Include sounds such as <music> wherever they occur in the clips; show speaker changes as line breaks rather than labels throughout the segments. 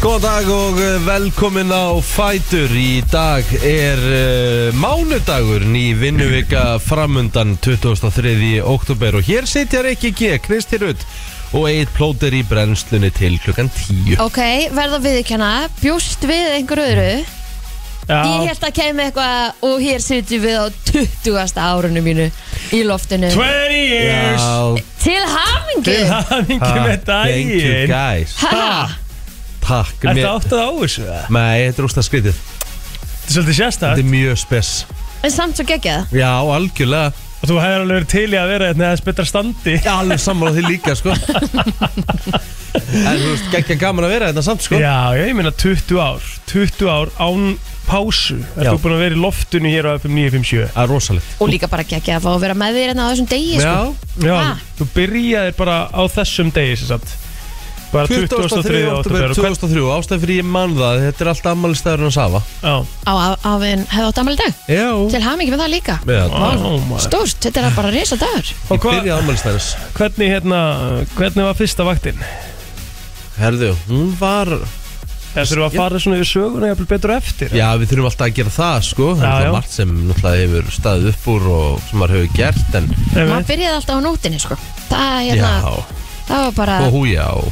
Góðan dag og eh, velkomin á Fætur Í dag er uh, mánudagur Ný vinnuvika framundan 23. oktober Og hér sitja Rikki G, Kristi Rutt Og eitt plóter í brennslunni til klukkan 10
Ok, verða viðkjanna, bjóst við einhver öðru Ég held að kemur eitthvað og hér sitjum við á 20. árunum mínu í loftinu
20 years
Til hamingu
Til hamingi
ha,
með
Thank you
daginn
guys
Ha,
Takk
Er þetta
mér-
áttað á þessu? eða?
Nei, þetta er úrsta skrítið
Þetta er svolítið
Þetta
sérstætt
er mjög spes
en samt svo geggjað
Já, algjörlega
Og þú hefur alveg verið til í að vera hérna eða spytra standi
Já, alveg sammála því líka, sko En þú veist, geggja gaman að vera þetta samt, sko
Já, já, ég meina 20 ár 20 ár án pásu Er
Já.
þú búin að vera í loftinu hér á FM 957
Það er rosalegt
Og líka bara geggjað að fá að vera með þér enn á þessum degi sko.
Já,
Já,
Ha?
þú byrjaðir bara á þessum degi sem sagt Bara
23.
23.
oktober
oktober
2003 Ástæð fyrir ég man það, þetta er alltaf ammali staðurinn að safa
Já,
Á afinn hefði átt ammali dag
Já
Til hamingu með það líka
Með
Ó, maður.
Stórt, þetta er bara risa dagur
Ég
Og hvað-
byrjaði ammali staðurins
hvernig hérna Hvernig var fyrsta vaktin?
Herðu, hún var
Þessir var að fara svona yfir söguna jafnvel betur á eftir
Já, við þurfum alltaf að gera það, sko Það
Já,
er
já.
það margt sem náttúrulega hefur staðið upp úr og sem maður hefur gert En,
Maður byrjaði alltaf á nótinni sko Það, hérna,
já,
það var bara
og húja og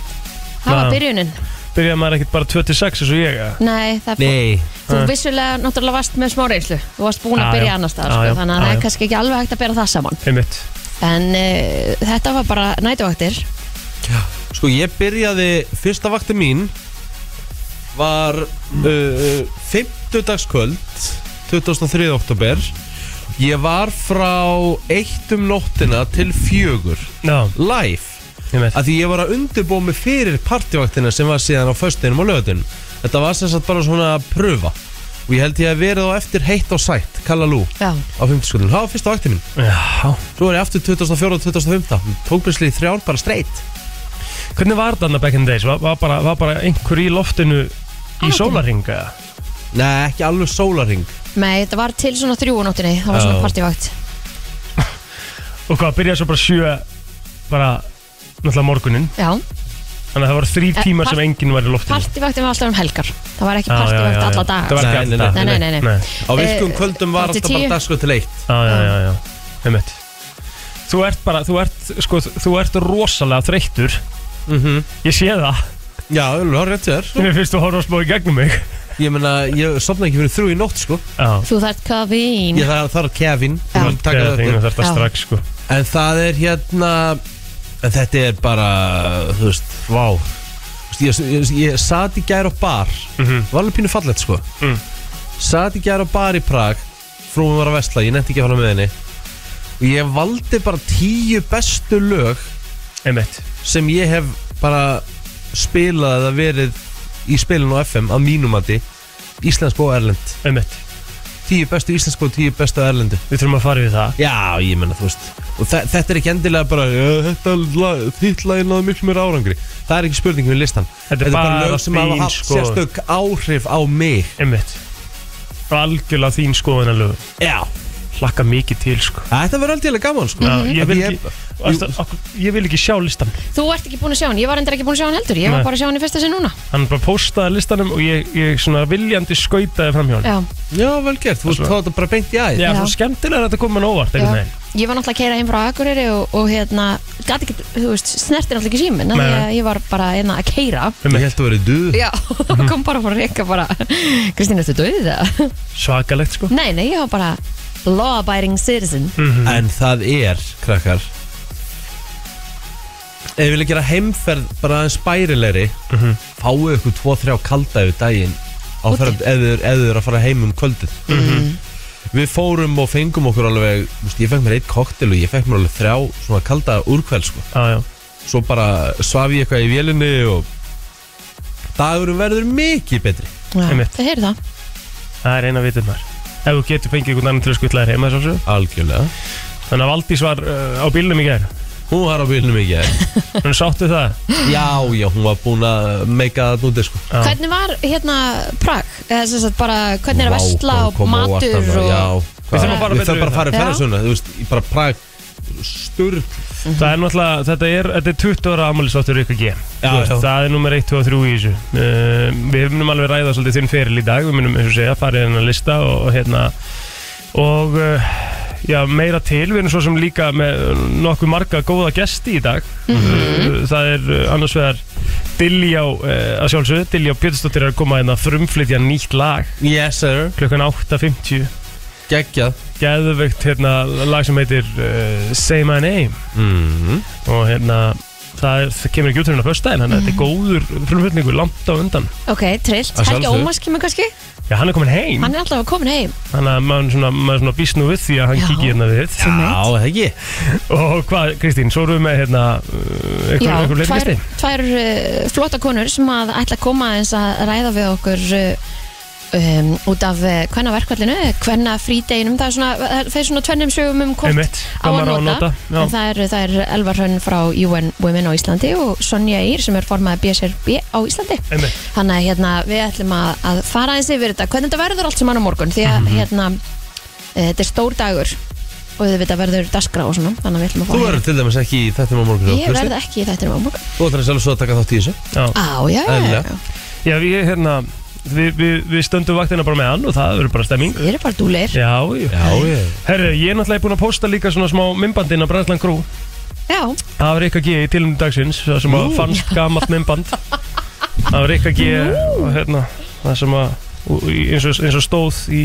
Það var
Já.
byrjunin
Byrjaði maður ekkert bara 26 eins og ég eða?
Nei, það fór
Nei,
Þú
Nei.
vissulega náttúrulega varst með smá reynslu Þú varst búin
Eh. Já,
að byrja
já.
annars staðar
Já,
sko,
já.
Þannig að
Já,
það
já.
er kannski ekki alveg hægt að bera það saman
Einmitt
En uh, þetta var bara nætuvaktir
Sko ég byrjaði, fyrsta vakti mín var uh, 50 dagskvöld 2003. oktober Ég var frá 1 um nóttina til 4
Já,
live
ég veit
að því ég var að undirbúa mig fyrir partivaktina sem var síðan á föstinum og lögutinum Þetta var sem sagt bara svona að pröfa og ég held ég að verið á eftir heitt og sætt Kalla Lú
Já,
á 50 skulun, það var fyrsta vakti mín
Já
Svo var ég aftur 2004 og 2005 tók byrslið í þrján bara straight
Hvernig var þetta annað back in the days? Var, var, bara, var bara einhver í loftinu í
Alveg.
sólaringa?
Nei, ekki alveg sólarring
nei, þetta var til svona þrjúunóttinni Það var
Já.
svona partivakt
Og hvað, byrjaði svo bara sjö bara náttúrulega morgunin
Já,
Þannig að það voru þrý
Eh,
tímar
part-
sem enginn var í loftinu
partivaktin var alltaf um helgar Það var ekki
Já, já, já,
partivakt
já.
alla daga
Það var
Nei,
ekki
nei,
alla
nei. Nei, nei, nei.
Á virkum
Eh,
kvöldum var
eftir
alltaf bara
tíu.
dagskvöld til eitt
Já, já, já, já, einmitt Þú ert bara, þú ert, sko, þú ert rosalega þreyttur
mm -hmm.
Ég sé það,
Já, þú har rétt þér
mér finnst þú horfa smá í gegnum mig
Ég meina, ég sopna ekki fyrir þrjú í nótt sko
Já,
Þú þarft kafín
Ég þarf þar Kevin
Já.
þú taka
þegar
það
þegar
eftir.
þetta
Já.
strax, sko
En það er hérna En þetta er bara, þú veist, vá Þú veist, Ég, ég, ég sat í gær á bar
Mhm.
Var alveg pínu fallegt sko
Mm.
Sat í gær á bar í Prag Frúin var að vesla, ég nefndi ekki að fara með henni Og ég valdi bara tíu bestu lög
Einmitt,
sem ég hef bara spilað eða verið í spilinu á FM að mínum mati íslensk og erlend
einmitt
tíu bestu íslensk og tíu bestu erlendu
Við þurfum að fara við það
já, ég menna, þú veist og þe- þetta er ekki endilega bara "Já, þetta lag, þitt lag náðu miklu mér árangri það er ekki spurningin við listan
Þetta er bara sko.
lög sem hafa
þín
haft
skoðun.
sérstök áhrif á mig
Einmitt Algjörlega þín skoðanalög
já,
Hlakka mikið til, sko
þetta verður aldrei gaman sko.
Já, ég,
Af
vil
því
ekki, ásta, okkur, ég vil ekki sjá listan
Þú ert ekki búin að sjá hann, ég var endur ekki búin að sjá hann heldur Ég
Nei.
var bara að sjá hann í fyrsta sinn núna
Hann bara postaði listanum og ég, ég svona viljandi skautaði fram hjá
Já,
hann
já, vel gert, þú veist, þá er þetta bara beint í æð
Já,
Já.
svo skemmtilega er þetta komin óvart
já.
einhvern veginn.
Ég var náttúrulega að keira heim frá Akureyri og, og hérna, gat ekki, þú veist, snerti náttúrulega ekki síminn af
Nei,
því
nei.
að Ég var bara hérna að keira
ég held að verið duð
Já, <laughs> kom bara frá Rikka bara Kristín, ertu döðið það?
Svakalegt sko
<laughs> Nei, nei, ég var bara law-abiding citizen
En það er, krakkar Ef við vilja gera heimferð bara aðeins bærilegri Fáu ykkur 2-3 kalda yfir daginn á
Úti.
ferð- Ef þið eð eru að fara heim um kvöldið Við fórum og fengum okkur alveg þú veist, Ég fekk mér eitt koktel og ég fekk mér alveg þrjá Svona kalda úrkvæl sko
Já, já
Svo bara svaf ég eitthvað í vélinni og Dagurum verður mikið betri
Já,
Einmitt.
það heyrðu það
Það er eina vitið maður Ef þú getur fengið einhvern annan til að skutla þér heima svo
Algjörlega
Þannig að Valdís var uh, á bílnum í gær
Hún var á bílnum ekki
Hún sáttu það
Já, já, hún var búin að meika það núti sko
Já.
Hvernig var hérna Prag? Eða sem sagt bara, hvernig er
Vá,
að vesla
hvað
og
kom á óvart
matur
þarna,
og
já, hvað-
þurfum að fara
við
betur
þurfum bara að fara í
yfir
það.
ferðarsöna Þú veist, í bara prag Sturl
Það er náttúrulega, þetta er, þetta er 20 ára afmælisáttur ykkur G
Já,
Þú veist,
já.
Það er nummer 1, 2 og 3 í þessu uh, Við munum alveg ræða svolítið þinn feril í dag Við munum, eins og segja, farið hennar lista og, og hérna Og uh, já, meira til Við erum svo sem líka með nokkuð marga góða gesti í dag uh, Það er uh, annars vegar Diljá, uh, að sjálfsögðu Diljá Pétursdóttir er að koma hérna að frumflytja nýtt lag
Yes sir
klukkan 8.50
Geggjað
Geðveikt hérna lag sem heitir uh, Say My Name Mhm.
mm.
og hérna það, er, það kemur ekki út hérna fyrstæðin þannig að
Mm.
þetta er góður frumflutningu langt á undan
Ok, trillt.
Að
Helgi
sjálfsögðu.
Ómars kemur kannski?
já, hann er komin heim
Hann er alltaf að koma heim.
þannig að maður svona, maður svona býst nú við því að hann
Já.
kikið hérna við
Já, það ekki
og hvað, Kristín, svo erum við með hérna uh, einhver,
Já,
einhver
tvær,
leiklisti
tvær uh, flotta konur sem að ætla að koma eins að ræða við okkur uh, um, út af hvenna verkvallinu, hvenna frídeginum það er svona, eh, það fer svona tvennum sögum um hvort
einmitt,
á að
maður
nota,
já.
en það er, það er Elvar Hrönn frá UN Women á Íslandi og Sonja Eyr sem er formaði BSRB á Íslandi
einmitt,
þannig að hérna, við ætlum að, að fara eins yfir þetta, hvernig þetta verður allt saman á morgun því
Mhm.
að hérna, e, þetta er stór dagur og við veitum verður daskra og svona, þannig að við ætlum að
Þú
fá
verður til dæmis ekki í þettum á morgun
Ég verð ekki í þættinum á morgun
Þú ætlar sjálf svo að taka þátt í þessu
já.
Á, já, já, já,
Eðlilega.
já
já, við hérna við, við, við stöndum vaktina bara með hann og það verður bara stemming
Þið eru bara dúleir
já, já
Já, ég
Herri, ég er náttúrulega búin að posta líka svona smá mymbandinn á Brænslan Crew
Já,
Það var Rikka G í tilum dagsins það sem að
Nú.
fannst gamalt mymband Það var Rikka G og hérna, það sem að og- í- eins og, eins og stóð í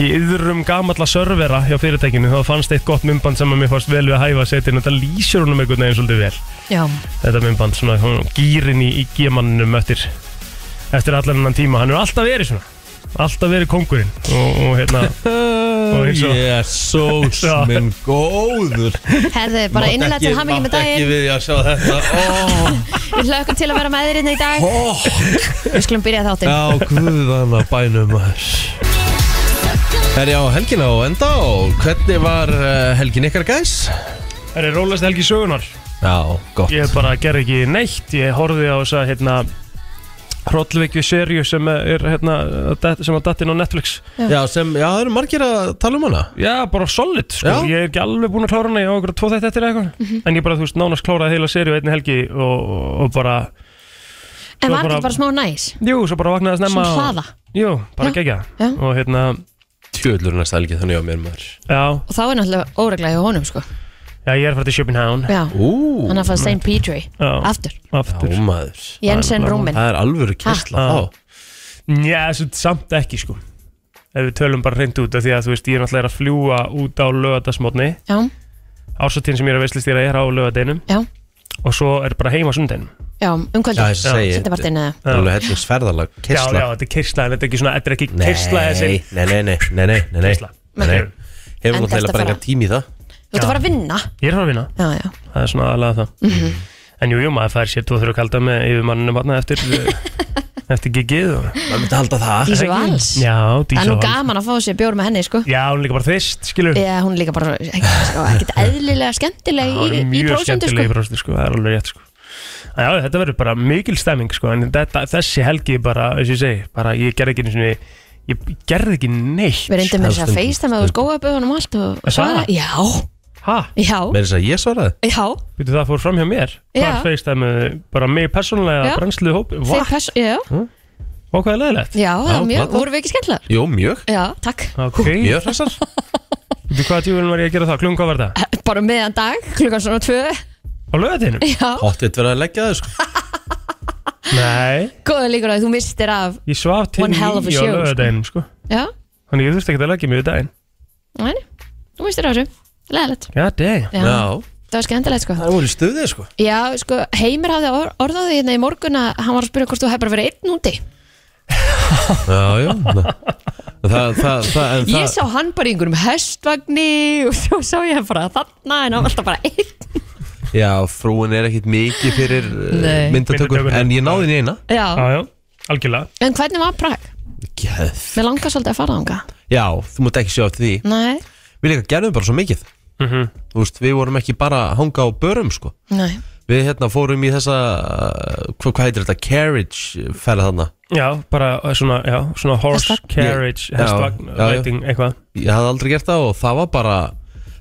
í yðrum gamalla servera hjá fyrirtækinu þá fannst eitt gott mymband sem að mér fannst vel við að hæfa að setja en þetta lýsir honum einhvern veginn svolítið vel
já,
þetta mymband svona hún, gýrin í, í gemanninum eftir eftir allan annan tíma hann er alltaf verið svona alltaf verið kongurinn og, og hérna
Uh,
eins og-
Jésús
Já.
minn góður
herðu bara innilega til hamingi með
Mátt ekki
daginn
við að sjá þetta Ó,
<laughs> Við hlökkum til að vera með þér hérna í dag
ó
Við skulum byrja þáttinn
Já, guðana bænum maður Herri á helgina og enda og hvernig var uh, helgin ykkar gæs?
er það rólast helgi sögunar
Já, gott
Ég bara ger ekki neitt Ég horfði á þess að hérna Hrollveikju serju sem er hérna dat- sem að dattinn á Netflix
Já, sem, já, það eru margir að tala um hana
Já, bara solid sko.
Já.
Ég er ekki alveg búinn að klára hana Ég á okkur tvo þetta eftir eða eitthvað
Mhm.
En ég bara, þú veist, nánast kláraði heila serju á einni helgi og, og bara,
En var
bara-
þetta bara smá næs?
jú, svo bara vaknaði snemma
Svona
og-
hlaða
Jú, bara
Já.
gegja
Já.
Og hérna,
Tjöðlur næsta helgi þannig á mér maður
já,
Og þá er náttúrulega óreglega hjá honum, sko
já ég er fært í Schopenhán
Já,
Ú,
hann er að fara St. Petri
Já,
Aftur,
já
aftur
maður
Jensen Rúmin
Það er alvöru kessla
Ha.
þá
Já, svo samt ekki, sko Ef við tölum bara reynd út af því að, þú veist, ég er náttúrulega að fljúa út á lögadagsmótni
Já,
ársatíðin sem ég er að veistlistýra er á lögadeinum
Já.
og svo er bara heima á sundainum
já, um
Já,
kvöldi
þess að segja Það
Sindabartin eða
er alveg hellis ferðalag
Já, já,
Kessla
þetta er keisla, en þetta er ekki svona, þetta er ekki
Nei,
keisla þessi
Nei, nei, nei, nei, nei, nei, nei.
keisla.
Nei, nei. Hefur
En þarftu
náttúrulega
að
bara
fara?
engan tími í það
Þú ert að fara að vinna
Ég er að fara að vinna,
Já, já,
það er svona aðalega það
Mhm.
En jú, jú, maður fær sér tvo þurru kalda með yfirmanninu vatna
<laughs>
eftir eh, eftir gigið og
Maður myndi halda það
Dísu Vals
Já,
Það er
dísa
nú
og hann
gaman Eh, að fá sér bjór með henni, sko
Já, hún er líka bara þist, skilur
Já, hún er líka bara sko, ekkert eðlilega skemmtileg
Það
í,
er
í
mjög
prósendu,
skemmtilega
sko
í prósentu, sko, það er alveg rétt, sko En Já, þetta verður bara mikil stemming, sko En þetta, þessi helgi bara, eins og ég segi bara, ég gerði ekki einu sinni ég gerði ekki neitt
Við reyndum með þess að
Stundum,
feista með þú skóa bauðunum allt og,
Er
og svara
það?
Já,
Ha?
já,
Með þess að ég svaraði
já
Býtu það fór fram hjá mér Hvar
Já.
feistæmið bara mig persónulega
Já.
brennslu hópi Vá,
Þeir pers- Já,
vá, hvað er leðilegt
já, það
Já,
er mjög,
plata.
vorum við ekki skemmtilegar?
Jú, mjög
Já, takk
Ok,
Mjög <laughs> hressar
býtu hvað tífun var ég að gera það? Klungum hvað var það?
Bara um meðan dag, klukkan svona tvö <laughs>
Á lögatinu?
Já,
Hóttið verið að leggja það sko
Nei,
góða líkur að þú mistir af
ég svaf til
One hell of a
níu á
show, sko.
lögatinu sko.
Já,
Þannig ég þurfti ekki að leggja mig í daginn
næni, þú mistir af þessu Leðilegt,
Já, deg
já,
Já,
það var skemmtilegt, sko
það er voru í stuðið sko
Já, sko, Heimir hafði or orðaði hérna í morgun að hann var að spyrja hvort þú hefði bara verið einn úti
Já, já na- Það, það, það, en
Ég
það
sá hann bara í einhverjum hestvagni <laughs> og svo sá ég hann bara þarna en hann var alltaf bara einn
Já, frúin er ekkit mikið fyrir
Nei.
uh, myndatökur
Myndatökur.
En ég náði henni eina
Já,
Já, já, algjörlega
en hvernig var Prag?
Geð
Mér langar svolítið að fara þangað
Já, þú mútt ekki sjá eftir því
Nei,
Við líka gerðum bara svo mikið
mm
Mhm.
Þú veist, við vorum ekki bara að hanga á börum sko
nei
Við hérna fórum í þessa uh, Hvað, hvað heitir þetta? Carriage ferða þarna
Já, bara eh, svona, já, svona horse
Hestvagn.
carriage
Ég- já,
Hestvagn,
já, já.
ræting, eitthvað
Ég hafði aldrei gert það og það var bara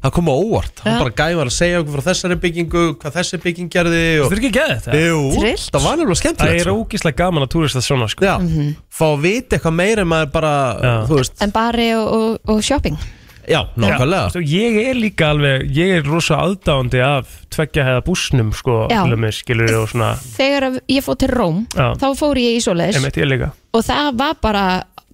það kom á óvart
Já.
hann bara gæði var að segja okkur frá þessari byggingu hvað þessi bygging gerði og...
Þetta er ekki geðið þetta
Jú,
Trillt.
það var nefnilega
Það
skemmtilegt
er
sko.
ógíslega gaman að túrist það svona sko
Já, fá að vita eitthvað meira en maður bara,
Já.
þú veist
En bari og, og, og shopping
Já, nákvæmlega
Já, veistu, Ég er líka alveg, ég er rosa aðdáandi af tveggja hefða búsnum sko
Já.
til og með skilur og svona
Þegar að ég fór til Róm
Já.
Þá fór ég í svoleiðis
emitt ég líka
Og það var bara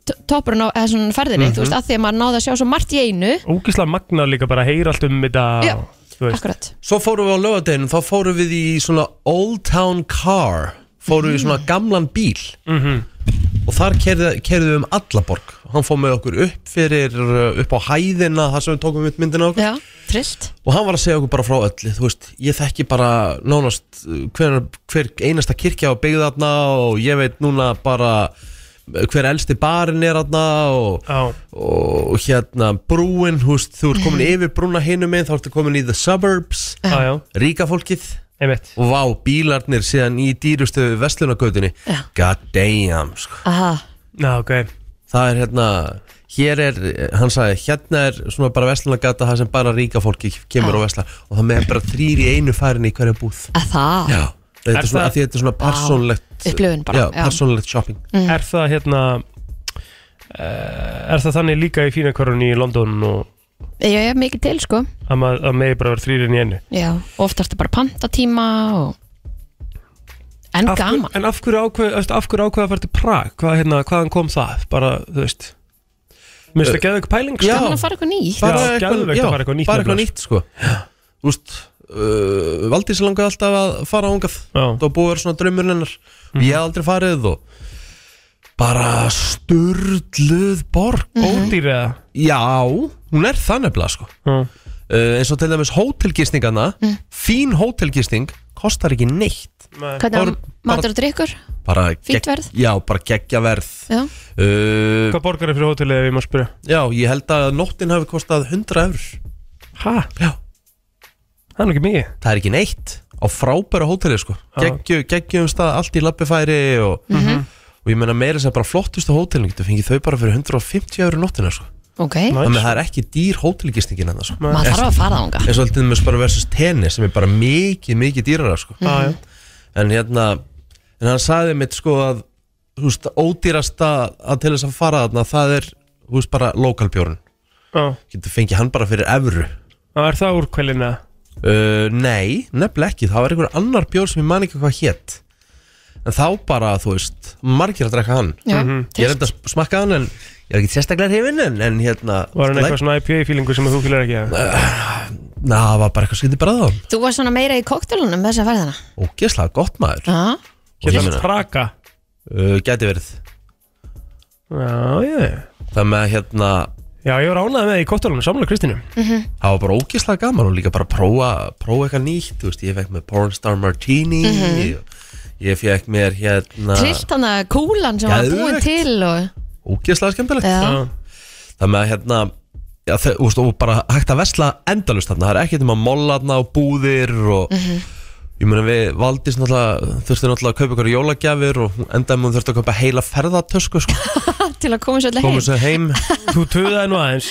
t- toppurinn á eða svona ferðinni Þú veist, að því að maður náði að sjá svo margt í einu
Ógíslega magnað líka bara að heyra allt um þetta
Já,
og, þú veist,
Akkurat
Svo fórum við á lögadeginu, þá fórum við í svona Old Town Car Fórum við í svona gamlan bíl -hmm. Og þar kerði- keyrðum við um Allaborg Hann fór með okkur upp fyrir uh, upp á hæðina þar sem við tókum upp myndina okkur
Já, trillt
Og hann var að segja okkur bara frá öllu Þú veist, ég þekki bara nánast uh, hver, hver einasta kirkja á byggðarna Og ég veit núna bara uh, hver elsti barinn er þarna og
á,
og hérna brúin, þú veist, þú ert komin yfir brúna hinum einn, þá ertu komin í the suburbs
á, já,
ríka fólkið
emitt
og vá, bílarnir síðan í dýrustu vestlunagautinni
Já.
god damn, sko
Aha,
Já, ok,
það er hérna, hér er hann sagði, hérna er svona bara vestlunagata það sem bara ríka fólki kemur
Já.
og vesla og það með bara þrýr í einu farin í hverja búð
að það
já, þetta
Er
er svona,
það-
af því þetta er svona persónlegt
Upplifun bara,
já,
já.
persónlegt shopping
Mm.
er það hérna eh, er það þannig líka í fínakvarun í London og
Ég er mikið til, sko
að, mað, að megi bara vera þrýrin í einu
Já, og oft ertu bara pantatíma og... En
Af hver-
gaman
En af hverju ákveð, eftir, af hverju ákveð að fara til Prag? Hvað, hérna, hvaðan kom það? Bara, þú veist Mér finnst það geðveik pæling sko.
Eh, já.
Gaman að fara eitthvað nýtt
bara
Já,
eitthvað,
geðveikt
já,
að fara eitthvað nýtt
bara eitthvað
nefnilega,
nýtt sko Þú veist, uh, Valdís langaði alltaf að fara ángað
Já. Mhm.
Það var búið að vera svona draumur hennar mm. Ég hef aldrei farið og bara sturluð borg
Mm.
Ódýr eða?
Já, hún er það nefnilega sko
Já.
uh, eins og til dæmis hótelgistingana
Mm.
fín hótelgisting kostar ekki neitt
Hvernig
Bara-
var matur og drikkur?
bara
Fínt verð.
Já, bara geggja verð
Já,
uh,
Hvað borgar er fyrir hótelið ef ég má spyrja?
Já, ég held að nóttin hafi kostað 100 eurur
Hæ?
Já
Það er nú ekki mikið
það er ekki neitt á frábæra hóteli sko
Já.
Geggju- geggjum stað, allt í lappifæri og, og ég meina meira sem bara flottustu hótelin getur fengið þau bara fyrir 150 eurur nóttina sko
ok
þannig að það er ekki dýr hótelgistingin en það sko
Maður þarf að fara þánga
eins og alltaf með bara versus tennis sem er bara mikið, mikið dýrara sko
Já, já.
en hérna, en hann sagði mitt sko að, þú veist, ódýrasta að til þess að fara þarna, það er þú veist, bara lokalbjórn
Já.
getur fengið hann bara fyrir evru
Já, Er það úrkvælin eða?
Uh, nei, nefnilega ekki, það var einhver annar bjór sem ég man ekki hvað hétt En þá bara, þú veist, margir að drekka hann
Já,
Ég er
trillt.
enda að smakka hann en ég er ekki sérstaklega hrifinn en, en hérna
Var hann
læk-
eitthvað svona IPA-fílingu sem þú fylgir ekki að?
Na, það var bara eitthvað skytið bræða á hann
Þú var svona meira í koktelunum þess að ferðina
Ógeðslega gott maður
Já,
Hérna
meina-
með Praga
uh, Gæti verið
Já, já
Það með að hérna,
Já, ég var ánægð með það í kottalunum, samlega Kristínu
það var bara ógeðslega gaman og líka bara að prófa, prófa eitthvað nýtt Þú veist, ég fekk með Pornstar Martini
Mhm.
Ég fekk mér hérna
trillt hann að kúlan sem var búin
Geðveikt.
til og...
Ógeðslega skemmtilegt
Já,
Já.
Það með að hérna já, þau, úst, og bara hægt að vesla endalust þarna, það er ekkert um að molla þarna og búðir og ég meina við Valdís náttúrulega þurfti náttúrulega að kaupa ykkur jólagjafir og hún- endaði með hún þurfti að kaupa heila ferðatösku sko,
til að koma svolítið
komið
heim
sér heim
Þú töðaði nú aðeins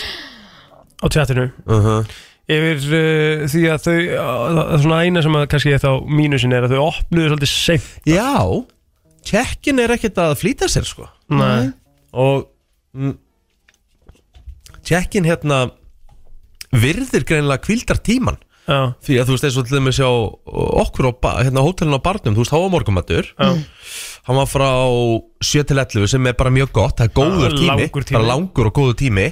á tjatinu
uh -huh.
yfir uh, því að þau uh, að, að svona eina sem að kannski ég þá mínusin er að þau opnuðu svolítið seint
Já, tjekkin er ekkert að flýta sér sko
Nei.
og mm, tjekkin hérna virðir greinilega kvildar tíman
Já,
því að þú veist eins og til dæmis á okkur á ba- hérna, hótelin á barnum, þú veist, þá var morgumatur
Já.
Mm.
hann var frá 7 til 11 sem er bara mjög gott, það er góður
Já,
tími,
langur tími.
bara langur og góður tími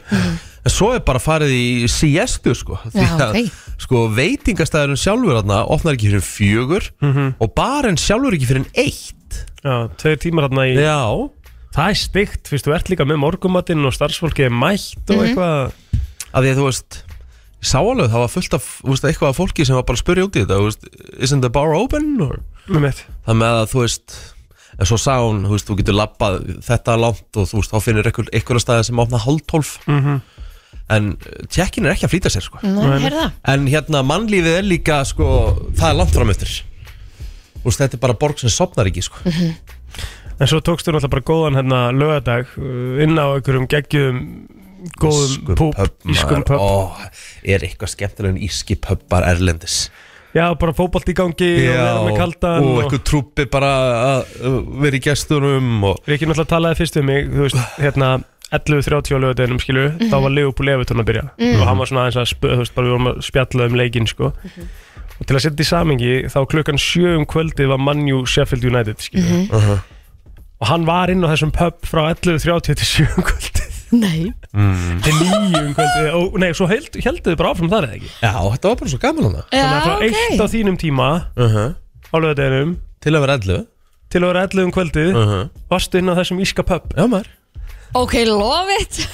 en svo er bara farið í siestu sko, því
Mm. Já,
að
ok.
sko, veitingastæðurinn sjálfur þarna opnar ekki fyrir en fjögur
Mhm.
og barinn sjálfur ekki fyrir en eitt
já, tveir tímar þarna í
já,
Það er stygt, fyrst þú ert líka með morgumatinn og starfsfólki er mætt og eitthvað
af því að þú veist ég sá alveg, það var fullt af þú veist, eitthvað af fólki sem var bara að spyrja út í þetta þú veist, isn't the bar open? Or?
með mitt
það með að þú veist en svo sá hún, þú veist, þú getur labbað þetta langt og þú veist, þá finnir einhver, einhverja staði sem opna hálf tólf
Mhm.
en tjekkin er ekki að flýta sér sko.
Nei, heyrðu það
en hérna mannlífið er líka sko, það er langt fram eftir Þú veist, þetta er bara borg sem sopnar ekki sko.
Mhm. uh, En svo tókstu náttúrulega bara góðan hérna lögadag inn á einhverjum geggjum góðum púp, ískum pub
Ó, er eitthvað skemmtilega en íski pubbar erlendis
Já, bara fótbolt í gangi og vera með kaldan
og eitthvað trúpi bara að uh, vera í gestunum og
Riki náttúrulega talaði fyrst um mig, þú veist, hérna 11.30 á lögadeginum, skilju, þá var Leopold Evertón að byrja og hann var svona aðeins að spö, þú veist, bara við vorum að spjalla um leikinn, sko og til að setja í samingi, þá klukkan sjö um kvöldið var Manju Sheffield United, skilju
Mhm.
og hann var inn á þessum pub frá 11.30 til sjö um kvöldið
Nei
til nýju um kvöldið og nei, svo held, heldur þið bara áfram þar eða ekki
já, þetta var bara svo gaman hana
Já,
þannig að frá eitt á
Ah, ok
þínum tíma á lögadeginum
til að vera ellu
til að vera 11 um kvöldið
-huh.
varstu inn á þessum íska pub
já maður,
Ok, love it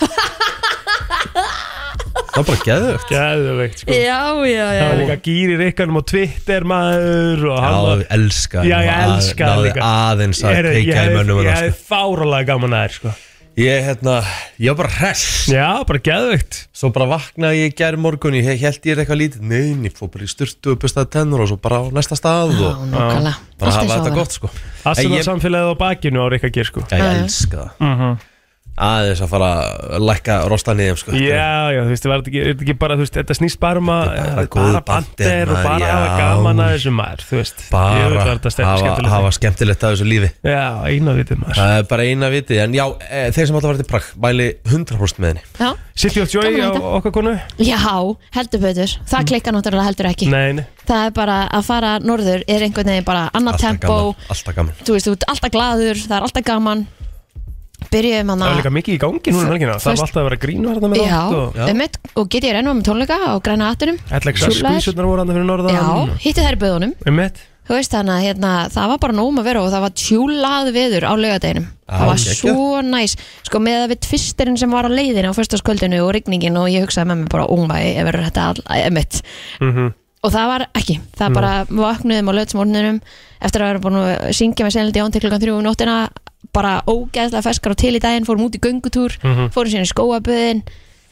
það var bara geðvögt
Geðveikt, sko
<laughs> Já, já, já
Það var líka gýri rikkanum á Twitter maður og hann
Já,
var
ég elska
Já, ég elska
það
líka.
líka aðeins að
Heyrðu,
keikja í
hef-
mönnum sko.
Ég
hennar,
hefði fáralega gaman að þér sko
sko. Ég, hérna, ég var bara hress
Já, bara geðveikt
Svo bara vaknaði ég gær morgun Ég held ég er eitthvað lítið Nein, ég fór bara í styrtu upp staði tennur Og svo bara á næsta stað
Já,
og
nákvæmlega
bara hafa
Allt eins og
þetta
áður.
gott sko En
Assan
ég,
ég... samfélagið á bakinu á Rikka Gér sko
já,
Já,
ég
já.
elska það
Mhm.
Aðeins að fara að lækka rosta niðum sko
Já, já, þú veist, var þetta ekki, er þetta ekki bara, þú veist, þetta snýst bara um að
Þetta er bara
bara,
góðu bandir,
bandir og
maður,
bara hafa
já.
gaman að þessu maður, þú veist Ég veit
Bara
að þetta stefn
hafa,
skemmtilegt
hafa skemmtilegt að þessu lífi
Já, eina vitið maður
Það er bara eina vitið En já, e, þeir sem alltaf verið til Prag Mæli 100% með henni
Já,
City of Joy
Gaman
á
að þetta.
okkar konu?
já, heldur betur Það klikkar náttúrulega heldur ekki
Nei, nei
Það er bara að fara norður er einhvern veginn bara annað
Alltaf
tempó
gaman, alltaf gaman
Þú veist, þú ert alltaf glaður, það er alltaf gaman Byrjuðum hann
Það var líka mikið í gangi núna um helgina Það var
Föst-
alltaf að vera grínvarða með
Já,
allt og
Já.
einmitt, og get ég reyna með tónleika á græna hattunum
Ætla ekki að
Súrlaðir.
skvísurnar voru hann fyrir norðan Um
Já, hitti þær í böðunum
Einmitt.
Þú veist þannig að hérna, það var bara nóg um að vera og það var tjúlað viður á laugadeginum
Já,
Það var
geggjað.
svo næs Sko með að við tvistirinn sem var á leiðinu á fyrstaskvöldinu og rigningin og ég hugsaði með mér bara ómæði ef verður þetta all, emitt
Mhm.
Og það var ekki, það bara vaknuðum á laugadegismorninum eftir að vera búin að syngja með selindi án til klukkan þrjú um nóttina bara ógeðslega feskar og til í daginn fórum út í göngutúr,
Mhm.
fórum síðan í skóaböðin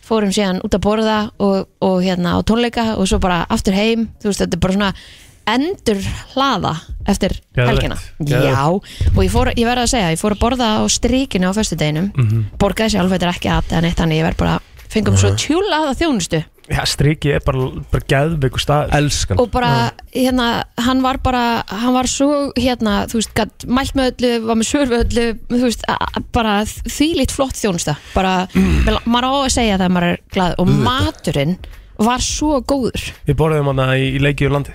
fórum síðan út að borða og, og hérna á tónleika og svo bara aftur heim, þú veist þetta er bara svona endur hlaða eftir
Geðveikt,
helgina
geðveikt.
Já, og ég, fór, ég verði að segja, ég fór að borða á strikinu á föstudeginum,
Mhm.
borgaði sér alveg ekki að eða neitt, þannig ég verð bara fengum svo tjúlaða þjónustu
Já, striki er bara, bara geðveiku stað
Elskan
og bara, hérna, hann var bara hann var svo, hérna, þú veist gat, mælt með öllu, var með svör við öllu þú veist, a- a- bara þvílitt flott þjónusta, bara mm. maður á að segja þegar maður er glað og maturinn var svo góður
Við borðum hana í, í leikið í landi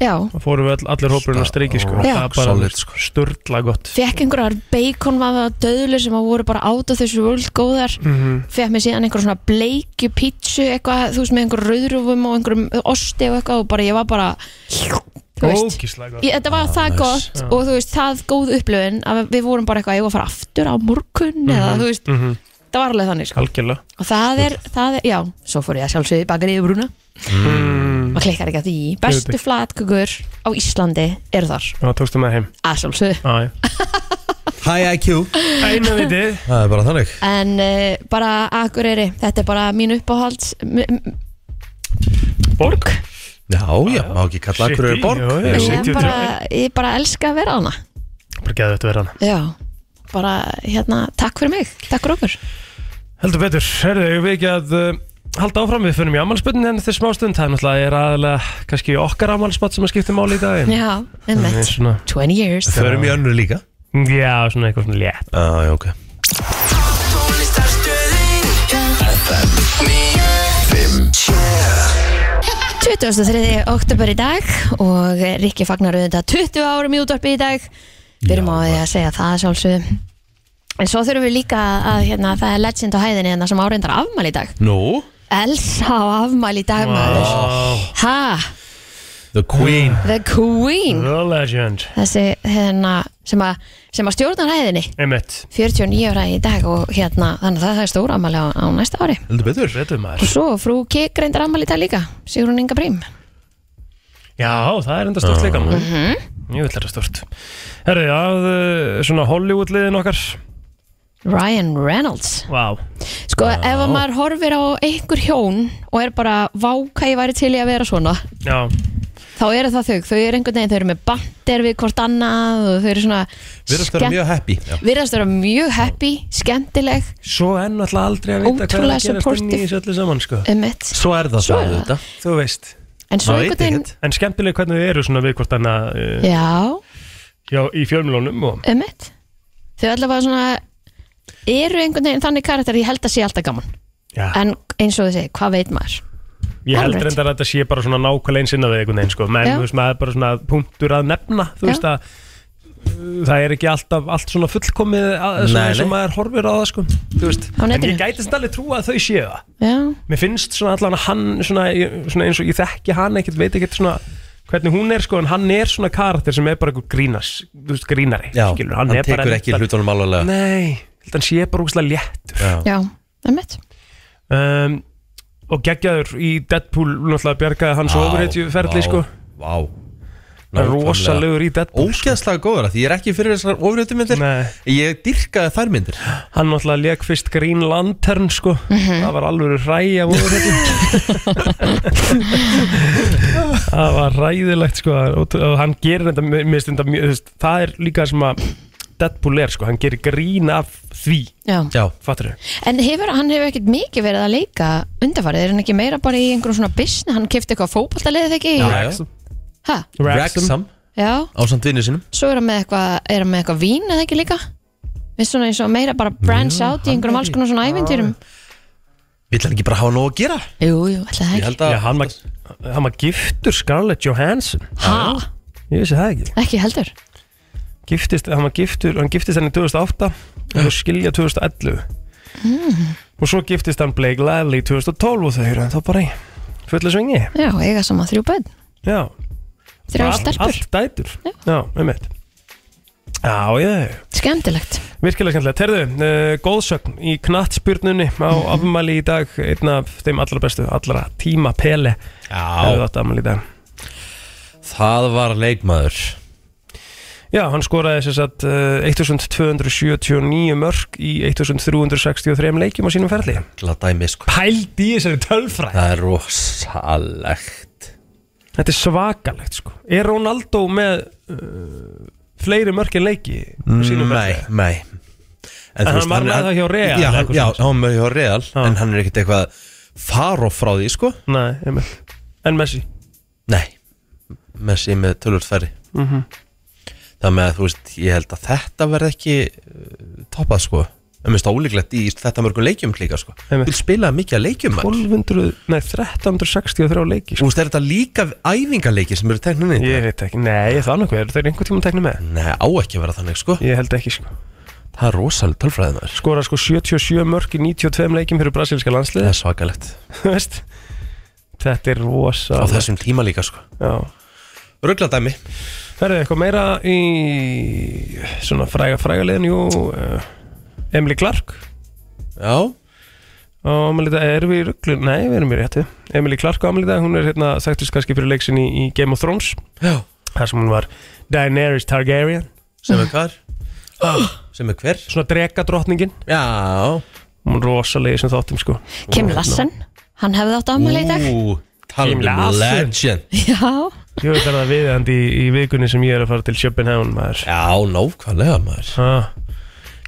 Já,
Það fórum við all, allir hópurinn á striki sko.
Rock
Það er bara
solid,
sko. sturla gott
fekk einhverjar baconvaða döðlur sem að voru bara át og þessu völd góðar mm fekk mér síðan einhver svona bleikju pítsu eitthvað, þú veist, með einhverjum rauðrúfum og einhverjum osti og eitthvað og bara ég var bara þú veist,
Ógíslega gott
ég, þetta var það
nice.
gott
Já.
og þú veist, það góð upplöfin að við vorum bara eitthvað, ég var að fara aftur á morgun eða þú veist,
Mhm.
það var alveg þannig sko.
Algjörlega
og það er, það er, já, svo fór ég að sjálfsögði bakari yfir brúna,
mm.
maður klikkar ekki að því bestu flatkökur á Íslandi eru þar,
Já, tókstu með heim
að sjálfsögðu
Æ.
<laughs>
Hi IQ
Einu vitið
Það er bara þannig
en uh, bara Akureyri, þetta er bara mín uppáhalds m- m-
Borg
Já,
Ah,
já, má ekki kalla
City,
akkur er borg
já, já.
Eh,
ég,
City
er
of
bara, ég bara elska að vera hana
Bara geðveikt að vera hana
já, bara hérna takk fyrir mig, takk fyrir okkur
Heldur betur Herðu, ég við ekki að uh, halda áfram Við finnum í ammálspötin henni eftir smá stund Það er náttúrulega er aðalega kannski okkar ammálspöt sem að skipta máli í dag en-
já,
Það er
einmitt,
svona,
20 years
Þau eru mjög önnur líka
Já, svona eitthvað svona létt
Já,
Ah,
já, ok
Tónlistarstöðin FM 957
23. oktober í dag og Rikki fagnar auðvitað 20 árum í útvarpi í dag byrjum á því að segja það sjálfsögðu en svo þurfum við líka að hérna, það er legend á hæðinni hérna sem áreindar afmæli í dag
Nú,
Elsa á afmæli í dag maður ha,
the queen
the queen
The legend
þessi hérna sem að, sem að stjórna ræðinni
Einmitt
49 ræði í dag og hérna þannig að það- það er stóra ammali á, á næsta ári
Heldur betur
Betur
og
maður
svo frú Kik reyndar ammali í dag líka Sigrun Inga Brím
Já, það er enda stort líka maður
Mhm.
Jú, þetta er stort Herri, að uh, svona Hollywood-liðin okkar
Ryan Reynolds
Vá
sko ef að maður horfir á einhver hjón og er bara vá hvað ég væri til í að vera svona
Já,
þá eru það þau, þau eru einhvern veginn þau eru með bandir við hvort annað og þau eru svona
Virðast vera mjög happy Já.
virðast vera mjög happy, skemmtileg
Svo enn alltaf aldrei að vita hvað er
Ótrúlega
að gerast inn í
supportive.
þessu öllu saman sko.
emitt,
Svo er það
Svo
svo
er það.
þetta
Þú veist
en svo einhvern veginn
En skemmtileg hvernig þið eru svona við hvort annað uh,
já,
Já, í fjölmjölunum og
emitt þau allavega svona eru einhvern veginn þannig karakter ég held að sé alltaf gaman
Já,
en eins og þið segi, hvað veit maður
ég held
alright.
reyndar að þetta sé bara svona nákvæmlega einsinn að við einhvern veginn sko. menn,
Já.
þú veist, maður er bara svona punktur að nefna þú
Já.
veist að uh, það er ekki alltaf allt svona fullkomið að, svona
Nei,
eins og
nei.
maður horfir á það sko. Þú veist,
Á
en
netinu.
ég gæti sem alveg trúa að þau séu það
já,
mér finnst svona allan að hann svona, ég- svona eins og ég þekki hann ekkert, veit ekkert svona hvernig hún er sko, en hann er svona karakter sem er bara einhver grínas, þú veist, grínari
Já,
skilur,
hann,
er bara
tekur ekki hlutunum alveglega
nei, ég held að hann sé bara úrslega léttur
já, emitt
um, og geggjaður í Deadpool náttúrulega bjargaði hans ofurheitju ferli sko
Vá
rosalegur í Deadpool sko.
Ógeðslega góður að því ég er ekki fyrir þessar ofréttumyndir
Nei,
Ég dyrkaði þær myndir
hann náttúrulega leik fyrst Green Lantern sko það var alveg ræja það var ræðilegt sko og og hann gerir þetta mér finnst þetta mjög- þú veist, það er líka sem að Deadpool er sko, hann gerir grín af því
já.
Já,
fattur þau?
En hefur, hann hefur ekkert mikið verið að leika undarfarið, er hann ekki meira bara í einhverjum svona business, hann kefti eitthvað fótballtaliðið ekki?
Já, já.
Ha,
Wrexham
já,
Ásamt vinnu sinum
svo er hann með eitthvað, er hann með eitthvað vín eða ekki líka? Við svona eins og meira bara branch out í einhverjum alls konar svona ævintýrum.
Vill hann ekki bara hafa nóg að gera?
Jú, jú, alltaf það
Ég
ekki.
held að
Já, hann, var, hann var giftur Scarlett Johansson
Ha,
ég vissi það ekki
ekki heldur.
giftist, hann var giftur, hann giftist henni 2008 og þau skilja 2011 og svo giftist hann Blake Lively 2012 og þau eru þá bara í fullu svingi
Já, eiga saman þrjú bönn,
já,
þrjá
allt,
stelpur.
allt dætur
Já.
já, um eitt já, já,
Skemmtilegt.
virkilega skemmtilegt Terðu, uh, góðsögn í knattspyrnunni á afmæli í dag einn af þeim allra bestu, allra tíma pele hefðu
Já,
átt afmæli í dag
það var leikmaður
Já, hann skoraði sér satt uh, 1279 mörg í 1363 leikjum á sínum ferli
Til að dæmi sko
pælt í þessari tölfræð
Það er rosalegt
Þetta er svakalegt sko Er Ronaldo með uh, fleiri mörkin leiki á sínum
Nei,
ferli?
nei En,
hann var með það hjá Real,
Já,
eða
hann,
eitthvað
já,
svoleiðis.
hann var með hjá Real
Já.
En hann er ekkert eitthvað far og frá því sko
Nei, einmitt En Messi
Nei, Messi með tölvöld færri
mm
Það með að þú veist, ég held að þetta verð ekki uh, toppað sko Það minnst ólíklegt í þetta mörgum leikjum líka sko
Einmitt.
Þú spilaði mikið að leikjum maður
1200, nei 1363
Þú
leiki sko.
veist, er þetta líka æfingaleiki sem eru tekninni
Ég veit ekki, nei það er nokkuð, eru þeir einhvern tíma teknir með?
Nei, á ekki að vera þannig sko
Ég held ekki sko
Það er rosalega tölfræðið maður
Skora sko 77 mörk í 92 leikim fyrir brasilíska
Það
<laughs> landslið
er svakalegt
yes. Þetta er rosa
Á þessum tíma líka sko
Já
Rugla dæmi
Verður eitthvað meira í svona fræga fræga liðin, jú uh, Emily Clark
Já,
Og Amelie Dag, erum við í rugglu? Nei, við erum í réttu Emily Clark og Amelie Dag, hún er hérna þekktist kannski fyrir leiksin í, í Game of Thrones
já
þar sem hún var Daenerys Targaryen
Sem er hver Sem er hver
Svona dregadrottningin
Já
Hún er rosalegi sem þáttum sko
Kim Lassen, hann hefði átt afmæli í dag.
hérna. Ú,
Kim
talum um
Larsen.
legend
Já,
Ég veit verða viðandi í, í vikunni sem ég er að fara til Sjöpenhán maður
Já, nákvæmlega maður
ah,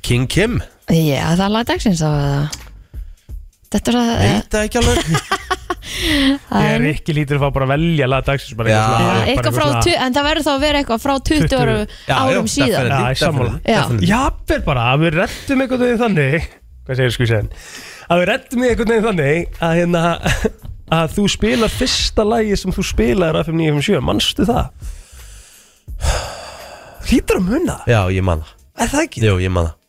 King Kim
já, það er lag dagsins á það. Þetta er að...
Veit það ekki alveg
<laughs> það er-
Ég er ekki lítur að fá bara að velja laga dagsins bara
Já.
eitthvað svona-
Já,
bara
eitthvað frá,
svona-
20 en það verður þá að vera eitthvað frá 20 árum,
Já, já,
árum síðan
definitely,
Já, ég sammála.
definitely,
Já.
definitely.
Jafnvel bara að við rettum einhvern veginn þannig Hvað segir skvísan? Að við rettum einhvern veginn þannig að, hérna, að þú spilar fyrsta lagi sem þú spilar af 5957 Manstu það? Hlýtur að muna
Já, ég man það
Er það ekki?
Jú, ég man það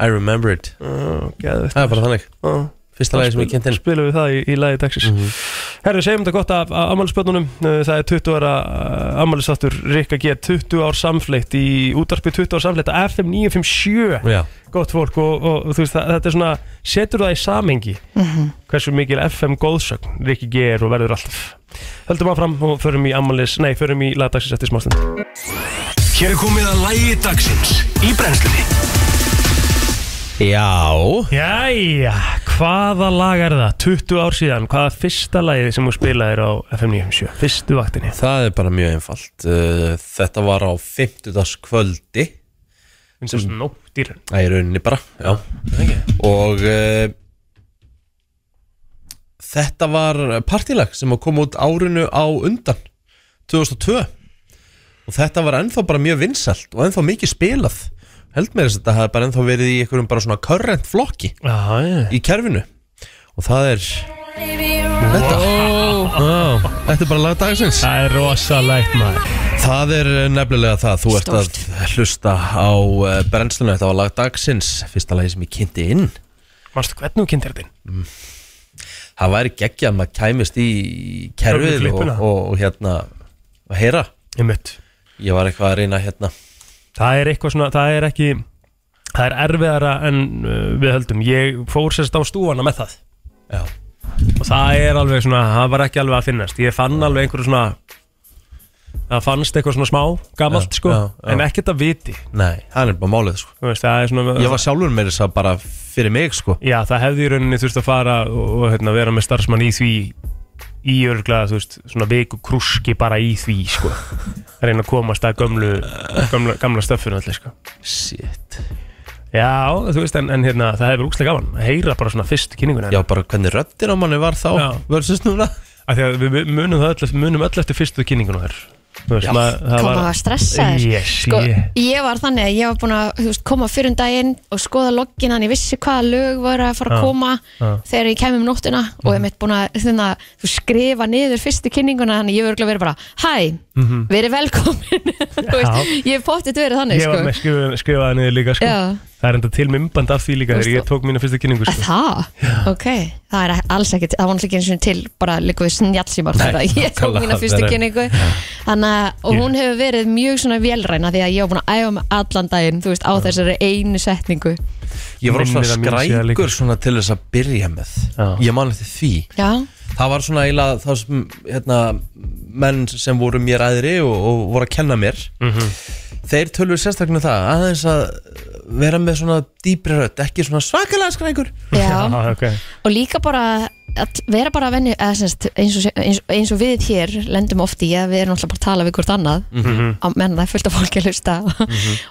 I remember it
Geðvett
Það er bara þannig Fyrsta lagi sem ég Mhm. kent inn
Spilum við það í, í lagi dagsins Herru, segjum þetta gott af ammælisbönnunum Það er 20 ára ammælisáttur Rikka G, 20 ár samfleitt í útarpi 20 ár samfleitt á FM 957
Já,
gott fólk og, og, þú veist það, þetta er svona setur það í samengi hversu mikil FM góðsögn Rikki G er og verður alltaf höldum áfram og förum í ammalis nei, förum í lagdagsins eftir smástund
Hér er komið að lægi dagsins í brennslunni
já
Jæja, Hvaða lag er það? 20 ár síðan, hvaða fyrsta lagið sem þú spilaðir á FM 957? Fyrstu vaktinni
Það er bara mjög einfalt Uh, Þetta var á 50. kvöldi
Sem snóttir
Það er rauninni bara já. Og uh, Þetta var partilag sem að koma út árinu á undan 2002 Og þetta var ennþá bara mjög vinsælt Og ennþá mikið spilað Held mér þess að þetta hafði bara ennþá verið í einhverjum bara svona current flokki
Já, já
í kerfinu Og það er Þetta Já, Þetta er bara lag dagsins
Það er rosalegt maður
Það er eh, nefnilega það, þú ert
Stórt.
að hlusta á eh, brennsluna, þetta var lag dagsins, fyrsta lagi sem ég kynnti inn.
Manstu hvernig þú kynntir þetta inn?
Það væri geggjað að maður kæmist í kerfið
Gömlu
og,
klippuna.
og, og hérna að heyra.
Einmitt
Ég var eitthvað að reyna hérna.
Það er eitthvað svona, það er ekki Það er erfiðara en uh, við höldum Ég fór sérst á stúfana með það
Já,
Og það er alveg svona, það var ekki alveg að finnast Ég fann alveg einhverju svona Það fannst eitthvað svona smá, gamalt
Já,
sko
já, já.
En ekkert að viti
nei, það er bara málið sko.
Þú veist, það er svona
Ég var sjálfur með þess að bara fyrir mig sko.
Já, það hefði í rauninni þurft að fara og og, hérna, vera með starfsmann í því í örgla, þú veist, svona viku krúski bara í því, sko reyna að komast að gömlu gamla, gamla stöffun allir, sko
Shit.
Já, þú veist, en, en hérna, það hefur úkslega gaman að heyra bara svona fyrst kynninguna
Já, bara hvernig röddin á manni var þá
Já.
versus núna.
af því að við við munum, það öll, munum öll eftir fyrstu kynninguna þar Þú veist,
Já.
maður, það
koma að stressa þér
Yes,
sko,
yeah.
ég var þannig að ég var búin að þú veist, koma fyrir um daginn og skoða loggin hann ég vissi hvaða lög voru að fara að
Já,
koma
já. Mhm.
þegar ég kemum nóttina og ég mitt búin að þunna, þú skrifa niður fyrstu kynninguna þannig ég voru verið bara hæ, verið velkomin <laughs> Þú veist, ég hef pottið verið þannig
Mhm. Ég var
sko.
með skrifa, skrifaði niður líka, sko
Já.
Það er enda til mymband af því líka
Þú
þegar ég
veist,
tók mína fyrstu kynningu,
að
sko
það, ok það er alls ekki, það var náttúrulega ekki eins og til bara líka við snjálsímar þegar að ég tók
nákvæmlega,
mína fyrstu
það er-
kynningu þannig að, og hún hefur verið mjög svona vélræna því að ég hef búin að æfa mig allan daginn þú veist, á þessari einu setningu
Ég var
Minnir
svona
að mín sé að líka.
skrækur svona til þess að byrja með.
Já.
Ég man eftir því.
já,
Það var svona eiginlega þá sem hérna, menn sem voru mér aðri og, og voru að kenna mér
Mhm.
Þeir tölur sérstaklega um það aðeins að vera með svona dýpri rödd, ekki svona svakalega skrækur
já
okay.
og líka bara að vera bara venni, eða, semst, eins, og, eins, og- eins og við hér lendum oft í að við erum alltaf bara að tala við hvort annað mm
Mhm.
-hmm. menn það er fullt af fólki að hlusta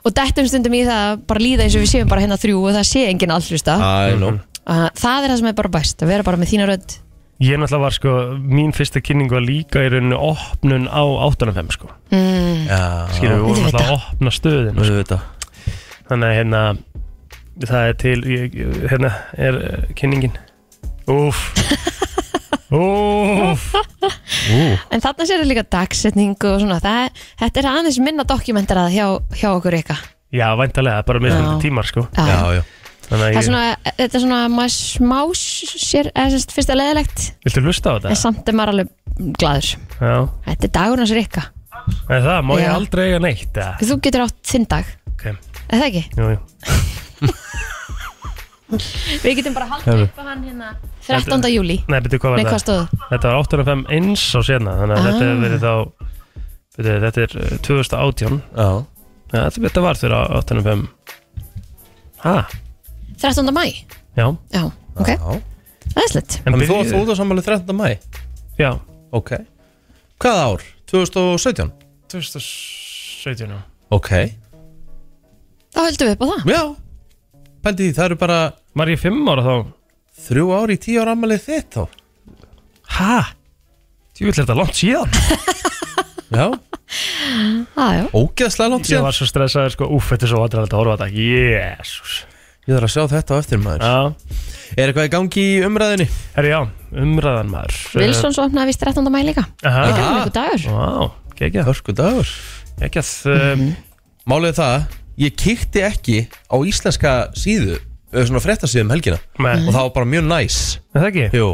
og dættum stundum í það að bara líða eins og við séum bara hérna þrjú og það sé enginn all hlusta
Æ, nú
Að það er það sem er bara best að vera bara með þína rödd
Ég náttúrulega var sko, mín fyrsta kynning var líka í rauninu opnun á 8.5 sko.
Já,
Skilur, við sko. vorum
Auðvitað.
náttúrulega að opna stöðin
við veit það
Þannig að hérna, það er til, ég, hérna er uh, kynningin Úf
<laughs>
Úf
en þarna sér það líka dagsetning og svona það, þetta er aðeins minna dokumentarað hjá, hjá okkur ykkar
Já, væntalega, bara með
Já.
tímar sko
Já, já
Þannig að
það er
ég,
svona, þetta er svona maður smá sér, eða semst fyrst að leðilegt
viltu hlusta á
en
þetta?
samt er maður alveg gladur
Já,
þetta er dagur hans rikka
en það, má ég
Já.
aldrei eiga neitt eða?
þú getur átt þinn dag,
Ok,
er það ekki?
jú, jú
við getum bara haldið upp á hann hérna 13. júli,
Nei, betur hvað
nei
var
hvað
það?
stóð
Þetta var 8.5 eins á sérna Þannig að
Ah.
þetta hefur verið þá byrju, Þetta er uh, 2018
Já,
Já, þetta- þetta var þegar 8.5 Hæ?
13. mæ,
Já
já, ok,
já.
það er slett
Þannig þú varst út á sammáli 13. mæ
Já
Ok Hvað ár? 2017?
2017 já.
Ok
þá höldum við upp á það
Já, pældi því, það eru bara
Var ég 5 ára þá?
þrjú ár í tíu ára ammælið þitt þá
Hæ? Ég vil þetta langt síðan
Já,
ah, já.
ógeðslega langt
Ég
síðan
var svo stressaður sko Úf, þetta er svo aðræðilegt að horfa á þetta Jésús
Ég þarf að sjá þetta á eftir maður
Já
Er eitthvað í gangi í umræðinni?
Herri já, umræðan maður
Wilsons opnaði vist 13. mæ líka
Aha
það er einhver dagur
Vá, geggjað
Hörku dagur
Geggjað um,
Mhm. Málið er það, ég kíkti ekki á íslenska síðu eða svona fréttasíðum helgina
Með,
og það var bara mjög næs
er það ekki?
Jú,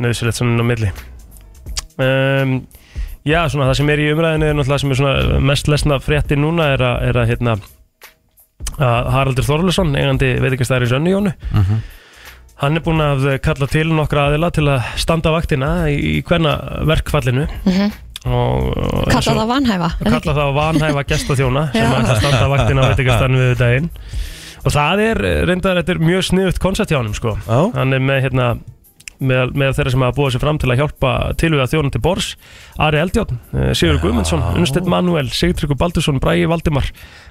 nöðsilegt svona á milli um, Já, svona það sem er í umræðinu er náttúrulega sem er svona mest lesna frétti núna er að, er að hérna að Haraldur Þorlesson, eigandi veitingastæðar í Sönnijónu Hann er búinn að kalla til nokkra aðila til að standa vaktina í, í hverna verkfallinu
Mhm.
og, og eins
kalla
og-
það vanhæfa en
kalla
ekki? <laughs>
það vanhæfa gestaþjóna sem
Já. <laughs>
ætla að standa vaktina á veitingastæðinu við daginn og það er eh, reyndar, þetta er mjög sniðut koncept hjá honum sko
Já.
hann er með hérna með, með þeirra sem hafa búið sér fram til að hjálpa til við að þjónum til bors Ari Eldjárn, eh, Sigurður Guðmundsson, Unnstedt Manuel Sigtryggur Baldursson, Bræi Valdimar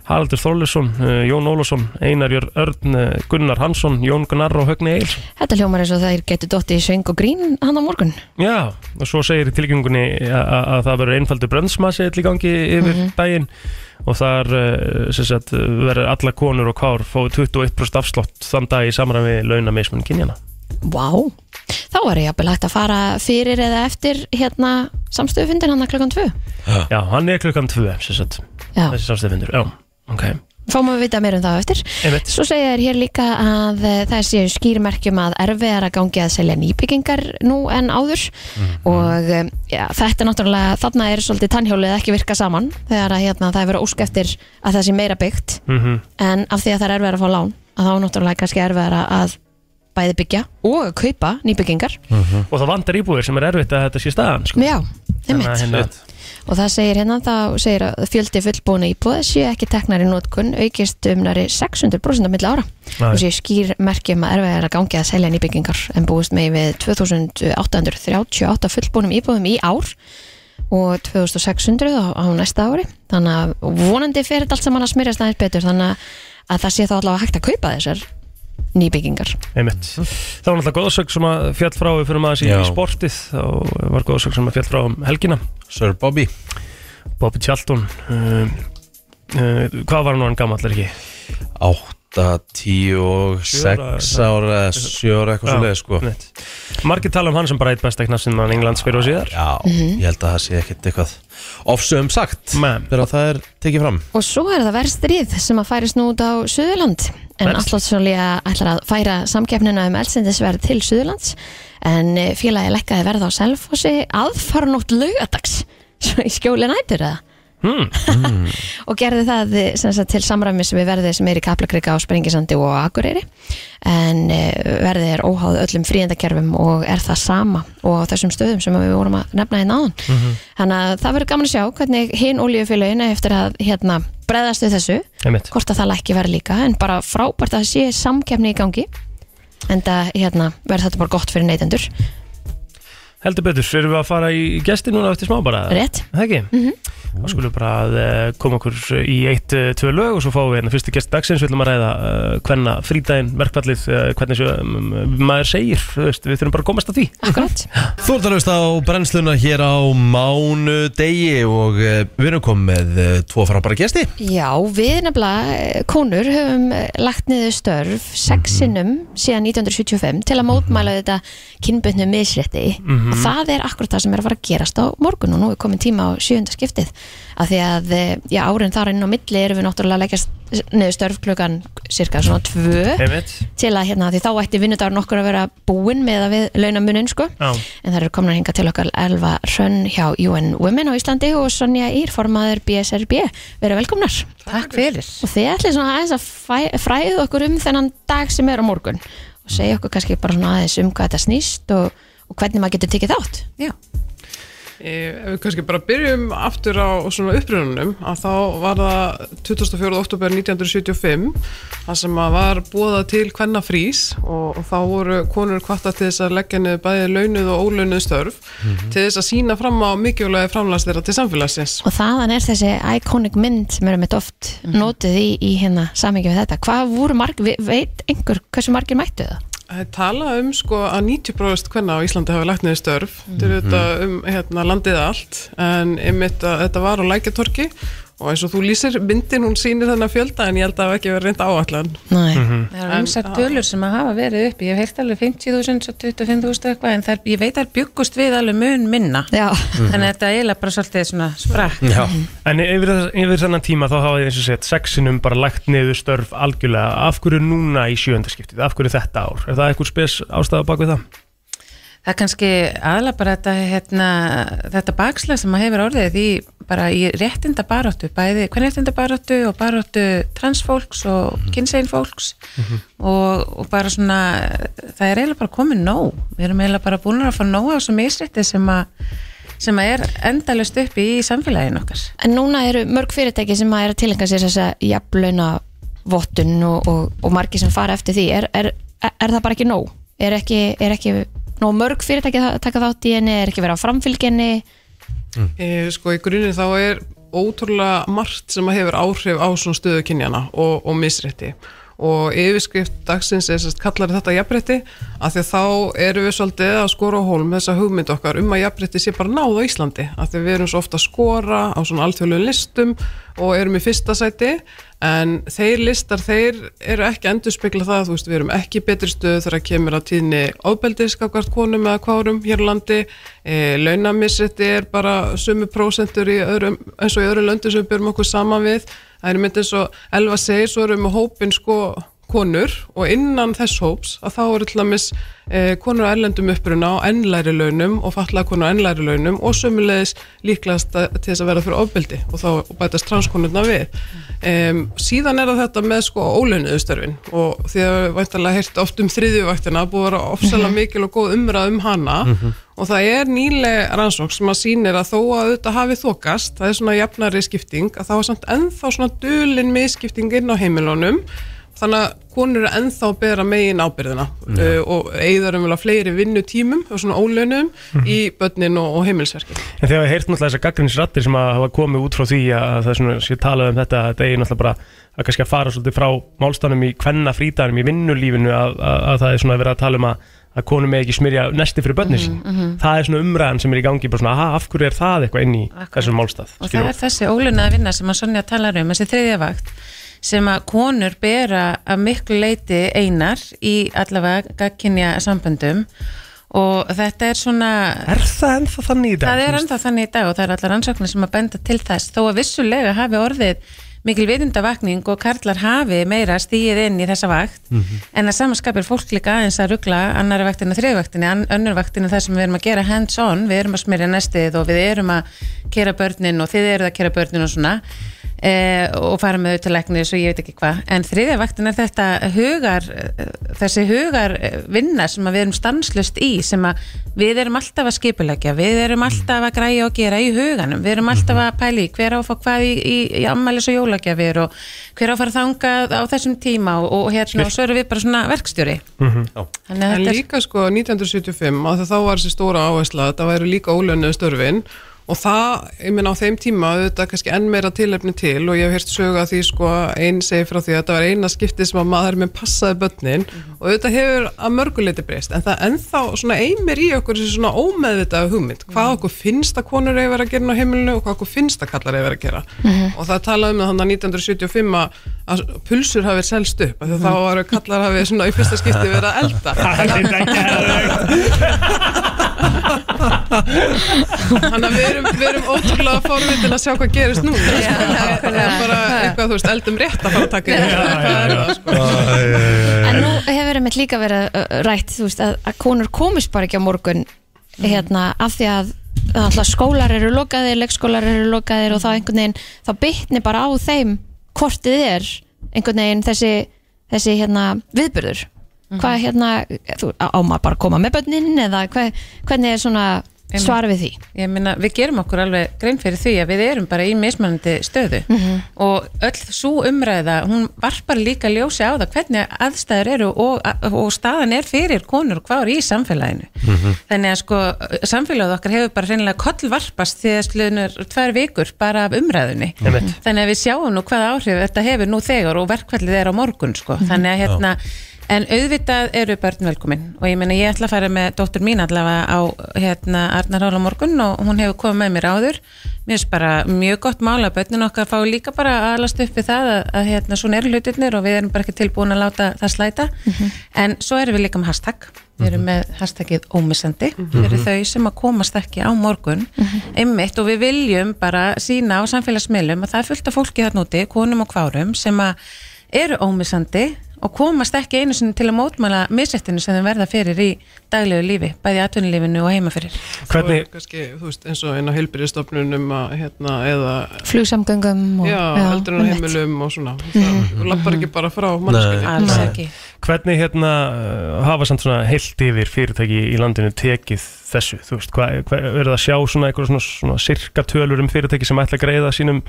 Haraldur Þorlesson, Jón Ólafsson Einar Jörn Örn, eh, Gunnar Hansson Jón Gunnar og Högni Eils
Þetta hljómar eins og þeir getur dottið í söng og grín hann á morgun
Já, og svo segir í tilgjengunni a- a- að það verður einfaldur bröndsmassi í gangi yfir daginn og þar eh, sem sagt, verður alla konur og kár fóðu 21% afslott þann dag í samræmi launa meismun kynjana.
Vá, þá er ég jafnvel hægt að fara fyrir eða eftir hérna samstöðufundin hann að klukkan tvö
Já, hann er klukkan 2 sem sagt,
Já,
þessi samstæðfundur. Já, ok.
fáum við að vita meir um það á eftir
Einmitt.
Svo segja þér hér líka að eh, það séu skýrmerkjum að erfiðar að gangi að selja nýbyggingar nú en áður
Mhm.
og eh, já, þetta er náttúrulega, þarna er svolítið tannhjólið ekki virka saman þegar að hérna, það er verið ósk eftir að það sé meira byggt
Mm
en af því að það er erfiðar að fá lán að þá er náttúrulega kannski erfiðar að bæði byggja og að kaupa nýbyggingar
Og það vantar íbúðir sem er erfitt að þetta sé staðan, sko.
Já,
Þannig að
einmitt
hérna,
og það segir hérna, þá segir að fjöldi fullbúna íbúða séu ekki teknar í notkun aukist um næri 600% á milli ára
Nei.
og séu skýr merkjum að erfið er að gangi að selja nýbyggingar en búist með við 2838 fullbúnum íbúðum í ár og 2600 á, á næsta ári þannig að vonandi fer þetta allt saman að smyrjast aðeins betur þannig að- að það sé þá allavega hægt að kaupa þessar nýbyggingar
einmitt. Það var náttúrulega góðsögn sem að fjall frá við fyrir maður
Já.
í sportið og var góðsögn sem að fjall frá um helgina.
Sir Bobby
Bobby Charlton uh, uh, hvað var hann orðinn gamall er ekki
8, 10 og
Sjö
6 ára eða 7 ára eitthvað
Já, Mhm.
svo leið sko
neitt. margir tala um hann sem bara eitt besta knastinn mann Englands fyrir og síðar
Já, ég held að það sé ekkert eitthvað ofsöðum sagt
Men.
þegar það er tekið fram
Og svo er það verð stríð sem að færist nú út á Suðurland en
Verð
Allatsjónlega ætlar að færa samkeppnina um eldsendisverð til Suðurlands en eh, félagi lekkaði verð á Selfossi aðfarnótt laugadags <laughs> svo í skjóli nætur eða
Hmm.
og gerði það eh, sem sagt, til samræmis við verðið sem er í Kaplakrika á Sprengisandi og á Akureyri en eh, verðið er óháð öllum fríendakerfum og er það sama og á þessum stöðum sem við vorum að nefna hérna áðan þannig að það verður gaman að sjá hvernig hinn olíufélagin eftir að hérna, breðast við þessu
einmitt
hvort að það lækki verð líka en bara frábært að það sé samkefni í gangi en það hérna, verður þetta bara gott fyrir neytendur
heldur betur, erum við að fara í gesti núna eftir smá bara
rétt
Það ekki? Þá skulum við bara að eh, koma okkur í eitt, eh, tvö lög og svo fáum við hérna fyrstu gest dagsins, við ætlum að ræða uh, hvenna frídægin, verkfallið, uh, hvernig svo, um, maður segir, þú veist, við þurfum bara að komast að því.
akkurat
Þú ert að hlusta á brennsluna hér á mánu degi og eh, við erum komið með eh, tvo frábæra gesti
Já, við nefnilega eh, konur höfum eh, lagt niður störf sexinum síðan 1975 til að mótmæla þetta kynbundnu misrétti og það er akkurat það sem er að fara að gerast á morgun og nú er komin tíma á sjöunda skiptið af því að eh, já, árin þar inn á milli erum við náttúrulega að leggja s- niður störf klukkan cirka svona tvö
Einmitt?
til að hérna, því þá ætti vinnudagur nokkur að vera búinn með að við launamunin sko
Já.
en það eru komin að hinga til okkar Elva Hrönn hjá UN Women á Íslandi og Sonja Ír, formaður BSRB vera velkomnar
Takk fyrir.
og þið ætlið svona aðeins að fæ- fræða okkur um þennan dag sem er á morgun og segja okkur kannski bara svona aðeins um hvað þetta snýst og, og hvernig maður getur tekið þátt
Já.
Eh, Ef við kannski bara byrjum aftur á svona upprununum að þá var það 24. oktober 1975 þar sem að var búaða til hvenna frís og, og þá voru konur kvarta til þess að leggja niður bæði launuð og ólaunuð störf til þess að sína fram á mikilvægi framlæst þeirra til samfélagsins.
og þaðan er þessi iconic mynd sem erum við oft notuð í, í hérna samingi við þetta, hvað voru marg ve- veit einhver hversu margir mættu það?
Það er talað um sko að 90% hvenna á Íslandi hafa lagt niður störf þetta er auðvitað um hérna, landið allt en einmitt að þetta var á lækjatorki og eins og þú lýsir myndin hún sýnir þennan fjölda en ég held að það hafi ekki verið reynda áallan
Nei,
Það eru umsagt tölur sem að hafa verið upp. Ég hef heilt alveg 50.000, svo 25.000 eitthvað, en þær, ég veit að byggust við alveg mun minna.
já,
Þannig að þetta er eiginlega bara svolítið svona sprakk.
Já,
En yfir, þess- yfir þennan tíma þá hafa þið eins og sett sexinum bara lagt niður störf algjörlega. Af hverju núna í sjöndaskiptið? Af hverju þetta ár? Er það eitthvað spes ástæða bak við það?
Það er kannski aðalega bara þetta, hérna, þetta bakslag sem að hefur orðið í, bara í réttinda baróttu, bæði hvernréttinda baróttu og baróttu transfólks og kynsegin fólks og, og bara svona, það er eiginlega bara komið nóg. Við erum eiginlega bara búin að fá nóg á þessu misrétti sem að, sem að er endalust upp í samfélaginu okkar.
en núna eru mörg fyrirtæki sem að er að tilengja sér þessa jafnlauna vottun og, og, og margir sem fara eftir því er, er, er það bara ekki nóg? Er ekki, er ekki nóg mörg fyrirtæki að taka þátt í henni? Er ekki verið á framfylginni?
E, sko í grunin þá er ótrúlega margt sem að hefur áhrif á svona stöðu kynjana og, og misrétti og yfirskrift dagsins er sérst kallar þetta jafnrétti af því að þá eru við svolítið að skora á hólm þessa hugmynd okkar um að jafnrétti sé bara náð á Íslandi af því að við erum svo ofta að skora á svona alþjóðlegum listum og erum í fyrsta sæti en þeir listar þeir eru ekki að endurspegla það þú veist við erum ekki í betri stöðu þegar kemur að tíðni ofbeldis skakvart konum eða kvárum hér á landi e, launamissetti er bara sumu prósentur í öðrum, eins og í öðrum löndum sem við björum okkur saman við það er mynd eins og Elva segir svo erum við hópin sko konur og innan þess hóps að þá eru til dæmis e, konur á erlendum uppruna á ennlæri launum og fatla konur á ennlæri launum og sömulegis líklegast að- til þess að vera fyrir ofbeldi og þá bætast transkonurna við um, síðan er það þetta með sko ólaunuðu störfin og því að við væntanlega heyrt oft um þriðjuvaktina búið að vera ofsalega mikil og góð umræð um hana og það er nýleg rannsók sem að sýnir að þó að auðvitað hafi þokast, það er svona jafnari skipting að þá er samt ennþá svona dulin miðskipting inn á heimilunum þannig að konur eru ennþá að bera megin ábyrðina uh, og eigðar um fleiri vinnutímum og svona ólönum í börnin og, og heimilsverki
En þegar við heyrt náttúrulega þessar gaggrinsrattir sem að hafa komið út frá því að það er svona sé talað um þetta að þetta eigi náttúrulega bara að kannski að fara svolítið frá málstænum í kvenna frítanum í vinnulífinu að, að, að það er svona verið að tala um að, að konum með ekki smyrja nesti fyrir börnir sín.
Mhm,
Það er svona umræðan sem er í gangi bara svona aha, af hverju er það eitthvað inn í þessum málstæð?
og það er þessi ólunaða vinna sem að Sonja talar um, þessi þriðja vakt sem að konur bera að miklu leiti einar í allavega gagkinja samböndum og þetta er svona
Er það ennþá þannig í dag?
það
Þú
er
veist?
ennþá þannig í dag og það er allar rannsóknir sem að benda til þess þó að vissulega hafi orðið mikil vitundavakning og karlar hafi meira stíið inn í þessa vakt
Mhm.
en að samanskapir fólk líka aðeins að ruggla annari vaktinu og þriðvaktinu, ann- önnur vaktinu það sem við erum að gera hands on, við erum að smyrja nestið og við erum að kera börnin og þið eruð að kera börnin og svona eh, og fara með þau til læknis og ég veit ekki hvað en þriðja vaktin er þetta hugar eh, þessi hugar eh, vinna sem að við erum stanslust í sem að við erum alltaf að skipulegja við erum alltaf að græja og gera í huganum við erum alltaf að pæli hver á að fá hvað í, í, í ammælis og jólagjafir og hver á að fara þangað á þessum tíma og, og hérna og svo erum við bara svona verkstjóri þannig að
En
þetta er
líka sko 1975 að þá var þessi stóra áhersla að það væri líka ólönuðu störfin og það, ég meina á þeim tíma auðvitað kannski enn meira tilefni til og ég hef hert sögu að því sko að einn segi frá því að þetta var eina skipti sem að maður með passaði börnin
Mhm.
og auðvitað hefur að mörguleiti breyst en það ennþá svona einmir í okkur þessi svona ómeðvitaðu hugmynd
Mhm.
hvað okkur finnst að konur hefur að gera á heimilinu og hvað okkur finnst að kallar hefur að gera
Mhm.
og það talaði um þannig að 1975 að- að pulsur hafið selst upp af því að þá
Mhm.
var kallar hafið svona í fyrsta skipti verið að elda
Það er ekki aðeins.
Þannig að við erum, við erum ótrúlega forvitin að sjá hvað gerist núna
Já,
Það er bara eitthvað, þú veist, eldum rétt að fara að taka
Já, já,
Það er
já.
það, sko.
En nú hefur einmitt líka verið uh, rætt þú veist, að, að konur komist bara ekki á morgun hérna, af því að alltaf, skólar eru lokaðir, leikskólar eru lokaðir og þá einhvern veginn, þá bytni bara á þeim hvort þið er einhvern veginn þessi, þessi hérna, viðbyrður hvað hérna, þú, á, á maður bara að koma með börnin eða hver, hvernig er svona
Einmitt.
svar við því
ég meina, við gerum okkur alveg grein fyrir því að við erum bara í mismunandi stöðu og öll svo umræða hún varpar líka ljósi á það hvernig aðstæður eru og, og staðan er fyrir konur og hvað er í samfélaginu þannig að sko, samfélagið okkar hefur bara reynilega kollvarpast því að slunur tvær vikur bara af umræðunni
Einmitt.
þannig að við sjáum nú hvaða áhrif þetta hefur nú þegar og verkvallið er á morgun sko. þannig að hérna En auðvitað eru börn velkomin og ég meina ég ætla að fara með dóttur mín allavega á hérna Arnar Hála morgun og hún hefur komið með mér áður. Mér finnst bara mjög gott mál að börnin okkar fá líka bara að alast upp við það að, að hérna svona eru hlutirnir og við erum bara ekki tilbúin að láta það slæta. En svo erum við líka með hashtag. Við erum með hashtagið ómissandi. Mm eru þau sem að komast ekki á morgun einmitt og við viljum bara sína á samfélagsmiðlum að það er fullt af fólki þarna úti, konum og kvárum sem að eru ómissandi og komast ekki einu sinni til að mótmæla missettinu sem þeim verða fyrir í daglegu lífi, bæði atvinnulífinu og heima fyrir.
Svo er
<laughs> Hvernig,
kannski, þú veist, eins og einn á heilbyrðistofnunum hérna, eða,
flugsamgöngum og,
já, eldur á
einmitt.
heimilum og svona, það lappar ekki bara frá mannskinni
Alls ekki.
hvernig hérna uh, hafa samt svona heilt yfir fyrirtæki í landinu tekið þessu, þú veist, hvað hva, verður það að sjá svona einhverja svona, svona sirka tölur um fyrirtæki sem ætla að greiða sínum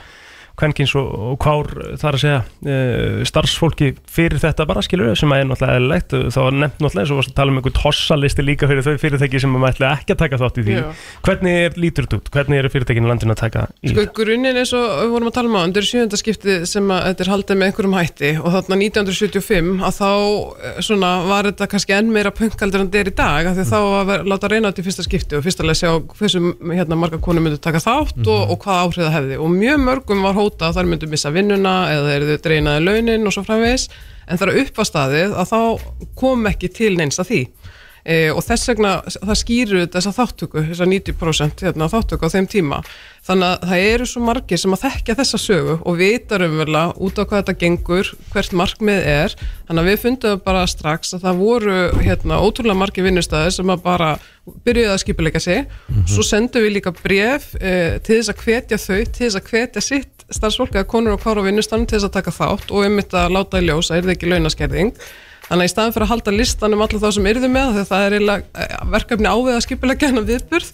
kvenkins og, og kvár þar að segja e, starfsfólki fyrir þetta bara skilur sem að er náttúrulega eðlilegt þá var nefnt náttúrulega eins og varst að tala um einhvern hossalisti líka fyrir þau fyrirtæki sem maður ætla ekki að taka þátt í því
Já.
hvernig er, lítur þetta út, hvernig eru fyrirtækinu landinu að taka í
Sko, grunninn eins og við vorum að tala um á undir sjöndaskipti sem að þetta er haldið með einhverjum hætti og þarna 1975 að þá eh, svona var þetta kannski enn meira punkaldur en þetta er í dag af því þá var að láta reyna þetta í fyrsta skipti og fyrst alveg sjá hversu hérna marga konur myndu taka þátt og, og hvað áhrif það hefði og mjög mörgum var hóta að þær myndu missa vinnuna eða þeir eru dreinaði launin og svo framvegis en þar að uppfastaðið að þá kom ekki til neins að því e, og þess vegna það skýrur þetta þessa þáttöku, þessa 90% hérna, þáttöku á þeim tíma þannig að það eru svo margir sem að þekkja þessa sögu og vita raunverulega út á hvað þetta gengur hvert markmið er þannig að við fundum bara strax að það voru hérna, ótrúlega margir vinnustæðir sem að bara byrjuði að skipuleika sig svo sendum við líka bref e, til þess að hvetja þau, til þess að hvetja sitt starfsfólk eða konur og kvar á vinnustanum til þess að taka þátt og um þetta láta í ljós að er það ekki launaskerðing Þannig að í staðin fyrir að halda listan um alla þá sem yrðu með, þegar það er eiginlega eh, verkefni ávið að skipulegja hennar viðburð,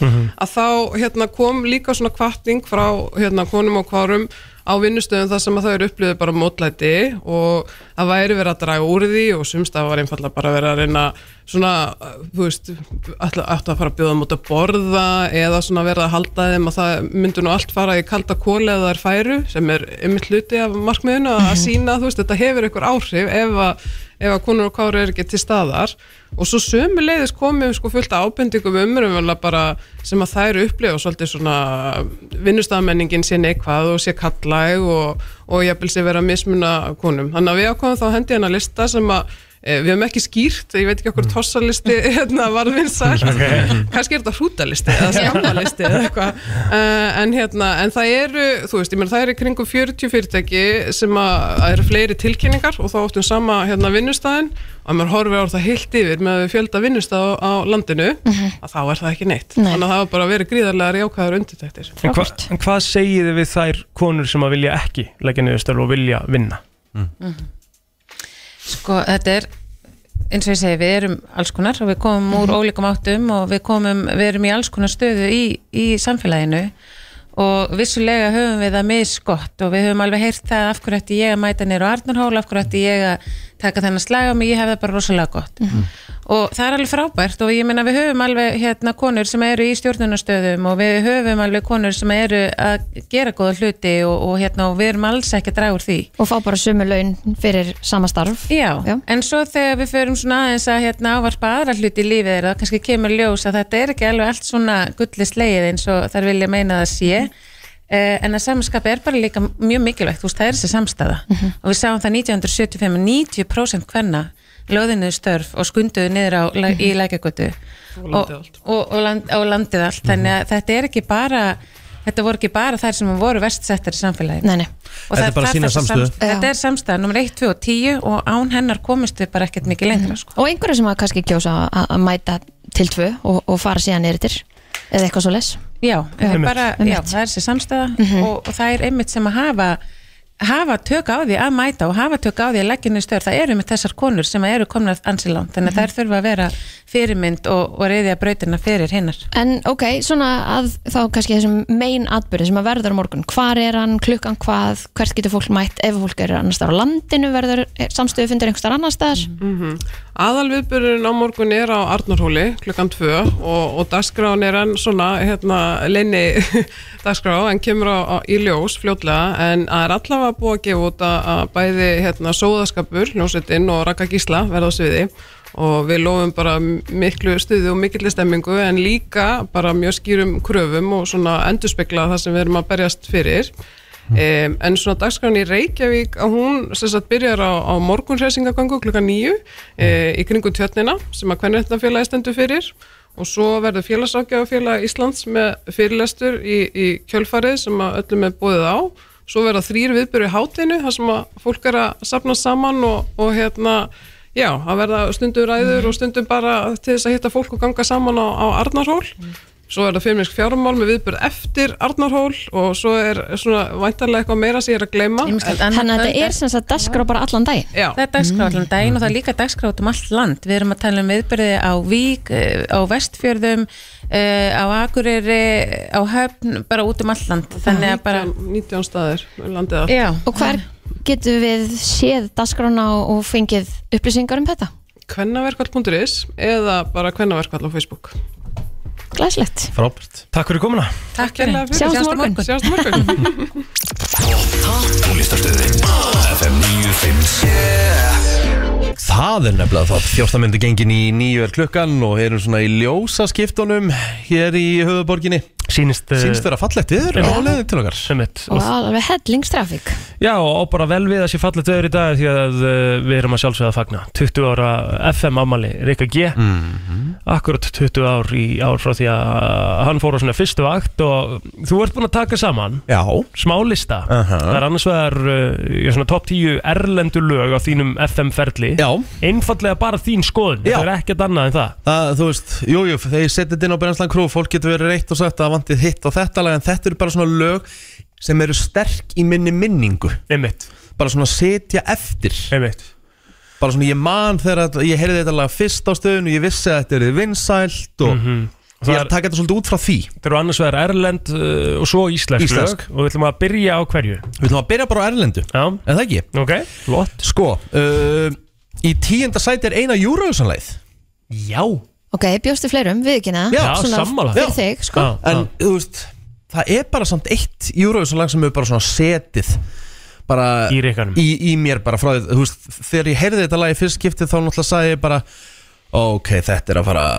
að þá hérna, kom líka svona kvartning frá hérna, konum og kvarum á vinnustöðum þar sem að þau eru upplöðið bara mótlæti og að væri verið að draga úr því og sumstað var einfallega bara verið að reyna svona, eh, þú veist, ætla- ættu að fara að bjóða mót að borða eða svona verið að halda þeim að það myndu nú allt fara í kalda kóli eða þær færu sem er einmitt hluti af markmiðinu að sína, þú veist, þetta hefur einhver áhrif ef að, ef að konur og káru er ekki til staðar og svo sömuleiðis komum sko fullt af ábendingum umröfumlega bara sem að þær upplifa svolítið svona vinnustafmenningin sé neikvað og sé kallæg og, og jafnvel sé vera að mismuna konum. Þannig að við ákvæðum þá hendi hennar lista sem að Eh, Við hefum ekki skýrt, ég veit ekki okkur tossalisti <laughs> hérna var vinsælt kannski er þetta hrútalisti eða skammalisti eða eitthvað uh, en, hérna, en það eru, þú veist, ég meina það eru í kringum 40 fyrirtæki sem að það eru fleiri tilkynningar og þá áttum sama hérna vinnustæðin og ef maður horfir á það heilt yfir með fjölda vinnustæð á landinu að þá er það ekki neitt
Nei.
þannig að það var bara verið gríðarlega jákvæðar undirtæktir
En, hva, en hvað segið þið við þær konur sem að vilja ekki leggja niður störf og vilja vinna?
Sko, þetta er eins og ég segi, við erum alls konar og við komum úr ólíkum áttum og við komum við erum í alls konar stöðu í, í samfélaginu og vissulega höfum við það misgott og við höfum alveg heyrt það af hverju ætti ég að mæta nýra á Arnarhól, af hverju ætti ég að taka þennan slag á mig, ég hef það bara rosalega gott og það er alveg frábært og ég meina við höfum alveg hérna konur sem eru í stjórnunastöðum og við höfum alveg konur sem eru að gera góða hluti og, og hérna og við erum alls ekki að draga úr því
og fá bara sömu laun fyrir sama starf
Já,
Já.
en svo þegar við förum svona aðeins að hérna ávarpa aðra hluti í lífið þeirra, þá kannski kemur ljós að þetta er ekki alveg allt svona gulli slegið eins og þar vilja meina að það sé eh, en að samanskapi er bara líka mjög mikilvægt, þú veist, það er þessi samstæða og við sáum það 1975 að 90% hvenna löðinuðu störf og skunduðu niður á, mm í lækjagötu og,
landið allt.
og, og, land, og landið allt þannig að þetta er ekki bara þetta voru ekki bara þær sem voru verstsettar í samfélaginu
Nei, nei,
og
Þetta
það
er bara
það
sýna
þessa
samstöðu.
samst- þetta
Já.
er samstæða nummer 1, 2 og 10 og án hennar komist við bara ekkert mikið lengra sko.
og einhverju sem að kannski kjósa að að mæta til tvö og, og fara síðan yfir eða eitthvað svo les
já, það er
Einmitt.
bara, já,
Einmitt. Mhm.
það er sér samstæða og, og það er einmitt sem að hafa hafa tök á því að mæta og hafa tök á því að leggja niður stör, það eru með þessar konur sem eru komnar ansi langt, þannig
Mhm.
að þær þurfa að vera fyrirmynd og, og reyðja brautina fyrir hinnar
En ok, svona að þá kannski þessum megin atbyrði sem að verður á morgun hvar er hann, klukkan hvað, hvert getur fólk mætt ef fólk er annars staðar á landinu verður samstöðu fundur einhverstaðar annars staðar
Mm.
Aðalviðburðurinn á morgun er á Arnarhóli klukkan 2 og, og dagskráin er enn svona hérna leini <laughs> dagskrá en kemur á, á, í ljós fljótlega en það er allavega búið að gefa út að, að bæði hérna sóðaskapur, ljósveitinn og rakka gísla verða á sviði og við lofum bara miklu stuði og mikilli stemmingu en líka bara mjög skýrum kröfum og svona endurspegla það sem við erum að berjast fyrir Um, en svona dagskráin í Reykjavík að hún sem sagt byrjar á, á morgunreysingagöngu klukkan nýju e, í kringum tjötnina sem að hvernig stendur fyrir og svo verður félagsákjáfélag Íslands með fyrirlestur í, í kjölfarið sem að öllum er búið á svo verða þrýr viðbyrju hátinu þar sem að fólk er að sapna saman og, og hérna Já, að verða stundum ræður og stundum bara til þess að hitta fólk og ganga saman á, á Arnarhól svo er það feminist fjármál með viðbörð eftir Arnarhól og svo er svona væntanlega eitthvað meira sem ég er að gleyma
Ýmislegt annað
Þannig að
kvöld
þetta er sem sagt dagskrá bara allan daginn
Já,
Það er dagskrá allan daginn og það er líka dagskrá út um allt land. Við erum að tala um viðbyrði á Vík, eh, á Vestfjörðum, eh, á Akureyri, á Höfn, bara út um allt land. Þannig að bara,
19, 19 staðir um landið allt.
já,
Og hver getum við séð dagskrána og fengið upplýsingar um þetta?
kvennaverkvall.is eða bara kvennaverkvall á Facebook
Glæslegt.
Frábært
Takk fyrir komuna
takk fyrir.
Kærlega fyrir.
Sjáumst á morgun.
Sjáumst á morgun
Tónlistarstöðin FM 957
Það er nefnilega það, 14 myndi gengin í nýju er klukkan og erum svona í ljósa skiptunum hér í höfuborginni
Sýnist eh,
Sýnst vera fallegt yfir
Já.
á leiðin til okkar
einmitt.
Og
Og-
alveg hellingstrafík.
Já, og á bara vel við að sé fallið döður í dag því að uh, við erum að sjálfsögða að fagna 20 ára FM ammali Rikka G akkurat 20 ár í ár frá því að hann fór á svona fyrstu vakt og þú ert búin að taka saman
Já
smá lista
Aha.
það er annars vegar uh, svona top 10 erlendu lög á þínum FM ferli
Já,
einfallega bara þín skoðun
Já.
það er ekkert annað en það
það, þú veist, jújú, jú, þegar ég setja þetta inn á Brennslan Crew fólk getur verið reitt og sagt að það vantið hitt á þetta lag en þetta eru bara svona lög sem eru sterk í minni minningu
einmitt,
bara svona setja eftir
einmitt
bara svona ég man þegar að- ég heyrði þetta lag fyrst á stöðun og ég vissi að þetta eru vinsælt
Mhm.
og
Og það
ég
er-
taka þetta svolítið út frá því
það eru annars vegar erlend uh, og svo íslensk,
Íslensk.
lög og við ætlum að byrja á hverju
Við ætlum að byrja bara á Erlendu,
já,
en það ekki
ok, flott
Sko, uh, í tíunda sæti er eina Eurovision-læð
já,
Ok, bjóstu fleirum, við ekki neða.
Já,
sammála.
Fyrir
Já.
þig, sko.
Já,
En, þú veist, það er bara samt eitt Eurovision-lag sem er bara svona setið bara
ah, Í rykkanum.
í, í mér bara frá því, þú veist, þegar ég heyrði þetta lag í fyrst skiptið þá náttúrulega sagði ég bara ok, þetta er að fara að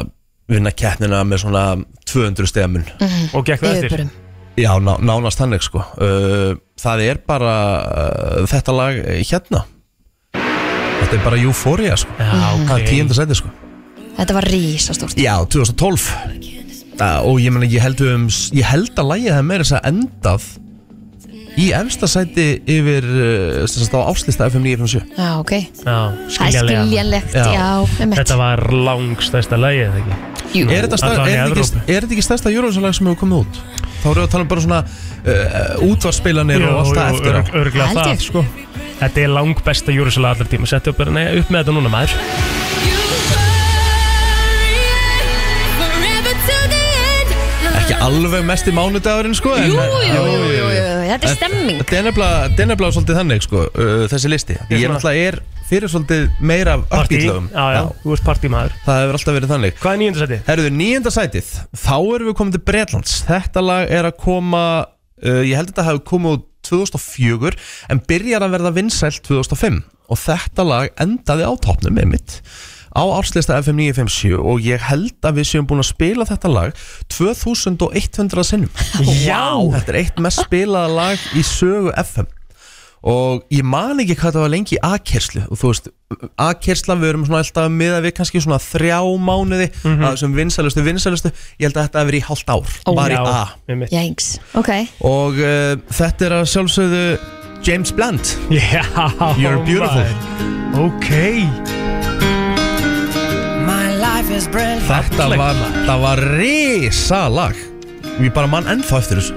vinna keppnina með svona 200 stegamun
og gekk það eftir
Yfirburum.
Já, ná, nánast þannig sko uh, Það er bara uh, þetta lag eh, hérna Þetta er bara Euphoria sko
já,
Það er
ok,
tíunda sæti sko
Þetta var rísastórt.
Já, 2012 uh, Og ég meina, ég held, við um, ég held að lægið það meira þess að endað Í efsta sæti yfir uh, sem sagt á áslista FM 957
Já, ok.
já,
Það er
skiljanlega
skiljanlegt,
Já.
já, um mitt.
þetta var langstæsta lægi eða ekki
Jú.
Er þetta, stað,
allavega í
er, þetta ekki,
Evrópu.
er þetta ekki stærsta Eurovision-lag sem hefur komið út? Þá erum við að tala um bara svona uh, útvarspilanir og allt það eftir á
örg, örgla
Held ég.
það sko Þetta er langt besta júrisala allar tíma Settu upp, nei, upp með þetta núna maður
Ekki alveg mest í mánudagurinn sko en-
Jú, jú, jú, jú, jú, þetta er stemming.
Þetta er nefnilega- þetta er nefnilega svolítið þannig sko, uh, þessi listi Ég er
svona-
náttúrulega er fyrir svolítið meira uppýtlöfum
já, já, þú ert partí maður
Það hefur alltaf verið þannig
Hvað er nýjönda seti?
Herruðu, nýjönda sætið, þá erum við komin til Bretlands Þetta lag er að koma, uh, ég held að þetta hafi komið út 2004 En byrjar að verða vinsælt 2005 Og þetta lag endaði á topnum með mitt Á árslista FM 957 Og ég held að við séum búin að spila þetta lag 2100 sinnum
Já!
Þetta er eitt mest spilaða lag í sögu FM og ég man ekki hvað það var lengi í A-kerslu og þú veist, A-kersla við erum svona alltaf miða við kannski svona þrjá mánuði mm
Mhm.
sem vinsælustu, vinsælustu ég held að þetta hefur verið í hálft ár, bara í A
einmitt. <laughs>
Jængs, ok.
og uh, þetta er að sjálfsögðu James Blunt,
Já,
You're Beautiful
maður. Ok
þetta
Fallegt
var, það var risa lag ég bara man ennþá eftir þessu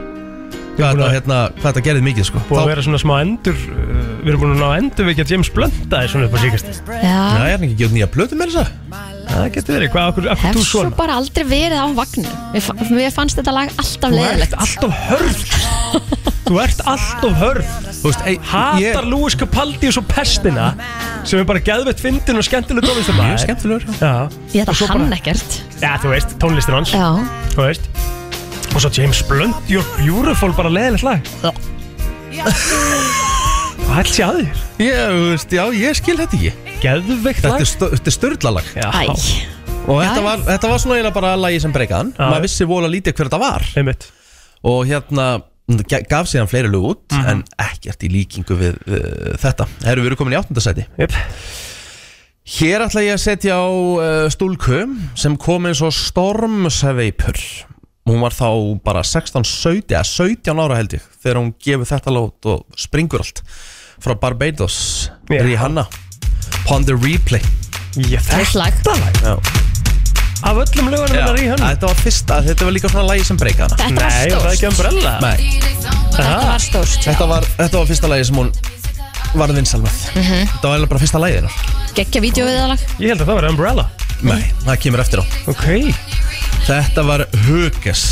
hvað
búin
þetta,
að-
hérna, hvað þetta gerði mikið sko
Búið að
þá,
vera svona smá endur uh, Við erum búin að ná endur við ekki að James Blönda er svona upp á síkast
Já,
Já, ég er ekki gjóð nýja plötu með þessa
Það getur verið, hvað, akkur, akkur
hef
þú
svo
svona?
bara aldrei verið á vagnu. Mér fa- Mér fannst þetta lag alltaf
Þú ert
leiðilegt.
alltof hörð Þú ert alltof hörð
Þú veist, ei, ég-
Hatar Lewis Capaldi og svo pestina sem er bara geðveitt fyndin og skemmtileg tónlistamæður
Mjög skemmtilegur
Já,
Ég þetta hann ekkert.
já þú veist, tónlistin hans
Já,
Þú veist Og svo James Blunt, You're Beautiful, bara leðilegt lag
Já.
Hvað held sé að þér?
Ég, þú veist, já, ég skil þetta ekki
Geðveikt
Þetta
lag
er stö- þetta er störðlalag
æ.
Já,
Og þetta
Jæja.
var, þetta var svona eiginlega bara lagi sem breykaðan
Já.
Maður vissi vola lítið hver þetta var
einmitt
Og hérna ga- gaf síðan fleiri lög út
Mhm.
En ekkert í líkingu við uh, þetta Herru, við erum komin í áttundasæti
Jep,
Hér ætla ég að setja á uh, stúlku Sem kom eins og stormsveipur Hún var þá bara 16, 17, eða 17 ára held ég Þegar hún gefur þetta lót og springur allt Frá Barbados
Já.
Rihanna Ponder Replay
ég þekk
lag.
Já.
Af öllum lögunum
Já,
hennar í hönnun
Þetta var fyrsta, þetta var líka svona lagi sem breykaði hana
Þetta var
Nei, var það
stórt
ekki Umbrella?
Nei,
Þetta var stórt
þetta var, þetta var fyrsta lagi sem hún varð vinsal með Þetta var eiginlega bara fyrsta lagið hennar
Gekkja vídeoviðalag
Ég held að það var Umbrella
Nei, það kemur eftir á
Ok
Þetta var Hugas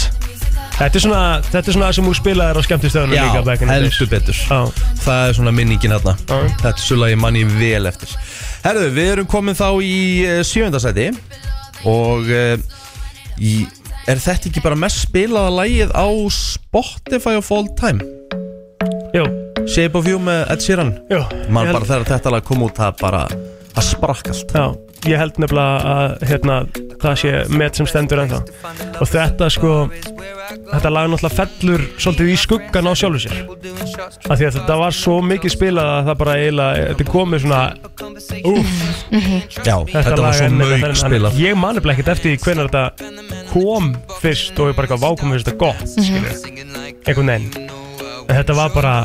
Þetta er svona, þetta er svona sem hún spilaði á skemmtistöðunum
Já,
líka back in the days.
heldur betur
Já.
Það er svona minningin hérna
Já.
Þetta er svo lagi manni vel eftir Herðu, við erum komin þá í sjöndasæti Og eh, í, er þetta ekki bara mest spilaða lagið á Spotify of all time?
Jú,
Shape of You með Ed Sheeran
jú
Man
Ég
bara þegar þetta lag kom út það bara Það sprakk allt
Já, ég held nefnilega að hérna, það sé met sem stendur ennþá og þetta sko þetta lag náttúrulega fellur svolítið í skuggan á sjálfu sér af því að þetta var svo mikið spilað að það bara eiginlega, þetta er komið svona úf,
Já, þetta, var
lag
svo
er nefnilega
mög
þannig-
spilað
þannig- ég mani bara ekkert eftir því hvenær þetta kom fyrst og ég bara eitthvað vákum fyrst þetta gott skilju, einhvern veginn en þetta var bara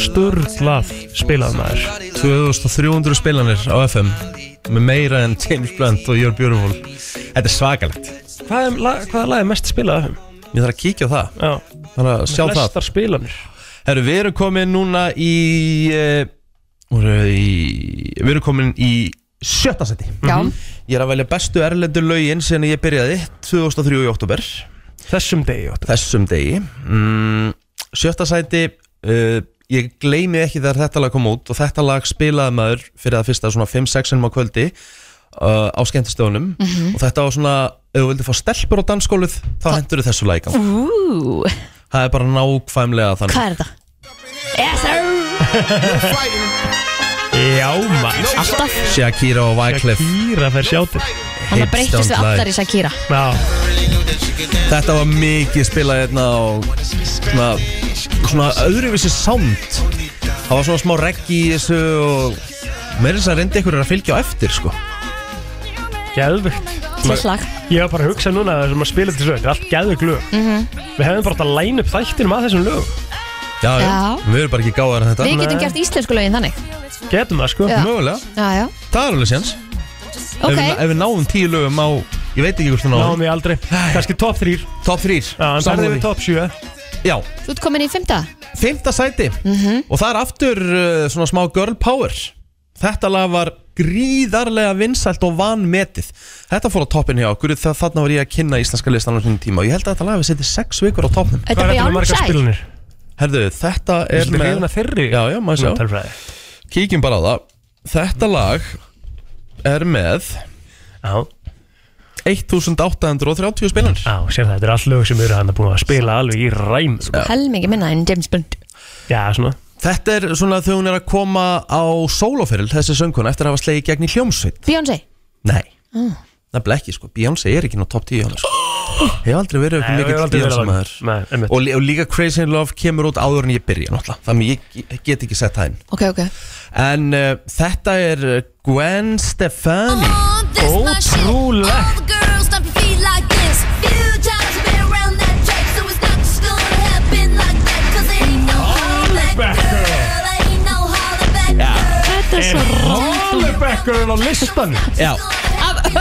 sturglað spilað maður
2300 spilanir á FM Með meira en James Blunt og You're Beautiful Þetta er svakalegt
hvað er, lag- hvaða lag er mest spilað af þeim?
Ég þarf að kíkja á það
Já,
Þannig að sjá það
flestar spilanir
Herru, við erum komin núna í, uh, voru, í Við erum komin í sjötta seti
Já,
Ég er að velja bestu erlendu lögin Sen ég byrjaði 2003 í oktober
þessum degi óttu
Þessum degi mm, Sjötta seti uh, Ég gleymi ekki þegar þetta lag kom út Og þetta lag spilaði maður Fyrir að fyrsta svona 5-6 sinum á kvöldi uh, Á skemmtistöðunum Og þetta var svona Ef þú vildi fá stelpur á dansskólið Mhm. Þá hendur þú þessu lag í gang.
Ú,
Það er bara nákvæmlega þannig
hvað er þetta? Yes, sir
Já maður
Alltaf,
Shakira og Wycliffe
Kýra fær sjáttir
hann að breytist við
heimsdónd lag.
allar í Shakira
Já
Þetta var mikið spilað hérna og svona, svona öðruvísi sound Það var svona smá reggi í þessu og meira þess að reyndi ykkur að fylgja á eftir sko
Gæðvikt
Til lag
Ég var bara að hugsa núna að þessum að spila þetta svo Þetta er allt gæðvik lög Við hefum bara átt að læna upp þættinum að þessum lög
Já, já,
Já.
við erum bara ekki gáðar en þetta
Við getum
Nei.
gert íslensku lögin þannig
Getum það sko
Já.
Mögulega,
Já, já,
það er alveg séns ef, við-
ok
ef við náum tíu lögum á, ég veit ekki hvort við náum
Náðum við aldrei Kanski top 3 Já,
Top 3
en verðum við top 7
Já,
Þú ert komin í fymta
fymta sæti
Mhm.
Og það er aftur uh, svona smá girl power Þetta lag var gríðarlega vinsælt og vanmetið Þetta fór á toppin hjá okkur Þegar þarna var ég að kynna íslenska listan á sinni tíma Og ég held að þetta lag við setið sex vikur á toppnum
Hvað
Þetta
er
er
þetta með margar
Beyonce
spilunir?
Herðu, þetta er
Þetta er reyðuna þeirri
Já, já, maður sjá
Tölfræði
Kíkjum bara á það Þetta lag er með
Já,
1830 spilanir
já, sér það Þetta er allt lög sem eru hann að búin að spila alveg í ræm sko.
Helmingi minna en James Bond
Já, svona
Þetta er svona þegar hún er að koma á sólóferil Þessi sönguna eftir að hafa slegið gegn í hljómsveit
Beyoncé
Nei Nefnilega ekki sko, Beyoncé er ekki ná top 10 hann sko. <gasps> Hefur aldrei verið
Nei,
eitthvað
hefur
mikill
aldrei verið
Beyoncé
það.
maður
Nei, einmitt.
og, lí- og líka Crazy in Love kemur út áður en ég byrja náttúrulega Þannig ég, ég get ekki sett það inn
Ok, ok
En uh, þetta er uh, Gwen Stefani
Ótrúlegt
Þetta er svo
Rollbackurinn á listan
Já,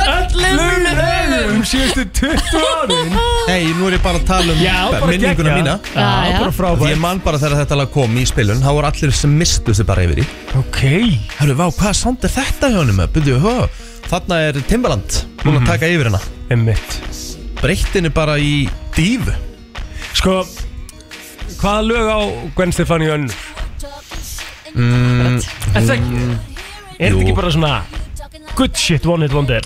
Öllum lögum Síðustu 20 árin
nei, nú er ég bara að tala um
Já, bara
minninguna
geggjað.
mína
Já, já.
bara
Því
frábært
ég man bara þegar þetta lag kom í spilun þá voru allir sem mistu þessu bara yfir í
Ok
Hörru, vá, hvaða sound er þetta hjá henni með? Byrju, hó, þarna er Timbaland búin
Mhm.
að taka yfir hennar
Emmitt
Breyttinu bara í dífu
Sko Hvaða lög á Gwen Stefani önnur? Mm, er það ekki Er
jú. Sko,
þetta ekki bara svona Good shit, one hit wonder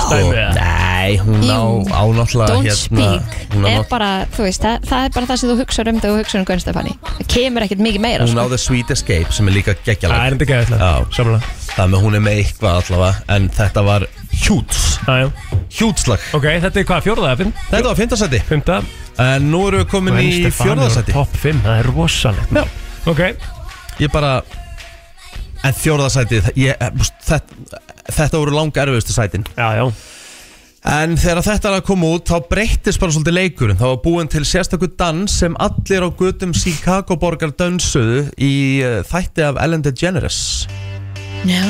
Dæmi eða?
Nei, hún á,
Jú.
á náttúrulega
Don't
hérna,
speak
hún á,
er
nátt-
bara, þú veist, það, það er bara það sem þú hugsaður um þegar þú hugsaður um Gwen Stefani það kemur ekkert mikið meira
hún á
sko.
The Sweet Escape sem er líka
Það er
geggjalag
þetta ekki
Já.
eitthvað Samla
Það með hún er með eitthvað allavega en þetta var hjúts
Já, já
hjútslag
Ok, þetta er hvað, fjórða eða fimm?
Þetta var fymtasæti
Fymta
en nú erum við komin í fjórðasæti
Top fimm, það er rosalegt
Já.
Ok
Ég bara en fjórðasæti þetta, þetta voru langa erfiðustu sætin
Já, já
En þegar þetta er að koma út þá breyttist bara svolítið leikurinn þá var búin til sérstakur dans sem allir á gutum Chicago borgar dönsuðu í eh, þætti af Ellen DeGeneres
Já,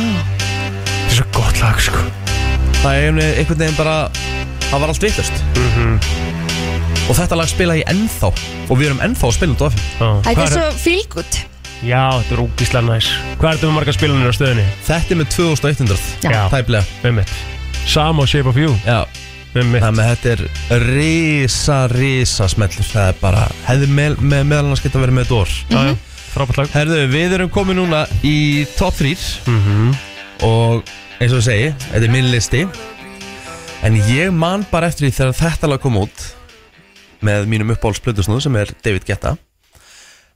Þetta er svo gott lag, sko
Það er einhvern veginn- einhvern veginn bara það var allt vittlust og þetta lag spila ég ennþá og við erum ennþá að spila þetta á FM
Þetta er svo fílgút
Já, þetta er ógísla næs Hvað er þetta með marga spilunir á stöðinni?
þetta er með 2100
Já.
tæplega
Með mitt Sam og Shape of You
Já.
Með mitt
þannig að þetta er risa, risa smellur það er bara, hefði með, með meðal annars geta verið með dór
Já,
Mhm.
já, frábært lag
herðu, við erum komið núna í top 3 Mhm. og eins og ég segi, þetta er minn listi en ég man bara eftir því þegar þetta lag kom út með mínum uppáhaldsplötusnúð sem er David Guetta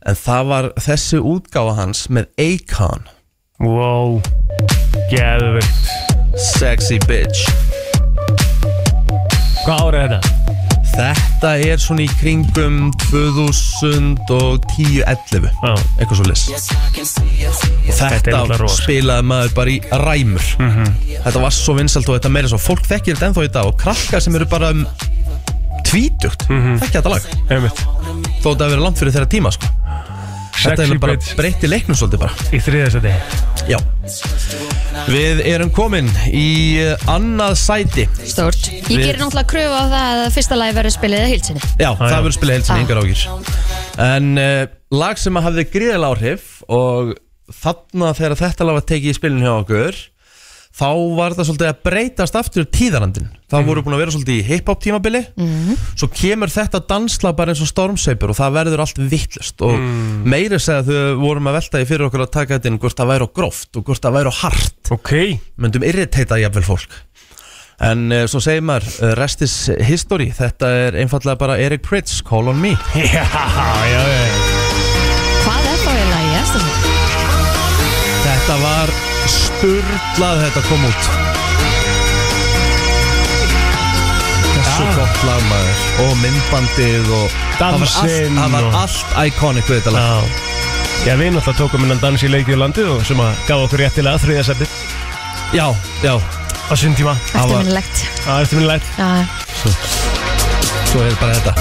en það var þessi útgáfa hans með Akon
Wow Geðvögt
Sexy Bitch
Hvað ára er þetta?
Þetta er svona í kringum 2010-11
Já,
eitthvað svo les og
Þetta er
þetta
náttúrulega rosa. Mhm.
spilaði maður bara í ræmur þetta var svo vinsalt og þetta meira svo fólk þekkir þetta ennþá í dag og krakkar sem eru bara um tvítugt
Mhm.
þekkja þetta lag
með mitt
þó þetta hefur verið langt fyrir þeirra tíma sko. þetta
Sexy
hefur bara
bitch
breytti leiknum svolítið bara
Í þriðastæti
já Við erum komin í eh, annað sæti
Stórt Ég
Við-
gerir náttúrulega kröfu á það að fyrsta lagi verður spilið að hilsinni
Já, það
já.
verður spilað heilsinni,
Ah.
yngar ákir En uh, lag sem að hafði gríðal áhrif Og þarna þegar þetta lag var tekið í spilinu hjá okkur Þá var það svolítið að breytast aftur tíðarandin Það voru búin að vera svolítið í hip-hop tímabili Svo kemur þetta dansla bara eins og stormseipur Og það verður allt vittlust Og mm. meiri segja þau vorum að velta í fyrir okkur að taka þetta inn Hvort það væri á gróft og hvort það væri á hart
Ok
myndum irriteita jafnvel fólk en uh, svo segir maður uh, rest is history, þetta er einfallega bara Eric Pritz, Call on Me
Já, já, já
Hvað er þá í lagi, eftir því?
þetta var spurlað þetta kom út þessu gott lag maður og myndbandið og það var allt,
Dansinn
það var
og-
allt iconic við þetta lag
Já Já, við náttúrulega tókum innan dans í leikið í landið og sem að gaf okkur réttilega þriðasæti
já, já,
á sinn tíma
Það var-
Eftirminnilegt
Það er stjórnilegt
Já,
svo er bara þetta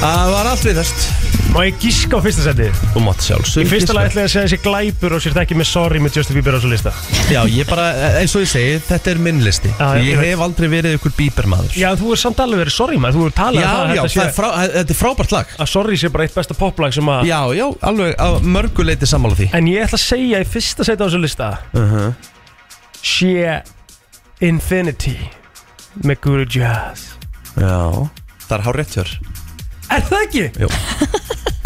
það var allt við þess
Má ég gíska á fyrsta seti?
þú mátt
Í
sjálfsög
fyrsta lagi ætla ég að segja þessi glæpur og sér ekki með sorry með Justin Bieber á svo lista
Já, ég bara, eins og ég segi, þetta er minn listi
Já, já,
Ég
ég veit.
hef aldrei verið ykkur bíbermaður
Já, þú er samt alveg verið sorry maður, þú er talað
já,
um að
já,
þetta
það er
sé
frá, eh, þetta er frábært lag
að sorry sé bara eitt besta poplag sem að
Já, já, alveg, að mörgu leiti sammála því
En ég ætla að segja í fyrsta seti á þessu lista Uh-huh. sé Infinity með Guru Jazz
Já Það er hár rétt hjör
Er það ekki?
Jú.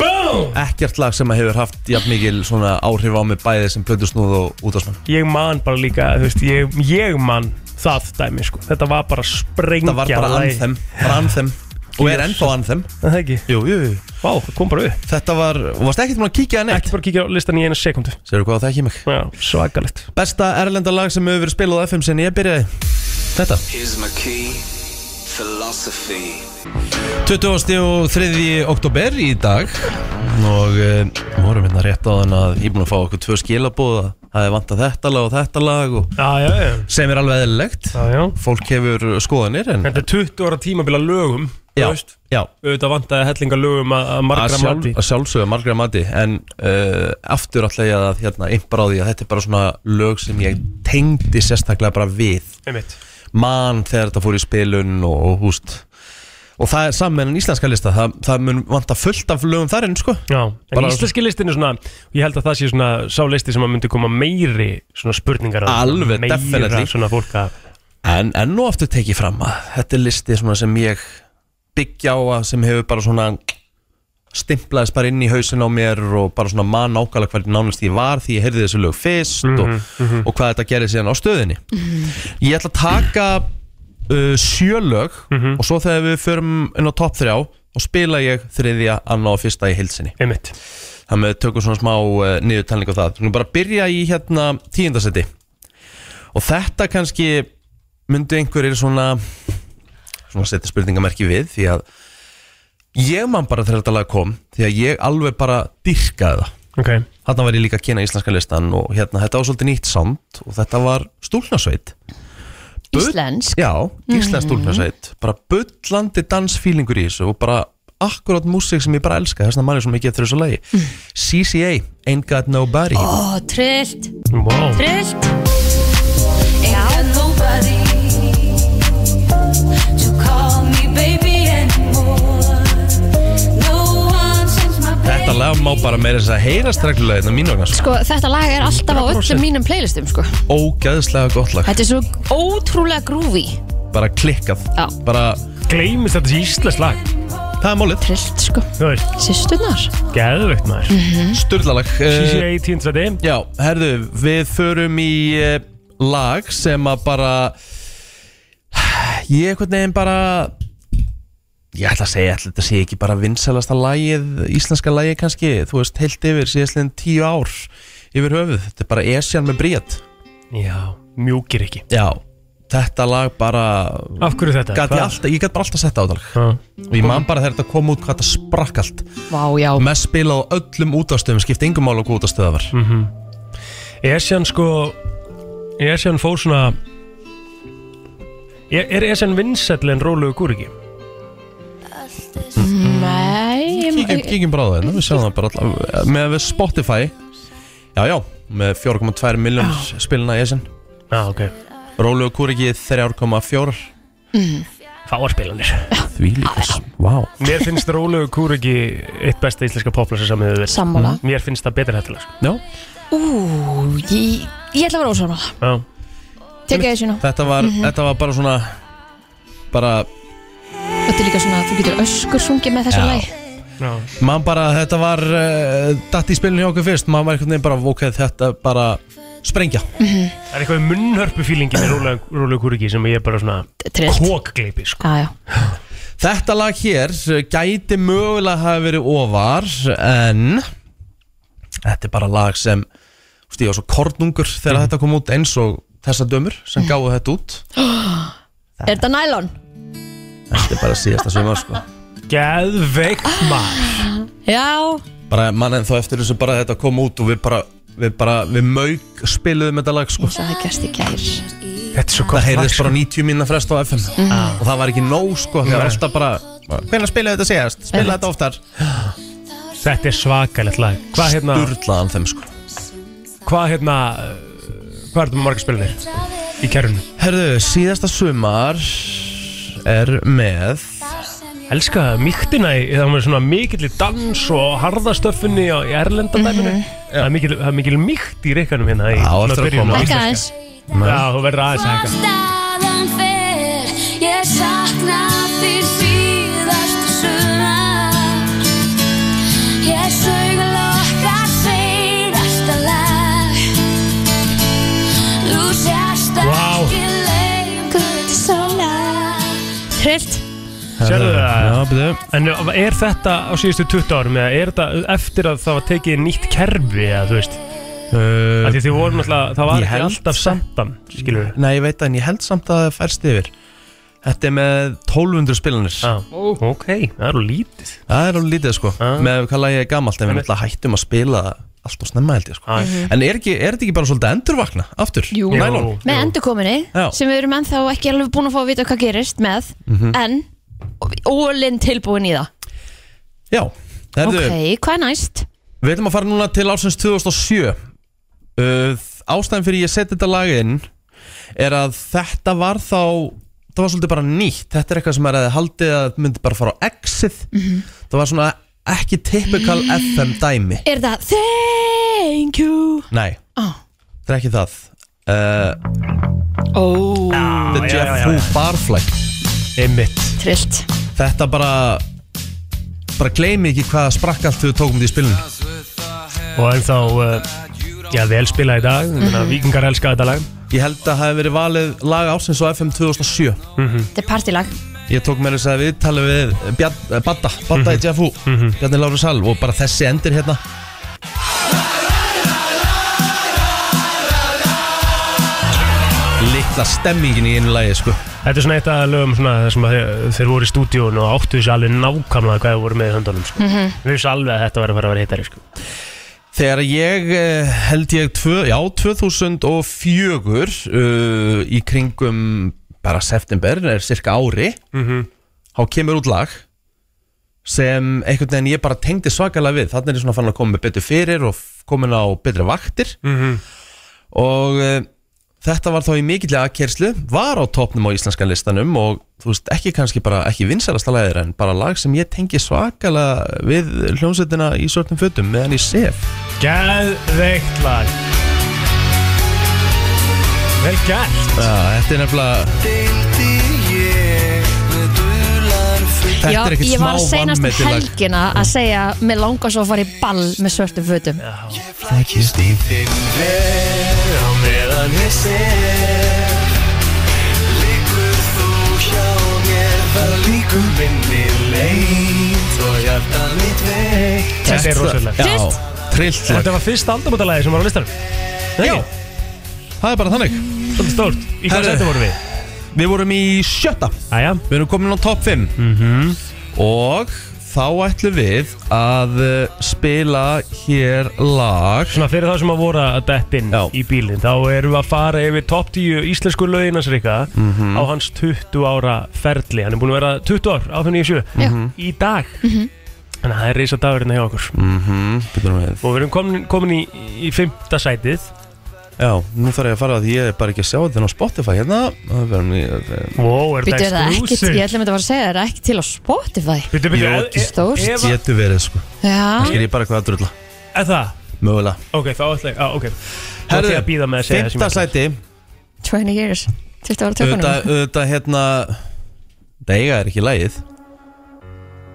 Boom!
Ekkert lag sem að hefur haft jafn mikil svona áhrif á mig bæði sem plöndusnúð og útásmann
Ég man bara líka, þú veist, ég, ég man það dæmi, sko Þetta var bara sprengja
Það var bara
lagi.
anþem, bara anþem Og er ennþá anþem
Er Það ekki?
Jú, jú, jú
Vá, það kom bara upp
Þetta var, og varst ekkert múin að kíkja að neitt
Ekki bara kíkja á listan í eina sekundu
Segirðu hvað það ekki mig
Já, svakalegt
Besta erlenda lag sem hefur verið spilað á FM sinni ég byrjaði Þetta
Here's my key, philosophy
23. oktober í dag og eh, vorum hérna rétt á þann að ég er búin að fá okkur tvö skilabóða það er vant að þetta lag og þetta lag og
Já, já, já,
sem er alveg eðlilegt
já, já.
fólk hefur skoðanir en
Þetta er 20 ára tímabila lögum
já,
þú veist,
já,
Auðvitað vantaði hellinga lögum að að
að,
margra
sjálf,
mati
að sjálfsögja margra mati en uh, aftur alltaf ég að hérna, impra á því að þetta er bara svona lög sem ég tengdi sérstaklega bara við
Einmitt
mann þegar þetta fór í spilun og, og húst og það er saman með enn íslenska lista það, það mun vanta fullt af lögum þar enn sko
Já, en
Bara-
íslenski listin er svona Ég held að það sé svona sá listi sem að myndi koma meiri svona spurningar að-
Alveg,
meira
definitely.
svona fólk að
En enn og aftur tekið fram að þetta er listi svona sem ég byggja á að sem hefur bara svona stimplaðist bara inn í hausin á mér og bara svona mann ákvæmlega hvernig nánast ég var því ég heyrði þessu lög fyrst og, og hvað þetta gerði síðan á stöðinni Ég ætla að taka uh, sjö lög og svo þegar við förum inn á topp þrjá og spila ég þriðja, anna og fyrsta í heilsinni
Einmitt
þannig að við tökum svona smá uh, niðurtalning á það. Við skulum bara byrja í hérna tíundasetti og þetta kannski myndu einhverjir svona svona setja spurningamerki við því að ég man bara þegar þetta lag kom því að ég alveg bara dyrkaði það
Ok,
þarna var ég líka að kynna íslenska listan og hérna þetta var svolítið nýtt sound og þetta var stúlnasveit
íslensk
já, íslensk stúlnasveit bara bullandi dansfílingur í þessu og bara akkurát músík sem ég bara elska þess að mann er svo mikið eftir þessu lagi CCA, Ain't Got Nobody
Ó, trillt,
wow
trillt
to call me baby anymore. No one sends my
Þetta
baby.
lag má bara meira þess að heyrast reglulega hérna mínu vegna sko.
Sko, þetta lag er alltaf á
100%.
öllum mínum playlistum, sko.
Ógæðslega gott lag,
Þetta er svo ótrúlega groovy.
bara klikkað
Já.
Bara,
Gleimist þetta sé íslensk lag
það er málið,
Trillt, sko.
Þú veist,
Sýsturnar.
geðveikt maður
Eh. sturlalag Eh,
CCA 10.30
Já, herðu, við förum í uh, lag sem að bara Ég einhvern veginn bara Ég ætla að segja, ætla, þetta sé ekki bara vinsalasta lagið, íslenska lagið kannski Þú veist, heilt yfir, síðastliðin tíu ár yfir höfuð Þetta er bara Esjan með bríat
Já, mjúkir ekki
Já, þetta lag bara
Af hverju þetta?
gat ég,
Hvað-
alltaf, ég gat bara alltaf sett á þetta lag.
Ha.
og ég man bara þegar þetta kom út hvað þetta sprakk allt
Vá, já.
mest spila á öllum útastöðum skipti yngum mál og hvað útastöða var
Esjan sko Esjan fór svona Er, er Esjan vinsæll en róluðu gúriki?
Nei,
kíkjum,
ég-
kíkjum bara á það hérna, við sjáum það bara alltaf með við Spotify já já með 4,2 miljón spilina í þessin
Já, ah, ok
Rólu og Kúriki 3,4
Fáarspilanir
því líkas wow.
Mér finnst róluðu gúriki eitt besta íslenska poplasa sem hefur verið
sammála.
Mér finnst það betur hættilega sko.
já,
Ú, ég, ég ætla að vera ósámála.
Já,
Tekka þessu nú.
þetta, var, þetta var bara svona bara
Þetta er líka svona að þú getur öskur sungið með þessu
Já.
lagi.
já
mann bara þetta var uh, datt í spilinu hjá okkur fyrst mann var einhvern veginn bara ok þetta bara sprengja
Það er eitthvað munnhörpu fílingi með róluðu gúriki sem ég er bara svona
Trillt.
kókgleipi sko.
Já, já.
Þetta lag hér eh, gæti mögulega hafa verið ofar en þetta er bara lag sem þú veist, ég var svo kornungur þegar þetta kom út eins og þessa dömur sem gáðu þetta út
Er þetta nælon?
Þetta er bara síðasta sumar sko
Geðveikt maður
Já.
bara mann en þá eftir þessu bara þetta kom út og við bara við bara, við mög spiluðum þetta lag sko
Það gerst í gær.
Þetta er
Það
svo gott lag,
heyrðist
sko.
bara 90 mínna frest á FM og það var ekki nóg sko það var
Nei.
alltaf bara, hvernig spilaðu þetta síðast spilaðu þetta oftar,
Þetta er svakalegt lag Hvað hérna,
durlaðan þeim sko
hvað hérna uh, Hvað er þetta með marga spilanir? Í kerrunum
Herðu, síðasta sumar er með
Elska mýktina í, það var svona mikill í dans og harðastöffunni á í erlendadæminu það, er mikill- það er mikil mýkt í reikanum hérna í
Já,
svona
eftir að
byrjun
koma.
á
Ekki
íslenska.
aðeins.
Já, þú verður aðeins að hækka
Staðan fer, ég sakna þín síðast sumar. Ég sög lokka seinasta lag. Þú sérst
Vá.
ekki lengur til sólar.
Trillt.
Sérðu það?
Já, byrju
En eh, er þetta á síðustu 20 árum eða er þetta eftir að það var tekið nýtt kerfi eða þú veist
Uh,
af því þið voru náttúrulega, það
Ég
var ekki
held
alltaf samtan skilur við
Nei, ég veit það, en ég held samt að það færst yfir Þetta er með 1200 spilanir
Já, ok, það eru lítið
Það er alveg lítið sko
Já.
Með hvað lagi er gamalt En við
Ah. Einmitt.
náttúrulega hættum að spila allt og snemma held ég sko
Já.
En er, ekki, er þetta ekki bara svolítið endurvakna aftur?
Jú.
Nælon
Jú,
Með
jú.
endurkominni,
Já.
sem við erum ennþá ekki alveg búin að fá að vita hvað gerist með,
Mhm.
en ólinn tilbúin í það.
Já, herðu
Ok, hvað er næst?
Við ætlum að fara núna til ásins 2007 uh, Ástæðan fyrir ég seti þetta lag inn Er að þetta var þá Það var svolítið bara nýtt Þetta er eitthvað sem er að haldið að myndi bara fara á exið
Mhm.
Það var svona ekki typical FM dæmi
Er það Thank you?
Nei,
Ó.
þetta er ekki það uh,
Ó,
The
já,
Jeff
já, já,
Hu
já.
Barfly
Einmitt
trillt.
Þetta bara Bara gleymi ekki hvað sprakk allt Þau tókum þetta í spilinu
Og ennþá, uh, já, vel spilað í dag mm -hmm. Víkingar elska þetta lag
Ég held að það hafi verið valið lag ásins á FM 2007
Þetta er partylag.
Ég tók mér þess að viðtali við Bjarn- eh, Badda, Badda í JFU Bjarni Láru Sal og bara þessi endir hérna Littla stemmingin í einu lagi sko
Þetta er svona eitt af lögum svona, þar sem að þeir, þeir voru í stúdíun og áttu þessu alveg nákvæmlega hvað þeir voru með í höndunum sko. Við vissu alveg að þetta var að fara að vera hittari sko.
Þegar ég eh, held ég tvö, já, 2004 uh, í kringum bara september, er cirka ári þá kemur út lag sem einhvern veginn ég bara tengdi svakalega við þannig er ég svona fann að koma með betur fyrir og f- komin á betri vaktir
Mhm.
og uh, Þetta var þá í mikillega aðkerslu, var á topnum á íslenska listanum og þú veist ekki kannski bara, ekki vinsalasta lagir en bara lag sem ég tengi svakalega við hljómsveitina í svörtum fötum meðan ég sef.
Gæðveikt lag Vel gert
Já, þetta er nefnilega, þetta
Já,
er ekkert
ég
smá
var seinast um
vanmetið lag.
helgina að segja Mér langar svo að fara í ball með svörtum fötum
Þetta er rosalega
Já, trillt lag.
Þetta var fyrst aldamótalagi sem var á listanum
Já, það er bara þannig.
Svolítið stórt Í hvað
Herðu.
setja vorum við?
Við vorum í sjötta.
Æja
Við erum komin á top 5
Mhm.
Og þá ætlum við að eh, spila hér lag
Svona fyrir þá sem að voru að dett inn
Já.
í bílinn Þá erum við að fara yfir top 10 íslensku löginans Rika
Mhm.
Á hans 20 ára ferli Hann er búin að vera 20 ár á þenni í sjö
Já. Mhm.
Í dag Þannig að það er reysa dagurinn hjá okkur
mm -hmm.
Og við erum komin, komin í, í fymta sætið
Já, nú þarf ég að fara að ég er bara ekki að sjá þetta á Spotify hérna Það verðum við eh,
Wow, er
Býtu, er
þetta
það ekki,
exclusive?
ég ætla mér að fara að segja, er það ekki til á Spotify?
Býtu, býtu,
Jó,
ef-
ekki
ef-
stórt.
ef-
Getur verið sko
Já,
Sker ég bara hvað að drulla
Er það?
Mögulega
Ok, þá ætla ég, á, ok Þá ætla ég að býða með að segja það sem
fimmta
ég ætla.
sæti
20 years 20 ára
Auðvitað,
tökunum
auðvitað hérna Dega er ekki lægið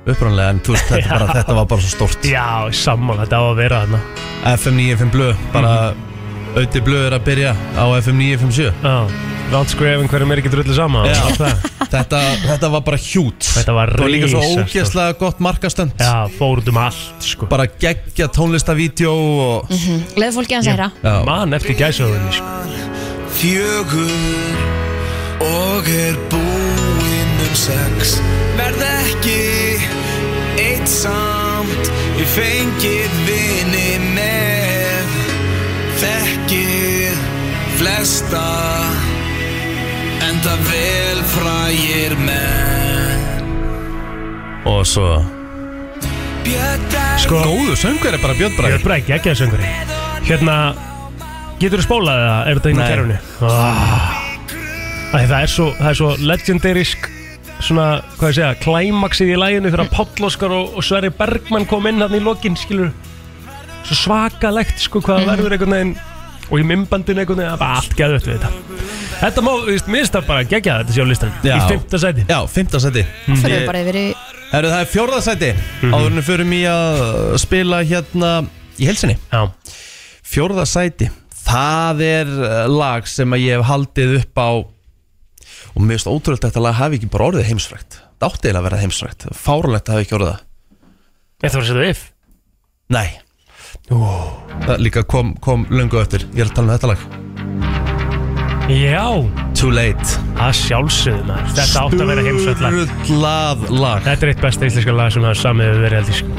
Upprannlega, en þú veist, þetta,
<laughs>
bara, þetta var bara svo stórt
Já, saman, þetta á að vera þarna
FM 95 blöð, bara
Mhm.
Auði blöð er að byrja á FM 957
Já Rátskrefin hverjum er ekki drullu sama
Já.
og það.
þetta, þetta var bara hjút
Þetta var
Það var líka svo
risastórt.
ógeðslega gott markastönd
Já, fór út um allt, sko
Bara geggja tónlistavídjó og...
Mhm.
Leðu fólki að segja
Já.
Man eftir gæsöðunni, sko
Fjögur og er búinn um sex Verð ekki eitt samt Ég fengið vini með Þekkið flesta Enda vel frægir menn
Og svo
Bjötar
Sko,
Góðu söngur er bara Björn
ég
Bragi
er bara ekki ekki að söngur Hérna, getur þú spólað það? Er þetta inn í
Nei.
kerfinu? Ah. Æ, Það er svo, það er svo legendarisk svona, hvað ég segja, klæmaksið í læginu þegar Páll Óskar og, og Sverri Bergmann kom inn hann í lokin, skilur svo svakalegt, sko, hvað
Mhm.
það verður einhvern veginn og í mymbandinu einhvern veginn það er bara allt geðvett við þetta Þetta má, þú veist, minnst það bara gegja þetta sé á listanum
Já.
í fymta sæti
Já, fymta sæti
það Fyrir bara yfir í
Herru, það er fjórða sæti
Mhm.
Áður en við förum í að spila hérna í helsinni
Já,
Fjórða sæti Það er eh, lag sem að ég hef haldið upp á Og mér finnst ótrúlega þetta lag hafi ekki bara orðið heimsfrækt Það átti eiginlega að vera heimsfrækt Fárulegt að hafi ekki orðið það
þetta var að setja if
Nei Það líka kom, kom löngu eftir Ég er að tala um þetta lag
Já,
Too late
það sjálfsögðum maður Þetta átt að vera heimsvöldlag
Sturlað lag
Þetta er eitt besta íslenska lag sem það samið hefur verið held ég sko.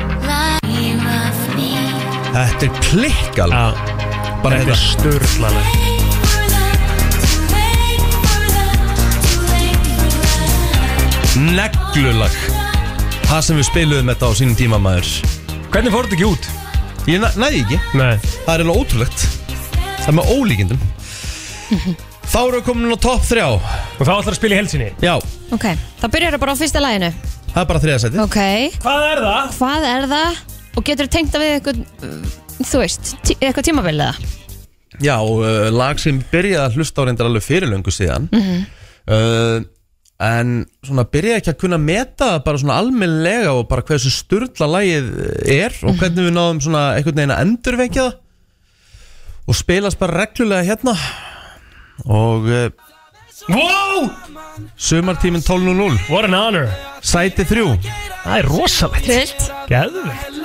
Þetta er klikkal
Já,
Bara
Ah, Þetta
þetta
er störðla lag
neglulag Það sem við spiluðum þetta á sínum tíma maður
Hvernig fór þetta ekki út?
Ég næ- næði ekki
Nei,
Það er alveg ótrúlegt Það er með ólíkindum Þá erum við komin á topp þrjá
og þá ætlar að spila í helsinni
Já,
Ok, þá byrjar það bara á fyrsta læginu
það er bara þriðasæti
Ok,
Hvað er það?
hvað er það? Og getur þú tengt það við eitthvað uh, Þú veist, tí- eitthvað tímabilið eða?
Já, og, uh, lag sem byrjaði að hlusta á reyndar alveg fyrirlöngu síðan uh, En svona byrjaði ekki að kunna meta það bara svona almennlega og bara hversu sturla lagið er og hvernig við náðum svona einhvern veginn að endurvekja það og spilast bara reglulega hérna og uh,
Wow!
Sumartíminn 12.00
What an honor
Sæti 3
Það er rosalegt
Trillt
Gæðvegt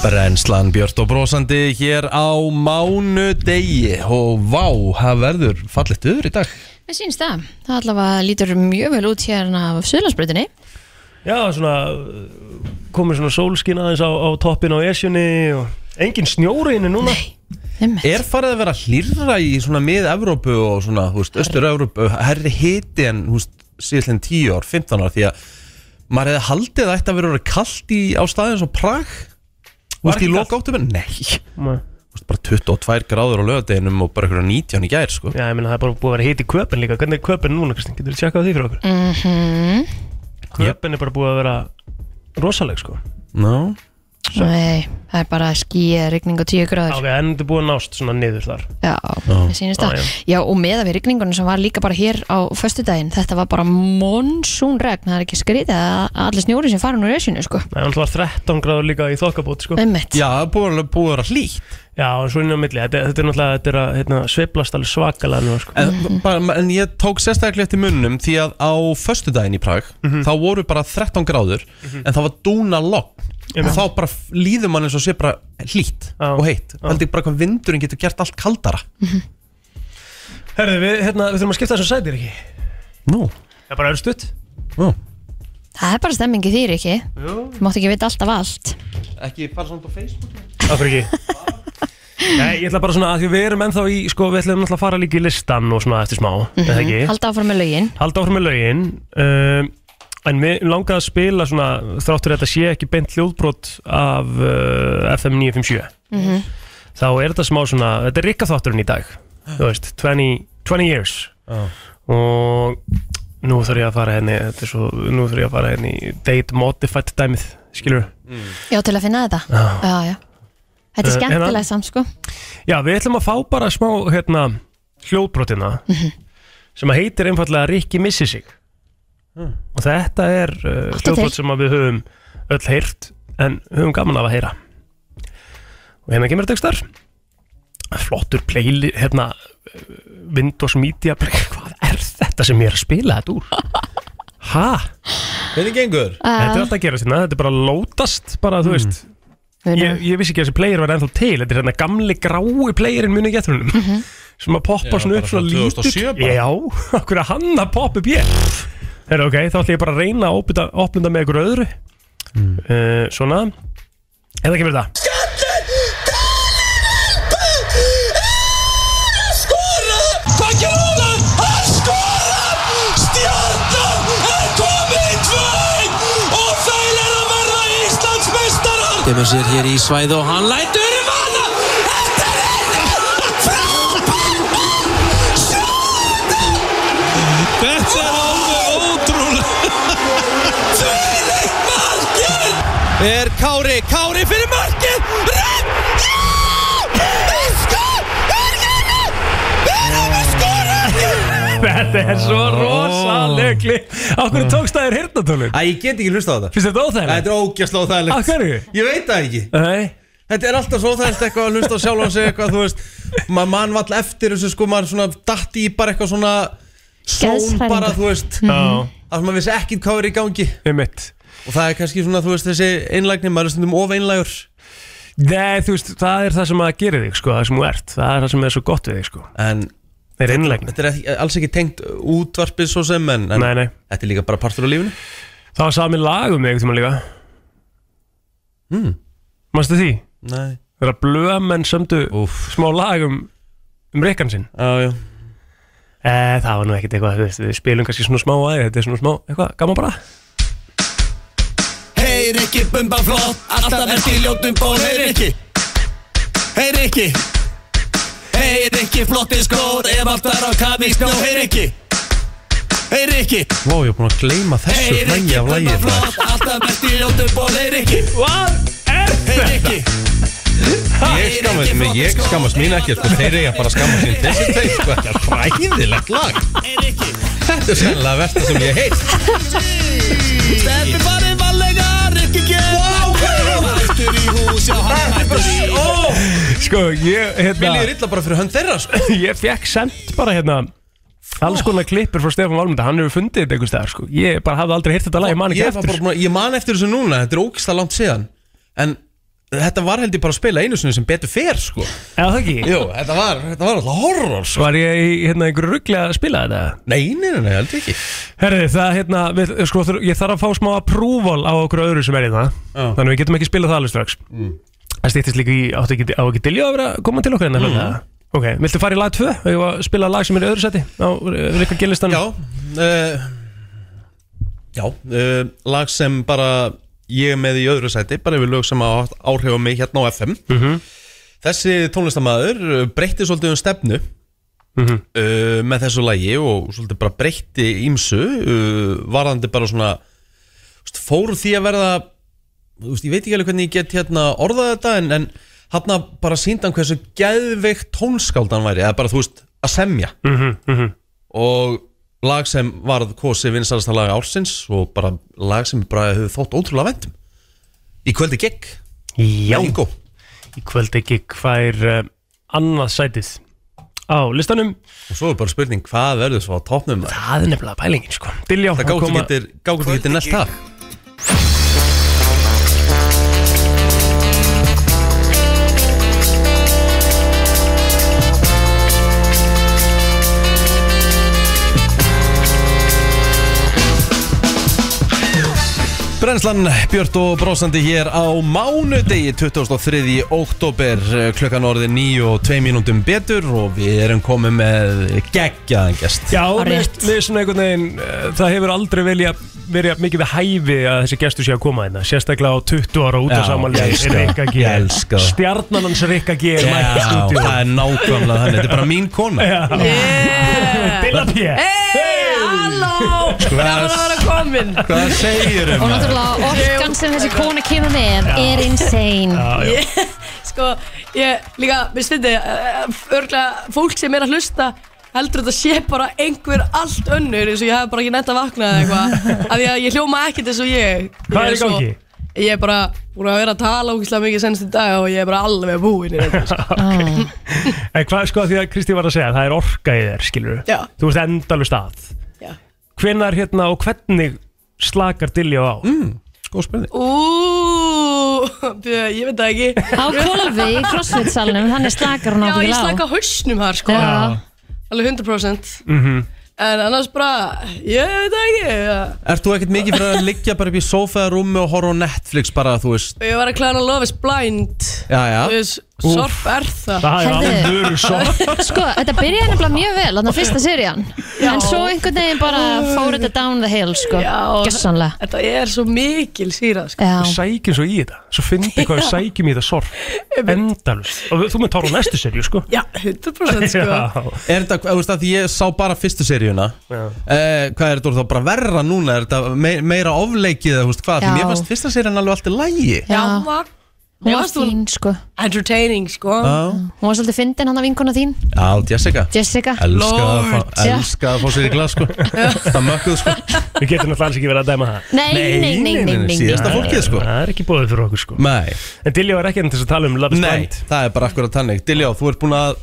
Brennslan Björt og Brósandi hér á mánudegi og vá, það verður fallit öður í dag
Mér sýnst það, það allavega lítur mjög vel út hérna af Suðlandsbrutinni
Já, svona uh, komið svona sólskin aðeins á, á toppin á esjunni og engin snjóri inni núna
Einmitt.
Er farið að vera hlýrra í svona mið-Evrópu og svona, þú veist, austur-Evrópu herri hiti en, þú veist, síðastlega 10 ár, 15 ár, því að maður hefði haldið að þetta verið að vera kalt í á staðin svo Prag Þú veist, í loka óttubur? Nei Þú
Nei.
veist, bara 22 gráður á lögadeginum og bara einhverja 19 í gær, sko
Já, ég meina það er bara búið að vera hitt í köpinn líka Hvernig er köpinn núna, Kristinn? Getur þú tjekkað á því fyrir okkur?
mm
Köpinn er bara búið að vera rosaleg, sko
Ná
Nei, það er bara skýja, rigning og tíu gráður
Ok, en þetta er búið að nást svona niður þar
Já, það sýnist
Já,
það Já, og meða við rigningunum sem var líka bara hér á föstudaginn, þetta var bara monsúnregn, það er ekki skrítið að allir snjóri sem farin úr esinu, sko
Það er alltaf 13 gráður líka í þokkabót, sko
Einmitt.
Já, það er búið að- búið að vera hlýtt
Já, og svo inn á milli, þetta, þetta er náttúrulega þetta er að, hérna, sveiflast alveg svakalega nú, sko
en, bara, en ég tók sérstaklega eftir munnum Því að á föstudaginn í Prag
Mhm.
Þá voru bara 13 gráður En það var dúna logn Og þá bara f- líður mann eins og sé bara hlýtt
Já.
og heitt Það er bara hvað vindurinn getur gert allt kaldara
Herðu, við, hérna, við þurfum að skipta þessum sætir ekki
Nú,
Það er bara örstutt
nú
Það er bara stemmingi þýr ekki Þú mátt ekki vita alltaf allt
Ekki fara samt á Facebook
Af hverju ekki? Nei, ég ætla bara svona að því við erum ennþá í, sko, við ætlum náttúrulega að fara líka í listan og svona eftir smá, mm -hmm. ekki?
Halda áfram með lögin
Halda áfram með lögin um, En við langaði að spila svona Þráttur þetta sé ekki beint hljóðbrot Af uh, FM 957 Þá er þetta smá svona Þetta er rikka þátturinn í dag Þú veist, 20, 20 years Og nú þarf ég að fara henni Þetta er svo, nú þarf ég að fara henni í Date modified dæmið, skilur
Já, til að finna þetta
Já.
Já, já Þetta er
Eh, hérna-
skemmtilega samt sko
Já, við ætlum að fá bara smá hérna, Hljóðbrotina
Mhm.
Sem að heitir einfallega Rikki missi sig Og þetta er uh,
Áttu til.
hljóðbrot sem að við höfum öll heyrt En höfum gaman af að heyra Og hérna kemur textar Flottur play Hérna eh, Windows Media play <laughs> Hvað er þetta sem ég er að spila þetta úr?
<laughs>
Ha?
Hvernig gengur?
Ah.
Þetta er alltaf að gera þetta Þetta er bara lótast bara, þú veist
Muna.
ég, ég vissi ekki að þessi player var ennþá til Þetta er hérna gamli grái playerinn muni ekki eftir húnum sem að poppa
Já,
svona
bara
upp
frá
svona lítill
2007 bara.
Já, <laughs> okkur að hann að poppa upp ég Herra, ok, þá ætla ég bara að reyna að opna, opna það með ykkur öðru
Mm.
uh, Svona Eða kemur þetta
kemur sér hér í svæð og hann lætur um hana Þetta er einu frábært Þetta er alveg ótrúlega Þvílík markið Er Kári, Kári fyrir markið Rönd
<laughs> Þetta er svo rosalegli Okkur tókst það er hirtatólin
Oh. Mm. Æ, ég get ekki hlusta á þetta
Finnst þetta óþægilegt?
Þetta er ógjast
Af
óþægilegt
hverju?
Ég veit það ekki
Nei
Þetta er alltaf svo þærst eitthvað að hlusta á sjálfan sig eitthvað, þú veist, maður mann vall eftir þessu sko, maður svona datt í bara eitthvað svona són
Geðshræringu.
bara, þú veist
Já,
að maður vissi ekkit hvað er í gangi
um mitt
og það er kannski svona, þú veist, þessi einlægni maður er stundum of einlægur
Nei, þú veist, það er það sem að gera þig, sko, það sem þú ert Það er það sem er svo gott við þig, sko
en
Það er innlegn
þetta er ekki, alls ekki tengt útvarpið svo sem, en, en
Nei, nei
þetta er líka bara partur á lífinu
Það var sami lag um mig einhvern tímann líka mm. Manstu því?
Nei,
Þegar blöðamenn sömdu
Úff.
smá lag um, um rikkan sinn
já, já
eh, Það var nú ekkert eitthvað, þú veist, við spilum kannski svona smá aðeins Þetta er svona smá, eitthvað, gaman bara
Heyr ekki bumba flott Alltaf ert í ljótum ból Heyr ekki Heyr ekki Heyr ekki flotti skór Ef allt var á kafi í snjó Heyr ekki Heyr ekki
Vá, ég er búin að gleyma þessu
Heyr
hlægi
ekki
af
bumba
lægir
flott Alltaf ert í ljótum ból Heyr ekki
Hvað er
Heyr ekki
Ég skammast mig, ég skammast mín ekki, sko, þeir eiga bara að skammast mín Þessi tveir, sko, þetta er fræðilegt lag
Heyr ekki
Þetta er sennilega versta sem ég heitt
Steppi farið varlega Rikki gerð Hættur í hús Já, hann hættur í
Sko, ég,
Mér líður
hérna,
illa bara fyrir hönd þeirra sko.
<laughs> ég fekk sendt bara, hérna Alls konar klippur frá Stefán Valmunda, hann hefur fundið þetta einhvers staðar, sko Ég bara hafði aldrei heyrt þetta lag, ég man ekki
ég, var
eftir
bara, búinn að- ég man eftir þessu núna, þetta er ógislega langt síðan En þetta var held ég bara að spila einu sinni sem betur fer sko.
Eða það ekki?
Jú, þetta var, þetta var alltaf horror sko.
Var ég í, hérna, einhverju ruggli að spila þetta?
Nei, nei, nei, nei, held ég ekki
Herri, það hérna, við, sko, þur- ég þarf að fá smá approval á okkur öðru sem er í það
Já.
Þannig við getum ekki spilað það alveg strax Það stýttist líka í, áttu ekki, á ekki dilja að vera að koma til okkar hérna mm. Ok, viltu fara í lag 2? Ég var að spila lag sem er í öðru seti á eh, Rikka
eh,
Gillistan
Já, uh, já uh, lag eh, sem bara ég er með í öðru sæti bara yfir lög sem hafa haft áhrif á mig hérna á FM þessi tónlistamæður breytti svolítið um stefnu uh, með þessu lagi og svolítið bara breytti ímsu uh, varðandi bara svona þú veist, fór úr því að verða þú veist, ég veit ekki alveg hvernig ég get hérna orðað þetta en, en hann bara sýndi hann hversu geðveikt tónskáld hann væri eða bara þú veist að semja og lag sem varð kosi vinsalasta lag ársins og bara lag sem bara hefur þótt ótrúlega vendum í kvöldi gegg
Já,
Bingo.
í kvöld ekki hvað er uh, annað sætið á listanum
og svo er bara spurning hvað verður svo á topnum það
Það er nefnilega pælingin sko Diljá,
gátt ekki getur gátt ekki getur næst það Brennslan Björn og Brósandi hér á mánudegi 23. oktober klukkan orðið 9 og 2 mínútum betur og við erum komið með geggjaðan gest
Já,
Á
mér
rétt.
mér er svona einhvern veginn uh, Það hefur aldrei velja, verið jafn mikið við hæfi að þessi gestur sé að koma hérna Sérstaklega á 20 ára út
Já,
af samanlega
ég elska
Rikka
það.
G
Ég elska það.
Stjarnan hans Rikka G er mætt í
Já,
stúdíu
það er nákvæmlega þannig, þetta er bara mín kona
Dilla P
Hei, Eh, halló
Hvað,
komin
hvað segir um
Og náttúrulega orkan sem þessi kona kemur með er insane
sko, ég líka, mér svinni örglega fólk sem er að hlusta heldur þetta sé bara einhver allt önnur eins og ég hef bara ekki nætt að vakna eða
<laughs>
eitthvað, af því að ég hljóma ekkert eins og ég Ég
Hvað er í
svo-
gangi?
Ég er bara búin að vera að tala ógislega mikið senst í dag og ég er bara alveg búin
<laughs>
í þetta, sko.
En hvað sko því að Kristi var að segja Það er orka í þér, skilur
Já.
Þú veist endalust að
Já.
Hvenær hérna og hvernig slakar Diljá á?
Mm.
Góð spurning
Úúúú, ég veit það ekki
Á kólfi í crossfit salnum, þannig slakar hún
Já,
ábyggilega
ég
á.
slaka á hausnum þar, sko
Já.
Alveg 100%
Mhm.
En annars bara, ég veit það ekki ég-
Ert þú ekkert mikið fyrir að liggja bara upp í sófaðarúmi og horfa á Netflix bara, þú veist
Ég var að klæða Love is Blind
Já, já.
Þú veist, Sorp er það
Það er
Herðu.
alveg svo
Sko, þetta byrjaði nefnilega mjög vel, þannig fyrsta serían En svo einhvern veginn bara fór þetta down the hill, sko
Já.
Gjössanlega
Þetta er svo mikil síra sko.
Já,
Við sækjum svo í þetta Svo fyndi hvað við sækjum í þetta sorg Endalust Og þú með tára næstu serju sko
Já, 100% sko.
Er þetta, þú veist að ég sá bara fyrstu seríuna
Já.
eh, Hvað er þetta orðið þá bara verra núna? Er þetta me meira ofleikið, eða, þú veist hvað?
Já.
Já. Mér fannst fyrsta seríun alveg allt í lægi
já,
Já, hún var
hún
Já,
var
þú-
fín, sko
entertaining sko.
Já,
Hún var svolítið fyndin hann að vinkona þín,
já Jessica
Jessica
Elskar að,
Lord.
fá-
Já.
elskaði að fá sér í glas sko Það mökkuð sko
Við getum náttúrulega alls ekki verið að dæma það
Nei, nei, nei, nei, nei, nei.
Síðasta fólkið sko
Það er ekki bóðið fyrir okkur sko
Nei,
En Dilja var ekki enn til að tala um Love is
nei,
Blind
það er bara akkurat þannig Diljá, þú ert búin að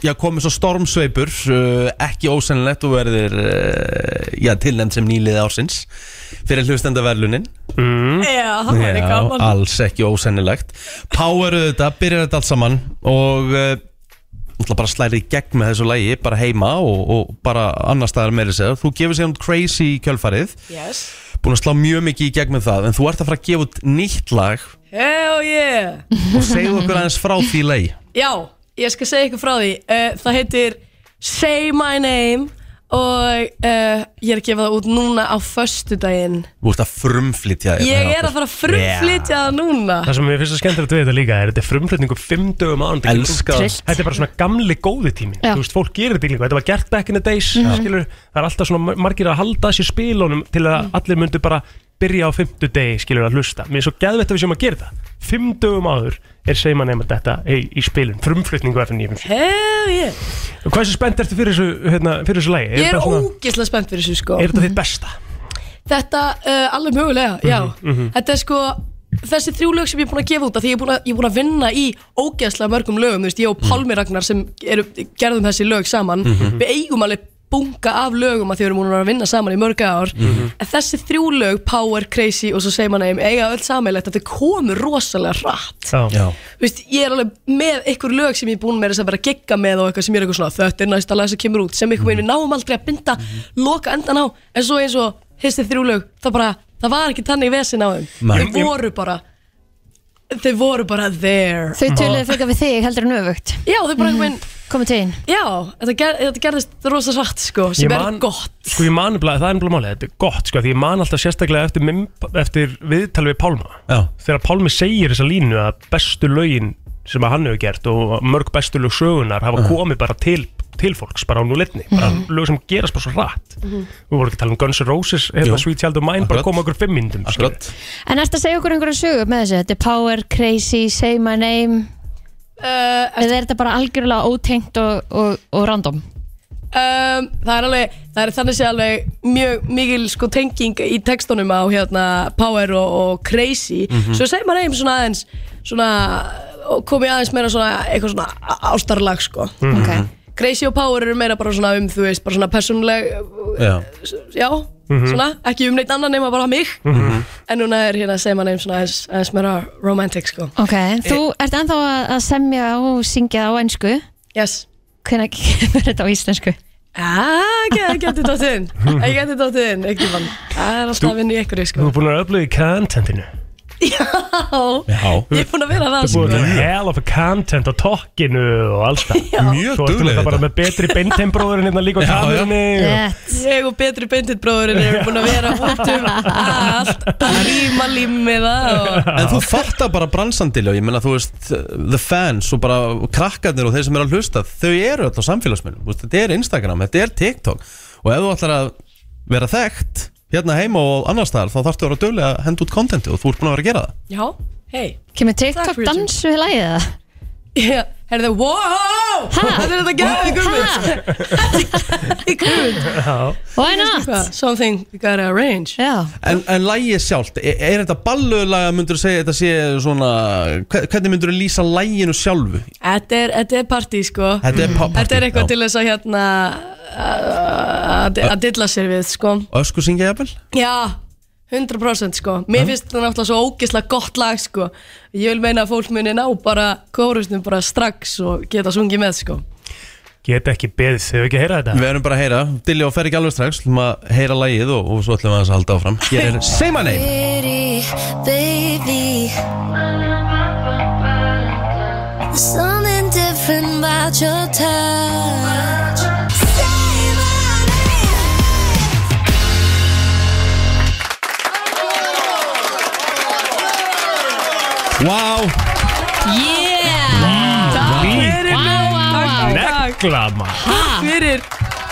Já, komið svo stormsveipur, uh, ekki ósennilegt og verðir, uh, já, tilnæmt sem nýliði ársins fyrir hlustendaverlunin.
Já, það var ekki gaman
alls ekki ósennilegt. Poweruðu þetta, byrjar þetta allt saman og uh, náttúrulega bara slærið í gegn með þessu lægi, bara heima og, og bara annar staðar meiri segja. Þú gefur sér um crazy í kjölfarið,
yes.
búin að slá mjög mikið í gegn með það, en þú ert að fara að gefa út nýtt lag
Hell yeah
og segðu okkur aðeins frá því lagi.
Já, ég skal segja ykkur frá því uh, Það heitir Say My Name og uh, ég er að gefa það út núna á föstudaginn
Þú ert að frumflytja þér
Ég er að fara að frumflytja það núna
Það sem mér finnst að skemmtilegt við þetta líka er Þetta er frumflutningu fimm dögum án
Elska það.
Trillt.
Þetta er bara svona gamli góði tími
Já. Mhm.
Þú veist, fólk gerir þetta líka Þetta var gert back in the days skilur, Það er alltaf svona mar- margir að halda sér spilunum Til að
Mhm.
allir myndu bara byrja á fimmtu degi Skilur að hlusta Mér er svo geðvett að við séum að gera það Fimm dögum áður er seima nefnir þetta í, í spilun Frumflutningu FN 957
Hell yeah
Hvað sem spennt ertu fyrir þessu, hérna, fyrir þessu lægi?
Ég er
þetta svona-
ógeðslega spennt fyrir þessu sko
er þetta þitt besta?
Þetta, uh, alveg mögulega, já Þetta er sko, þessi þrjú lög sem ég er búin að gefa út af Því ég er búin að, ég er búin að vinna í ógeðslega mörgum lögum Þú veist, ég og Pálmi Ragnar sem eru, gerðum þessi lög saman Við eigum alveg bunga af lögum að því við erum búin að vinna saman í mörga ár En þessi þrjú lög, Power, Crazy og svo segir maður nefn Eiga öll sammeilegt að þau komu rosalega hratt
Já.
Já,
Þú veist, ég er alveg með einhver lög sem ég er búin með þess að vera að gegga með og eitthvað sem ég er eitthvað svona þetta er næsta lag sem kemur út sem einhvern veginn við náum aldrei að binda loka endan á en svo eins og hissi þrjú lög það bara, það var ekki tannig vesin á þeim
Nei.
þau voru bara þau voru bara there
Þau töluðu frekar við þig heldur en öfugt
já, þau bara einhvern veginn
komið til einn
Já, þetta, ger, þetta gerðist rosa satt sko, sem er gott
Sko ég man, nefnilega- það er nefnilega málið, þetta er gott sko, því ég man alltaf sérstaklega eftir, mim- eftir viðtal við Pálma Já. þegar Pálmi segir þessa línu að bestu lögin sem að hann hefur gert og mörg bestu lög sögunar hafa
Mhm.
komið bara til, til fólks, bara á núleitni bara lög sem gerast bara svo rætt við vorum ekki að tala um Guns N' Roses hérna
Jú.
Sweet Child of Mine, bara
Akkurat.
koma okkur fimm myndum sko. Akkurat
En ertu að segja okkur einhverja sögu með þessu? Þetta er Power, Crazy, Say My Name Eða er þetta bara algjörlega ótengt og, og, og random?
um, það er alveg það er þannig sé alveg mjög mikil sko tenging í textunum á hérna Power og, og Crazy
Mhm.
svo segir maður heim svona aðeins svona og komið aðeins meira svona eitthvað svona á- ástarlag sko
Mhm. Ok.
Crazy og Power eru meira bara svona um þú veist bara svona persónuleg
Já.
já
Mhm.
svona ekki um neitt annan nema bara mig en núna er hérna segir maður heim svona aðeins, aðeins meira romantic sko
Ok, þú ert ennþá að að semja og syngja á einsku
Yes
Hvernig kemur þetta á íslensku?
Ah, ég geti dottið inn Ég geti dottið inn, ekkert mann Það er alltaf að vinna í einhverju sko
Þú er búin að öfluga í contentinu
<laughs> Já
Já
Ég er búin að vera það
Þú er búin að
sko.
hell of a content á tokkinu og alls það
Mjög
Svo ertu
dugleg
náttúrulega bara
þetta.
með betri beinteimbróðurinn hérna líka á
Já, já.
kamerunni og-
Ég og betri beintið bróðurinn erum búin að vera út um allt að líma límiða og...
En þú fattar bara bransandilega, ég meina þú veist The fans og bara krakkarnir og þeir sem eru að hlusta Þau eru alltaf samfélagsmiðlum, þú veist, þetta er Instagram, þetta er TikTok Og ef þú ætlar að vera þekkt hérna heima og annars staðar Þá þarftu að vera dögulega að henda út kontenti og þú ert búin að vera að gera það
Já, hei
Kemur TikTok dansu í lagið það?
Já, herðu, wow Þetta er þetta gæði gummið Í gummið
Why not?
Something we gotta arrange
Já
En, en lægið sjálft, er, er þetta balluðlaga myndur þú segja þetta sé svona hve- Hvernig myndur þú lýsa læginu sjálfu?
Þetta er, þetta er partí sko
Þetta er pa- partí,
Þetta er eitthvað
já.
til þess að hérna að- að að dilla sér við sko
Ösku syngja jafnvel?
Já, 100% sko Mér finnst þetta náttúrulega svo ógeðslega gott lag sko Ég vil meina að fólk muni ná bara kórusnum bara strax og geta sungið með sko
Get ekki beðið, þau ekki að heyra þetta
Við erum bara að heyra, Dilli og fer ekki alveg strax Þú að heyra lægið og, og svo ætlum við aðeins að halda áfram Hér er Say My Name
Pretty baby. There's something different about your touch. Say my
Wow
Yeah
Líka Negla
Ah.
Ha?
Fyrir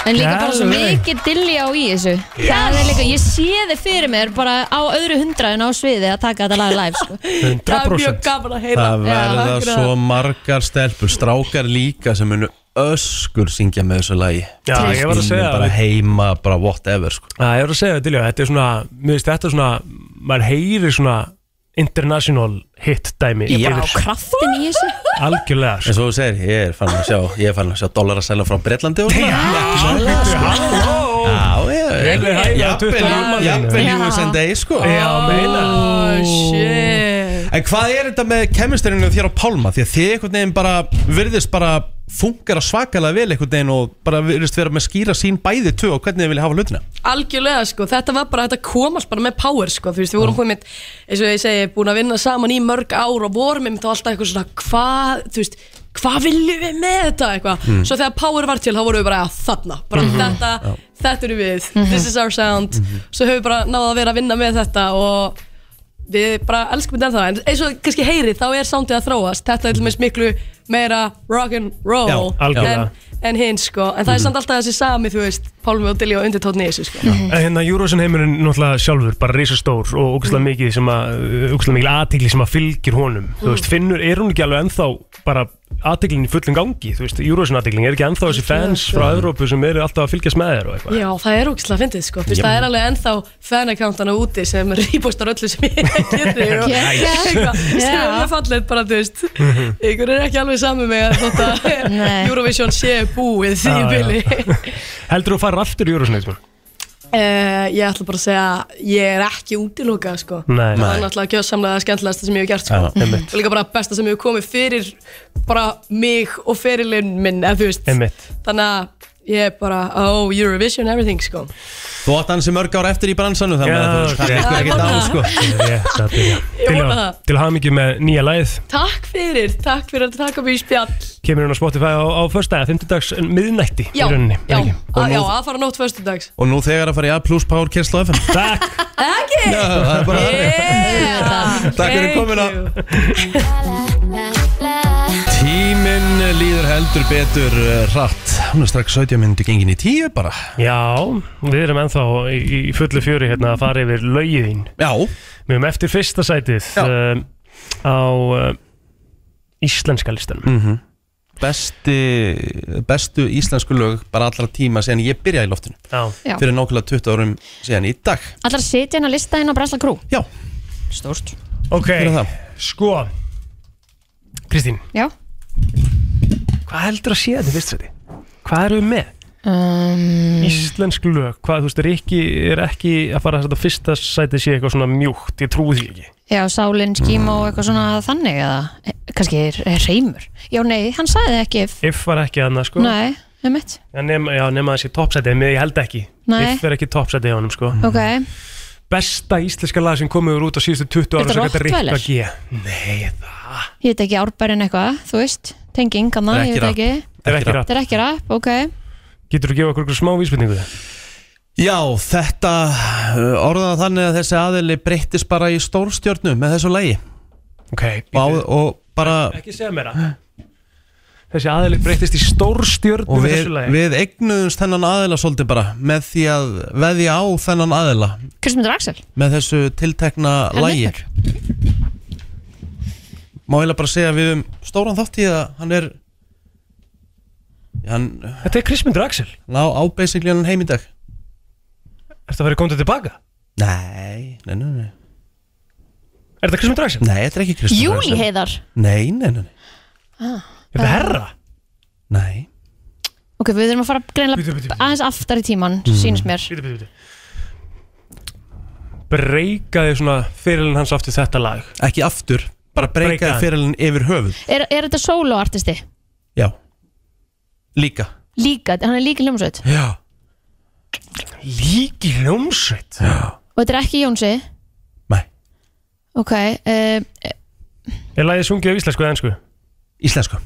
En líka bara svo
Geðveik.
mikið dilljá í þessu Það er líka, ég sé þið fyrir mér bara á öðru hundra en á sviði að taka þetta lag live sko.
100%.
Það er mjög gaman að heyra
Það verða svo margar stelpur, strákar líka sem munu öskur syngja með þessu lagi
Já, ég var að
Inni
segja
bara
það.
heima, bara whatever sko.
Æ, ég var að segja þetta til ég, þetta er svona, mér veist þetta er svona, maður heyrir svona international hit dæmi
Ég bara á
yfir.
kraftin í þessu
Algjörlega
En svo þú segir, ég er fann að sjá Ég er fann að sjá dólar að selja frá Breitlandi og svona
sko.
Já, ég
Ég er hægða 20
Jafnvel,
afmælinu.
jafnvel
Já.
USA Day sko
Já, meina.
shit
En hvað er þetta með kemisturinu þér á Pálma? Því að þið einhvern veginn bara virðist bara funkar svakalega vel einhvern veginn og bara virðist vera með skýra sín bæði tvö og hvernig þið vilja hafa hlutina
Algjörlega sko, þetta var bara, þetta kom allt bara með power sko, þú veist, við vorum komið eins og ég segi, búin að vinna saman í mörg ár og vorum með þá alltaf eitthvað svona, hvað þú veist, hvað viljum við með þetta eitthvað,
Mm.
svo þegar power var til þá vorum við bara að þarna, bara
Mhm.
þetta
Já.
þetta eru við, this is our sound svo höfum við bara náða að vera að vinna með þetta og við bara elskum þetta ennþá, en eins og kannski heyri þá er soundið að þróast, þetta er til meins miklu meira rock'n'roll
Já, algjörlega.
en, en hinn sko, en það er samt alltaf þessi sami, þú veist, Pálmi og Dilli og undirtótni í þessu sko.
En hérna Eurovision heimurinn náttúrulega sjálfur bara risastór og ógæslega
Mhm.
mikið sem að ógæslega mikil aðtikli sem að fylgir honum þú
Mhm.
veist, finnur, er hún ekki alveg ennþá bara aðtiklin í fullum gangi, þú veist Eurovision aðtiklin, er ekki ennþá þessi fans frá Evrópu sem eru alltaf að fylgjast með þér og eitthvað
Já, það er ógislega fyndið sko, þú veist,
Já.
það er alveg ennþá fanakántana úti sem rýpostar öllu sem ég <laughs> gerði og sko.
Nice.
eitthvað sem
Já.
er alveg fallið bara, þú veist
Mhm.
ykkur er ekki alveg saman með að þótt <laughs> að Eurovision sé búið því
Já, já.
bili <laughs>
Heldur þú farir aftur í Eurovision eitthvað?
uh, Ég ætla bara að segja að ég er ekki útilokað sko
Nei.
það
Nei.
er náttúrulega gjössamlega skemmtilegasta sem ég hef gert sko
Já, einmitt.
og líka bara besta sem hefur komið fyrir bara mig og ferilinn minn, eða þú veist
Einmitt.
þannig að ég er bara, oh, Eurovision everything, sko
Þú átt hans í mörg ár eftir í bransanum þannig að
Já,
þú veist
ok.
hvað ekki á sko
Rétt að byrja.
Ég
Til
vona
að-
það.
Til að hafa mikið með nýja lagið
Takk fyrir, takk fyrir að taka mig í spjall
Kemur hún á Spotify á, á fyrstæða, 50 dags miðnætti
Já,
í rauninni
já,
Ekki?
að, já, að fara nótt föstudags
Og nú þegar að fara í A plus Power Kersla FM
<laughs> Takk
Ekki?
Já, það er bara
Yeah,
Takk fyrir
thank
komuna.
you.
Tíminn líður heldur betur uh, hratt Hún er strax 17 minnti gengin í 10 bara
Já, við erum ennþá í, í fullu fjöri hérna að fara yfir laugiðin
Já
Við erum eftir fyrsta sætið um, á uh, íslenska listanum
Mm.
Besti, bestu íslensku lög bara allra tíma síðan ég byrjaði í loftinu
Já,
Já.
Fyrir nákvæmlega 20 árum síðan í dag
Allar setja inn að lista inn á Brasla Crew
Já,
Stórst
ok,
fyrir það
sko Kristín,
Já
hvað heldur að sé þetta í fyrsta sæti? Hvað erum við með?
um,
Íslensk lög, hvað þú veist, er ekki, er ekki að fara að þetta fyrsta sætið sé eitthvað svona mjúkt, ég trúi því ekki
Já, Sálin, Skíma og eitthvað svona þannig eða e, kannski er, er reymur Já, nei, hann sagði ekki if,
If var ekki annað sko
Nei, emitt
Já, nema, já, nema þessi toppsætið, en ég held ekki
Nei.
If er ekki toppsætið á honum sko
Ok,
besta íslenska lag sem komið úr út á síðustu 20 ára
Er þetta
sem þetta
Rottweiler?
Rikka G Nei, það
ég veit ekki árbærin eitthvað, þú veist Tenging,
Það er
annað, ég veit
ekki
ekki
Það er ekki
rap.
rátt
Þetta er ekki rap, ok
Getur þú að gefa okkur einhverju smá vísbendingu?
Já, þetta uh, orðaða þannig að þessi aðili breyttist bara í stórstjörnu með þessu lægi
Ok,
og,
bíddu.
og bara
ekki segja mér það Þessi aðeins breytist í stórstjörn
og við, við eignuðumst þennan aðila svolítið bara með því að veðja á þennan aðila
Kristmundur Axel
með þessu tiltekna
Hann
lægi
leikur.
má eiginlega bara segja að við um stóran þátt í að hann er hann hann
Þetta er Krismundur Axel
á á basically hann heim í dag
Ertu að vera komið tilbaka?
nei, nei, nei, nei,
Er þetta Krismundur Axel?
nei þetta er ekki Kristján
Júli heiðar
nei, nei, nei, nei,
Er þetta herra?
nei.
Ok, við þurfum að fara
Bíddu, bíddu,
greinlega
bíddu.
aðeins aftar í tíman, mm. sínist mér
Bíti, bíti, bíti Breykaði svona fyrirlin hans aftur þetta lag
ekki aftur, bara
Breika
breykaði
hann.
fyrirlin yfir höfuð
Er, er þetta soloartisti?
já, líka
Líka, hann er líka hljómsveit
já,
Líki hljómsveit
Og þetta er ekki Jónsi
nei,
Ok, uh,
Er lagið sungið á íslensku eða ennsku?
Eh.
íslensku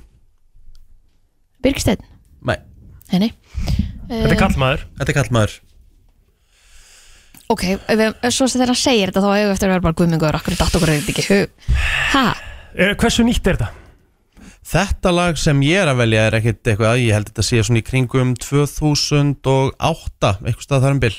Birgsteinn
nei,
Nei, Eh, nei
Þetta er kallmaður
þetta er kallmaður
Ok, ef við, eh, svo sem þegar hann segir þetta þá eigum við eftir að vera bara guðmingur Akkur datt okkur er þetta ekki í hug Ha,
Er- Hversu nýtt er þetta?
Þetta lag sem ég er að velja er ekkit eitthvað að ég held að þetta sé svona í kringum 2008, eitthvað stað þar um bil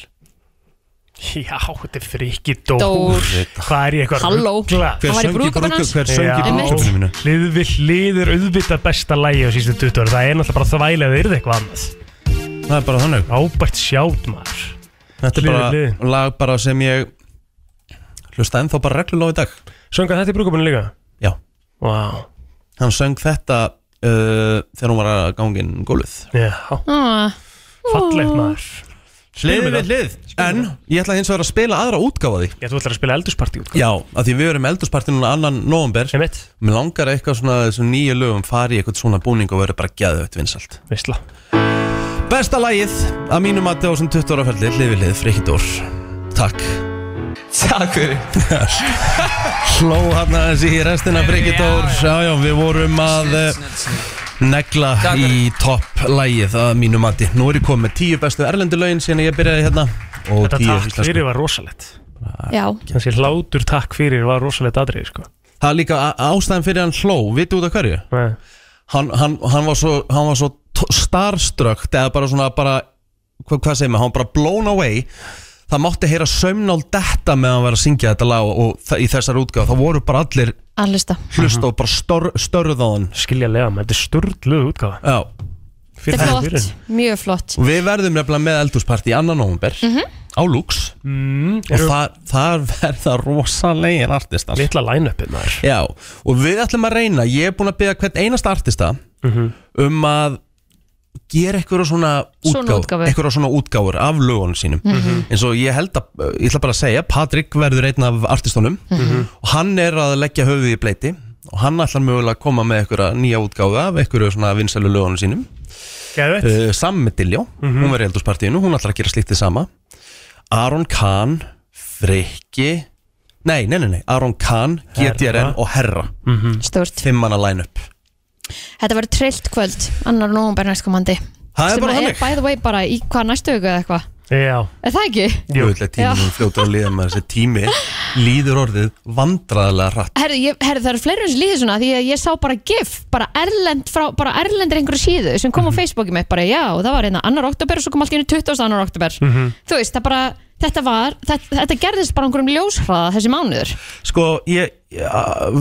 Já, þetta er frikki dór.
Dór.
Hvað er ég eitthvað
Halló.
ruglað?
Hann var í brúðkaupinu hans?
hver söng í
Einmitt.
brúðköpunum mínu?
Lið við liður auðvitað besta lægi á síðustu 20 ára Það er náttúrulega bara þvælega að það yrði eitthvað annað
Það er bara þannig
Ábært sjátt maður
Þetta er
Hlið við
bara
hlið.
lag bara sem ég hlusta ennþá bara reglulega á í dag
Sönga þetta í brúkabunni líka?
Já,
Vá wow.
hann söng þetta uh, þegar hún var að ganga inn um gólfið
Já,
ah,
fallegt maður
Hlið
Spilum við
við hlið En ég ætla hins vegar að spila aðra útgáfa af því
Ég þú ætlar að spila eldursparti út
Já, af því við erum eldurspartin núna annan november
Sem mitt,
Mér langar að eitthvað svona þessum nýju lögum fari í eitthvað svona búning og verður bara geðvögt vinsalt
veistla
Besta lagið að mínum að á sem 20 ára ferli Hlifið lið, Frikidór Takk Takk fyrir Hló hann aðeins í restina Frikidór Já, já, við vorum að eh, negla í topp lagið að mínum að Nú er ég komið með tíu bestu erlendu lögin síðan ég byrjaði hérna og
Þetta
tíu
takk
íslensku.
fyrir var rosalegt
já,
Þessi hlátur takk fyrir var rosalegt atriði sko
Það er líka á- ástæðan fyrir hann hló, vitið út af hverju?
Nei.
Hann, hann, hann var svo, hann var svo t- starstruck eða bara svona bara, hva, hvað segir maður, hann var bara blown away það mátti heyra saumnál detta meðan hann var að syngja þetta lag og, og þa- í þessar útgáð þá voru bara allir
að hlusta
hlust og bara stor, störð á hann
Skilja lega maður, þetta er sturdluð útgáfa
Já,
Þetta er
fyrir.
flott, mjög flott
og við verðum nefnilega með eldúsparti í annan november á Lux
mm,
og
Eru
þar, þar verða rosalegir artistar
litla line-upið maður
Já, og við ætlum að reyna Ég er búin að beða hvern einasta artista um að gera eitthvað svona útgáfur
Svona útgáfu.
eitthvað svona útgáfur af lögunum sínum eins og ég held að, ég ætla bara að segja Patrik verður einn af artistunum og hann er að leggja höfuð í bleiti og hann ætlar mögulega að koma með eitthvað nýja útgáfu af eitthvað svona vinsælu lögunum sínum uh, Sam Diljó, hún var í eldurspartíinu Hún ætlar að gera slíkt því sama Aron Kahn, Freyki Nei, nei, nei, nei, Aron Kahn, GTRN
Herra.
og Herra
Mhm.
Stórt
Fimmanna line-up
Þetta verður trillt kvöld, annar nógumber næstkomandi
Það er
Sem
bara
að
þannig.
By the way, bara í hvað næstu viku eða eitthvað
Já
Er það ekki?
Jú, þetta
Já.
tíminn fljótur að liða með þessi tími Líður orðið vandræðilega rætt
Herðu, ég, herðu, það eru fleiri sem líður svona því að ég sá bara gif, bara erlend frá, bara erlendir einhverju síðu sem kom á Facebooki mitt bara, já, það var hérna annar oktober og svo kom allt í henni 20. annar oktober
Mhm.
Þú veist, það bara, þetta var þetta, þetta gerðist bara á einhverjum ljóshraða þessi mánuður
Sko, ég, ég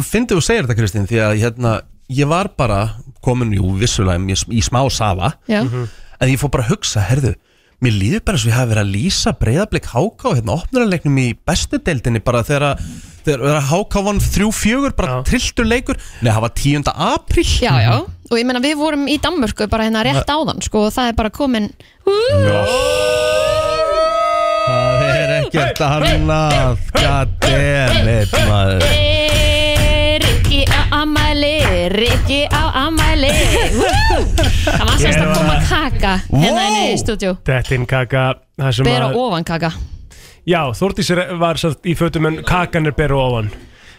fyndi þú segir þetta Kristín því að hérna, ég var bara komin, jú, vissulega í, í smá safa
Já. Mhm.
en ég fór bara að hugsa, herðu mér líður bara svo ég hafi verið að lýsa breyðablik háká og hérna opnurarleiknum í bestu deildinni bara þegar að þegar að háká vann 3-4 bara trilltur leikur nei, það var 10. apríl
Já, já, og ég meina við vorum í Danmörku bara hérna rétt áðan, sko, og það er bara komin
það er ekkert annað goddammit maður
Rikki á amæli Rikki á amæli Woo! Það var semst að
Ég
koma
var-
kaka hérna inni í stúdíu
Þetta er kaka það sem
Bera
að-
ofan kaka
Já, Þórdís er- var satt í fötum en kakan er bera ofan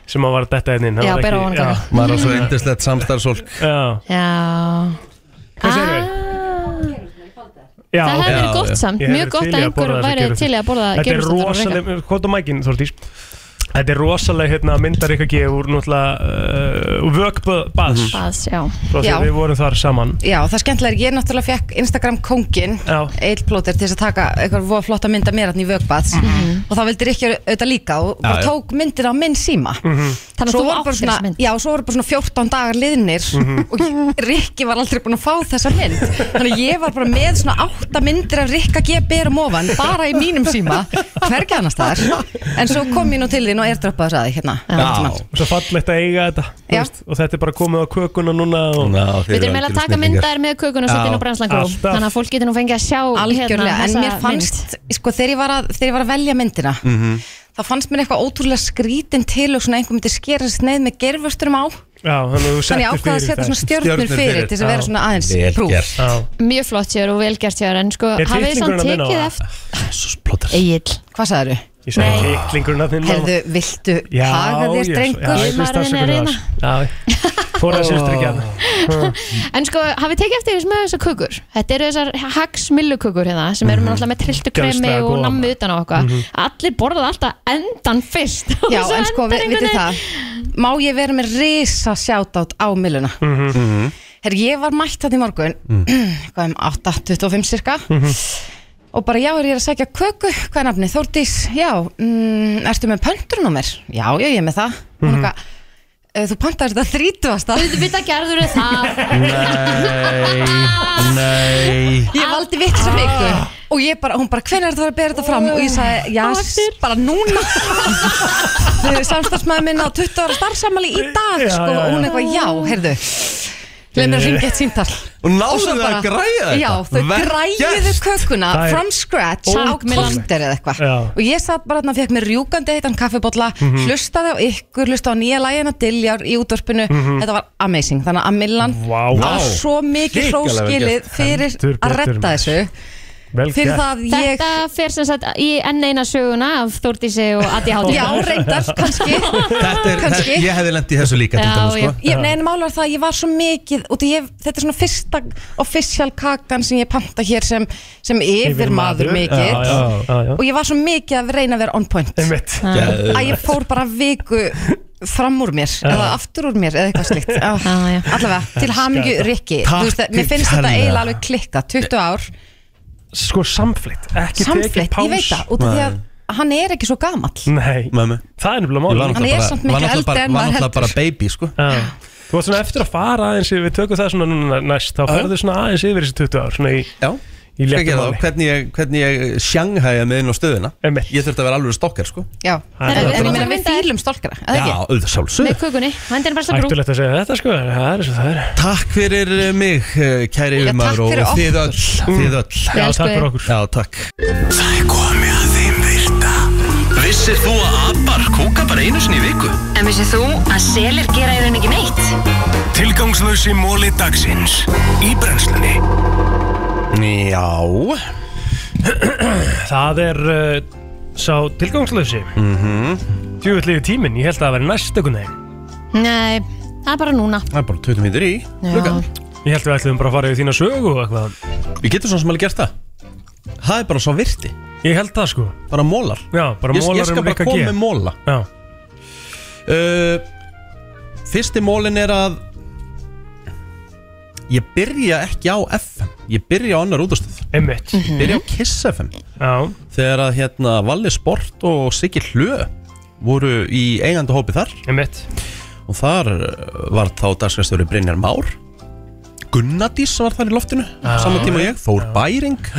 sem að hérna var þetta einn
Já, bera ofan kaka.
maður á svo yndislegt samstarfsólk
já,
Já Ah,
Hvað segirðu?
Það hefði verið gott samt,
Ég hefði
mjög
verið
gott
til
að
í
einhver
borða þessa
væri
gervigras.
til í að borða
Þetta er
gervigras þetta var
rosaleg, hvort á mækinn Þórdís Þetta er rosaleg hérna, myndar ykkur gefa úr náttúrulega uh, vökbaðs
Baðs, Mhm. já
Frá því
Já.
að við vorum þar saman
Já, það er skemmtilega er, ég náttúrulega fekk Instagram kongin, Eil Plóter til þess að taka eitthvað voða flotta mynd af mér hann í vögbaðs og þá vildir ekki auðvitað líka og bara
Já, já.
tók myndin á minn síma
Þannig að
Svo
þú
voru bara
átt
svona,
þess mynd.
Já, svo voru bara svona 14 dagar liðnir
Mhm.
og Rikki var aldrei búin að fá þessa mynd þannig að ég var bara með svona 8 myndir af Rikka G. Berum ofan bara í mínum síma, hvergi annars þar en svo kom ég nú til þín og airdroppaði þess aði hérna
Já, svo fallegt að eiga þetta þú
Já.
veist, og þetta er bara komið á kökuna núna og...
Ná,
Við erum meðal að taka myndaðir með kökun og setja inn á brennslan grú Þannig að fólk getur nú fengið að sjá hérna
algjörlega, en
þessa
mér fannst sko, þegar, ég var að, þegar ég var að velja myndina þá fannst mér eitthvað ótrúlega skrítin til og svona einhver myndi skera sér sneið með gerfusturum á
Já, þannig að þú
Þannig
settir
ég ákvað að
fyrir
setja
þetta.
svona stjörnur Stjörnur fyrir fyrir, til þess að vera
Já.
svona aðeins Vel proof. gert.
Já.
Mjög flott sér og vel gert sér En sko,
Er
hafið þið samt
titlingurinn að
tekið
minna á
eftir Egil
Hvað sagðið þú?
Ég sagði titlingurinn að þinn
Herðu, viltu haga þér drengur?
Fóra að sérstur ekki að
En sko, hafið þið tekið eftir þess með þessar kökur Þetta eru þessar hagsmillukökur hérna sem eru
Mhm.
náttúrulega með trilltu kremi
Gjörsamlega
og
góðar.
nammi utan á okkar
Mhm.
Allir borðað alltaf endan fyrst <laughs> og
Já,
svo
en sko,
endar
við,
einhvern
vitið
veginn-
það Má ég vera með risa sjátátt á milluna? Herru, ég var mætt þarna í morgun Hvað um 8.25 cirka Og bara, já, er ég að sækja köku? Hvað er nafnið? Þórdís, já mm, Ertu með pöntrunúmer? Já, já, ég er með það mm -hmm. eitthvað, "Eh, Þú pantaðir þetta þrítugasta
Þú veit að gerður það
Nei, nei
Ég valdi vitt
Ah.
sem viku Og ég bara, hún bara, hvernig er það að bera þetta fram? Og ég sagði, já, s- bara núna <laughs> Samstagsmaður minn á 20 ára starfsamali í dag
Já,
sko,
já,
Og hún
já.
eitthvað, já, heyrðu Leif mér að ringja eitt símtal
Og náðu þau
svo
að
bara-
græja þetta?
Já, þau
Vel <laughs>
græjuðu
gert.
kökuna
Það er
from scratch á
ótrúlegt.
korter eða eitthvað
Já.
Og ég satt bara þarna, fekk mér rjúkandi heitan kaffibólla
Mhm.
Hlustaði á ykkur, hlustaði á nýja lægina Diljar í útvarpinu
Mhm.
Þetta var amazing, þannig að
Mhm.
Millan
Vá.
á svo mikið
Hrikalega vel
hróskilið
gert.
Fyrir
Heldur
að
betur,
retta
maður.
þessu
Vel
Fyrir það að ég
Þetta fer sem sagt í enn eina söguna af Þórdísi og Adi Hátti
Já, reyndar, kannski
Þetta er, þetta,
Kannski.
ég hefði lendið í þessu líka til
Já,
dæmis, sko.
ég, Nei, en mála var það að ég var svo mikið og ég, þetta er svona fyrsta official kakan sem ég panta hér sem, sem yfirmaður mikið
Já, já, já, já.
og ég var svo mikið að reyna að vera on point
Einmitt.
að ég fór bara viku fram úr mér eða aftur úr mér eða eitthvað slikt Já. allavega, til hamingju
Skæta.
Rikki
Takk
Þú veist, að-
til
mér finnst þetta
kærlega.
eiginlega alveg klikka 20 ár,
Sko samflitt, ekki tekið
samflitt,
pás
ég veit það út af því að hann er ekki svo gamall
Nei, það er nefnilega
Ég var
máli
náttúrulega Hann er bara- samt miklu var náttúrulega eldri bara- en var maður náttúrulega heldur. bara
baby sko.
Þú varst svona eftir að fara aðeins yfir- Við tökum það svona núna næst Þá ferðu svona aðeins yfir þessi 20 ár svona í, í
Ég skal
léttum
gera það,
máli
hvernig ég, hvernig ég sjanghæja með inn á stöðuna Ég þurfti að vera alveg stokkar sko.
Já,
Það er-
en ég meina við fýlum stólkara
Já, auðvitað
Með
sjálfsög
kukunni, vendin bara slagur
að segja þetta sko Það er svo það er
Takk fyrir eh, mig, eh, kæri yfirmaður og-
fyrir Mm.
og þið öll, þið öll.
Já, takk fyrir okkur.
Já, takk
Það er komið að þeim virta Vissir þú að abar kúka bara einu sinni í viku?
En vissið þú að selir gera í rauninni ekki neitt?
Tilgangslösi móli dagsins Í brennslunni
Já Það er uh, sá tilgangslösi mm -hmm.
Mhm.
Tjúvillig tíminn, ég held að það væri næst einhvern veginn
Nei, það er bara núna
Það er bara 20 mítur í
Já.
Klukkan.
Ég held að við ætlum bara að fara yfir þína sögu og eitthvað
Við getum svona sem alveg gert það Það er bara svo virti
Ég held það sko
Bara mólar
Já, bara
ég,
mólar
Ég skal
um Rikka
bara
G.
koma með móla
Já
uh, Fyrsti mólin er að Ég byrja ekki á FM Ég byrja á annar útastöð
Einmitt
Mhm.
Byrja á Kiss FM
Já
Þegar að hérna Valli Sport og Siggi Hlö voru í eigandi hópi þar
Einmitt
Og þar uh, var þá dagskastöru Brynjar Már Gunnadís var þar í loftinu
Já.
Saman tíma og ég, Þór Bæring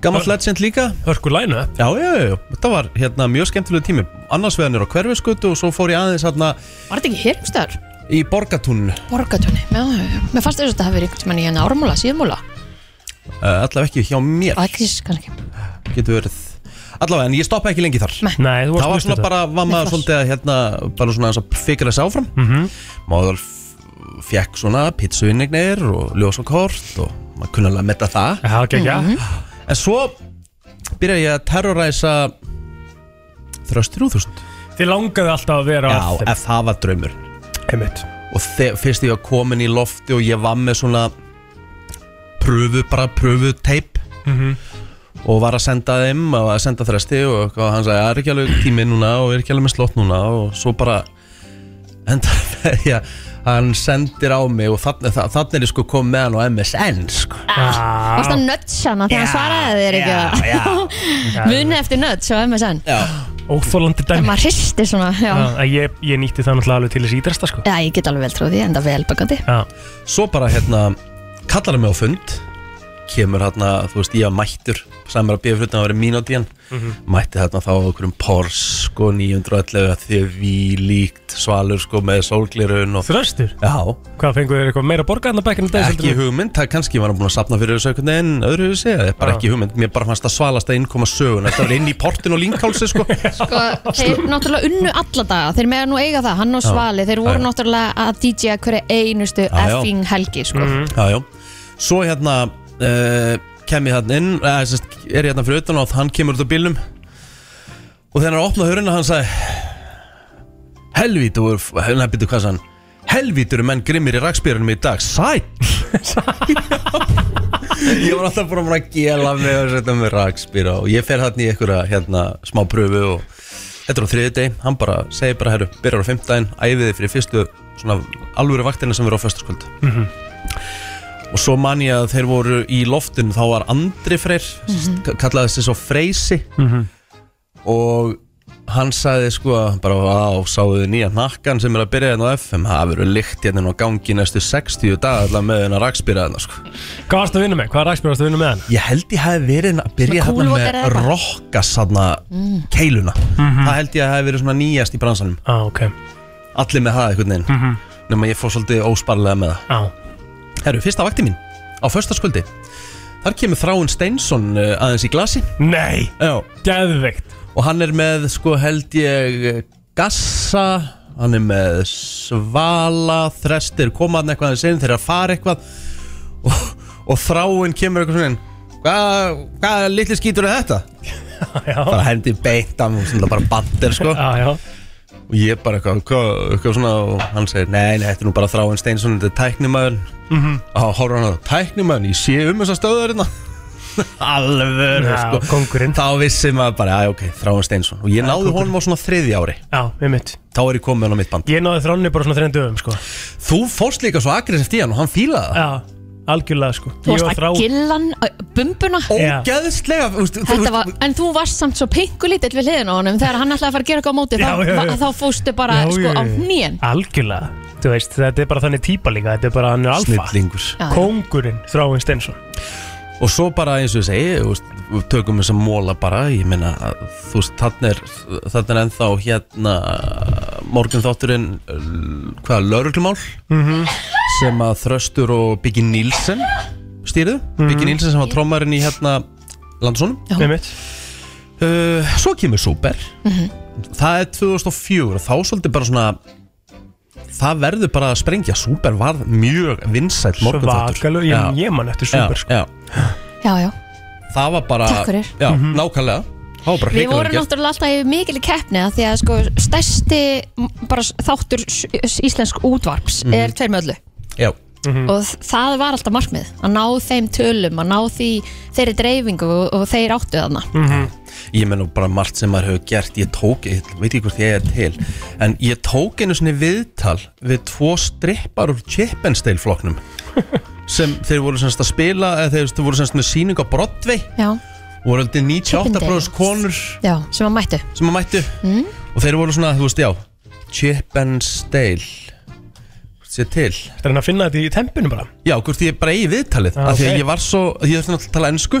Gammal legend líka
Hörku sko læna
Já, já, já, já, þetta var hérna mjög skemmtilegu tími Annars vegar nýr á hverfiskutu og svo fór ég aðeins hérna
Var þetta ekki hér um stöður?
í borgatún uh,
Borgatjóni, já, já, já. Mér fannst þess að þetta hafi verið einhvern tímann í enn ármúla, síðmúla
eh, Allavega ekki hjá mér
Og ekki, kannski
getur verið Allavega, en ég stoppa ekki lengi þar
Nei, þú
Það
varst
var
með
svona
þetta.
bara, var maður svolítið að hérna bara svona aðeins að fikra þessi áfram mm
Mhm.
-hmm. Máður fekk svona pizzuinnignir og ljós og kort og maður kunni alveg að metta það
Já, ekki, já
Mhm.
En svo byrja ég að terroræsa Þröstur úr þúsund
Þið langaði alltaf að vera á
Já,
FM.
ef það var draumur
Einmitt
Og þe- fyrst ég var komin í lofti og ég var með svona Pröfu, bara pröfu teip
Mhm.
Og var að senda þeim, að senda þresti Og eitthvað, hann sagði, það er ekki alveg tími núna Og er ekki alveg með slott núna Og svo bara Enda <laughs> með því að hann sendir á mig Og þannig, þannig er ég sko komið með hann á MSN sko.
Ah.
Ah. Varst það nöts hana þegar hann svaraði þér ekki
já.
það? Muni eftir nöts og MSN
Óþólandi
En
dæmi
maður hristi svona, já
Já, ég, ég nýtti það náttúrulega alveg til þess ídrasta sko
Já, ég get alveg vel trúið því, enda vel bakandi
Já,
Svo bara hérna Kallar hann mig á fund Kemur hérna, þú veist, ég að mættur Samar að bíða fyrir að vera mínúti í hann Mætti þarna þá á okkurum Porsche sko 911 að því við líkt Svalur sko með sólglirun og...
Þröstur?
Já,
Hvað fengur þér eitthvað meira borgað en að bækina dag
ekki hugmynd Það kannski var hann búin að sapna fyrir þessu einhvern veginn Öðru við segja, bara
Já.
ekki hugmynd Mér bara fannst það svalast að innkoma sögun Þetta var inn í portin og línkálsi sko
Sko, þeir náttúrulega unnu alla daga Þeir mega nú eiga það, hann og
Já.
Svali Þeir
Já,
voru
já.
náttúrulega að DJ-a hverja einustu
Já, já.
effing helgi, sko
Mhm.
Já, já Svo hérna uh, kem ég hérna inn eh, sest, er ég hérna fyrir utan og hann kemur út á bílnum og þegar hann opnaði höruna hann sagði Helvítu, hérna byrju hvað sann Helvítu eru menn grimmir í rakspýrunum í dag Sæt Ég var alltaf bara búinn að gela mig og setja mig rakspýra og ég fer þarna í einhverja hérna smá pröfu og þetta er á þriði deg, hann bara segir bara herru, byrjar á fimmtæðin, æfiði fyrir fyrstu svona alvöru vaktina sem verður á föstaskvöld og svo man ég að þeir voru í loftinu þá var Andri Freyr mm
Mhm.
-hmm. kallaði þessi svo Freysi og hann sagði sko bara á sáðu þið nýja nakkan sem er að byrja hérna á FM það verður lykt hérna inn á gangi næstu 60 dag allavega með hérna rakspýra hérna sko
Hvað varst að vinna með? Hvað rækspyrir varst að vinna með hann?
Ég held ég hef verið að byrja
Svona
hérna
kúlvotar
með
eða eitthvað? Mm.
rokkas hérna keiluna það held ég að hef verið svona nýjast í bransanum
Á, Ah, ok
allir með það einhvern veginn
Mhm.
nema ég fór svolítið ósparlega með það
Á,
Herru, fyrsta vakti mín á föstaskvöldi Þar kemur Þráin Steinsson uh, aðeins í glasi
nei,
Já.
geðveikt
Og hann er með, sko held ég eh, Gassa Hann er með Svala Þrestir, koma hann eitthvað aðeins inn Þeir eru að fara eitthvað Og, og Þráin kemur eitthvað svona inn Hvað hva litli skítur er þetta?
Já,
Bara hendi beint af hann, bara bandir sko
já, Ah, já
Og ég bara eitthvað, eitthvað, eitthvað svona og hann segir, nei, nei, þetta er nú bara Þráin Steinsson, þetta er tæknimaður mm -hmm. og þá horfður hann að tæknimaður, ég sé um þessa stöðarina alveg
Já, kóngurinn.
þá vissi maður bara, að ok, Þráin Steinsson og ég náði honum á svona þriði ári
Já, við mitt
þá er ég komið hann á mitt band
Ég náði þránni bara svona þrein dögum, sko
þú fórst líka svo aggressivt í hann og hann fílaði það
Já, algjörlega, sko
Þú
Ég og
varst að gillan, bumbuna
Já.
ógeðslega, þú veist, þú
Þetta
veist,
var, en þú varst samt svo pinkulítill við hliðin á honum þegar hann ætlaði að fara að gera eitthvað á móti
Já,
þá,
já, já.
va- þá fóstu bara
Já,
sko,
já, já.
á hnýjan
Algjörlega, þú veist, þetta er bara þannig típa líka Þetta er bara hann er alfa
snillingur
Kóngurinn, þráin Steinsson
og svo bara eins og ég segi þú veist, við tökum þess að móla bara ég meina, þú veist, þannig er þannig er ennþá hérna morgun þátturinn hvaða, lauruglumál
Mhm.
sem að Þröstur og Biggi Nílsen stýrðu,
Mhm.
Biggi Nílsen sem var trómarinn í hérna landsónum
Við mitt
uh,
Mhm.
svo kemur Súper það er 2004 og þá svolítið bara svona það verður bara að sprengja Súper var mjög vinsæll morgunþáttur
Svakalög, ég-
Já.
ég man eftir Súper,
Já,
sko.
já.
já, já.
Það var bara
Takk fyrir.
Já, nákvæmlega Mhm. Það var bara
Við vorum
hrikalega gert.
náttúrulega alltaf í mikil keppni af því að sko, stærsti m, bara, þáttur s- s- íslensk útvarps
Mhm.
er tveir með öllu
Já
Mhm.
og þ- það var alltaf markmið að ná þeim tölum, að ná því þeirri dreifingu og, og þeir áttu þarna
Ég menn bara margt sem maður hefur gert Ég tók, ég veit ekki hvort ég er til En ég tók einu svona viðtal Við tvo strippar úr Chippensteil <laughs> flokknum Sem þeir voru semst að spila Eða þeir, þeir voru semst með sýning á Broadway
Já.
Voru aldrei 98 bróðs konur
Já, sem að mættu
Sem að mættu
Mm.
Og þeir voru svona, þú veist, já Chippensteil Sér til
Það er hann að finna þetta í tempinu bara
Já, hvort ég bara eigi viðtalið
Ah,
af Því
ok. Mhm.
að ég var svo, ég þurfti náttúrulega að tala ennsku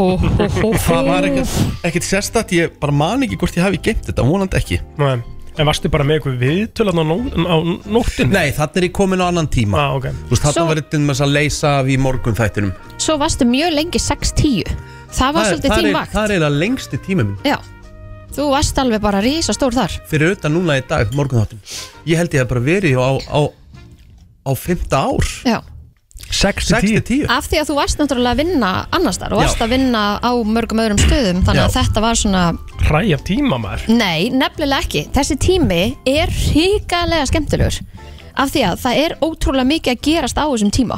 oh,
<laughs> Það var ekkert, ekkert sérstætt Ég bara man ekki hvort ég hafi geimt þetta, vonandi ekki
Nei. En varstu bara með eitthvað viðtölan á, nó, á nóttin?
Nei, þarna er ég komin á annan tíma
ah, okay.
Þú veist, þarna
Svo-
var þetta með þess að leysa af í morgun þættinum
Svo varstu mjög lengi 6-10 Það var
er-
svolítið
er-
þín vakt
Það er eiginlega lengsti tíma minn
Já, þú varst alveg bara rísa stór þar
Fyrir auðvitað núna í dag, morgun þáttin Ég held ég að bara verið á, á, á fymta ár
Já.
6-10
Af því að þú varst náttúrulega að vinna annars þar og
Já.
varst að vinna á mörgum öðrum stöðum þannig að
Já.
þetta var svona
Hræ af tíma maður
Nei, nefnilega ekki. Þessi tími er hrikalega skemmtilegur af því að það er ótrúlega mikið að gerast á þessum tíma.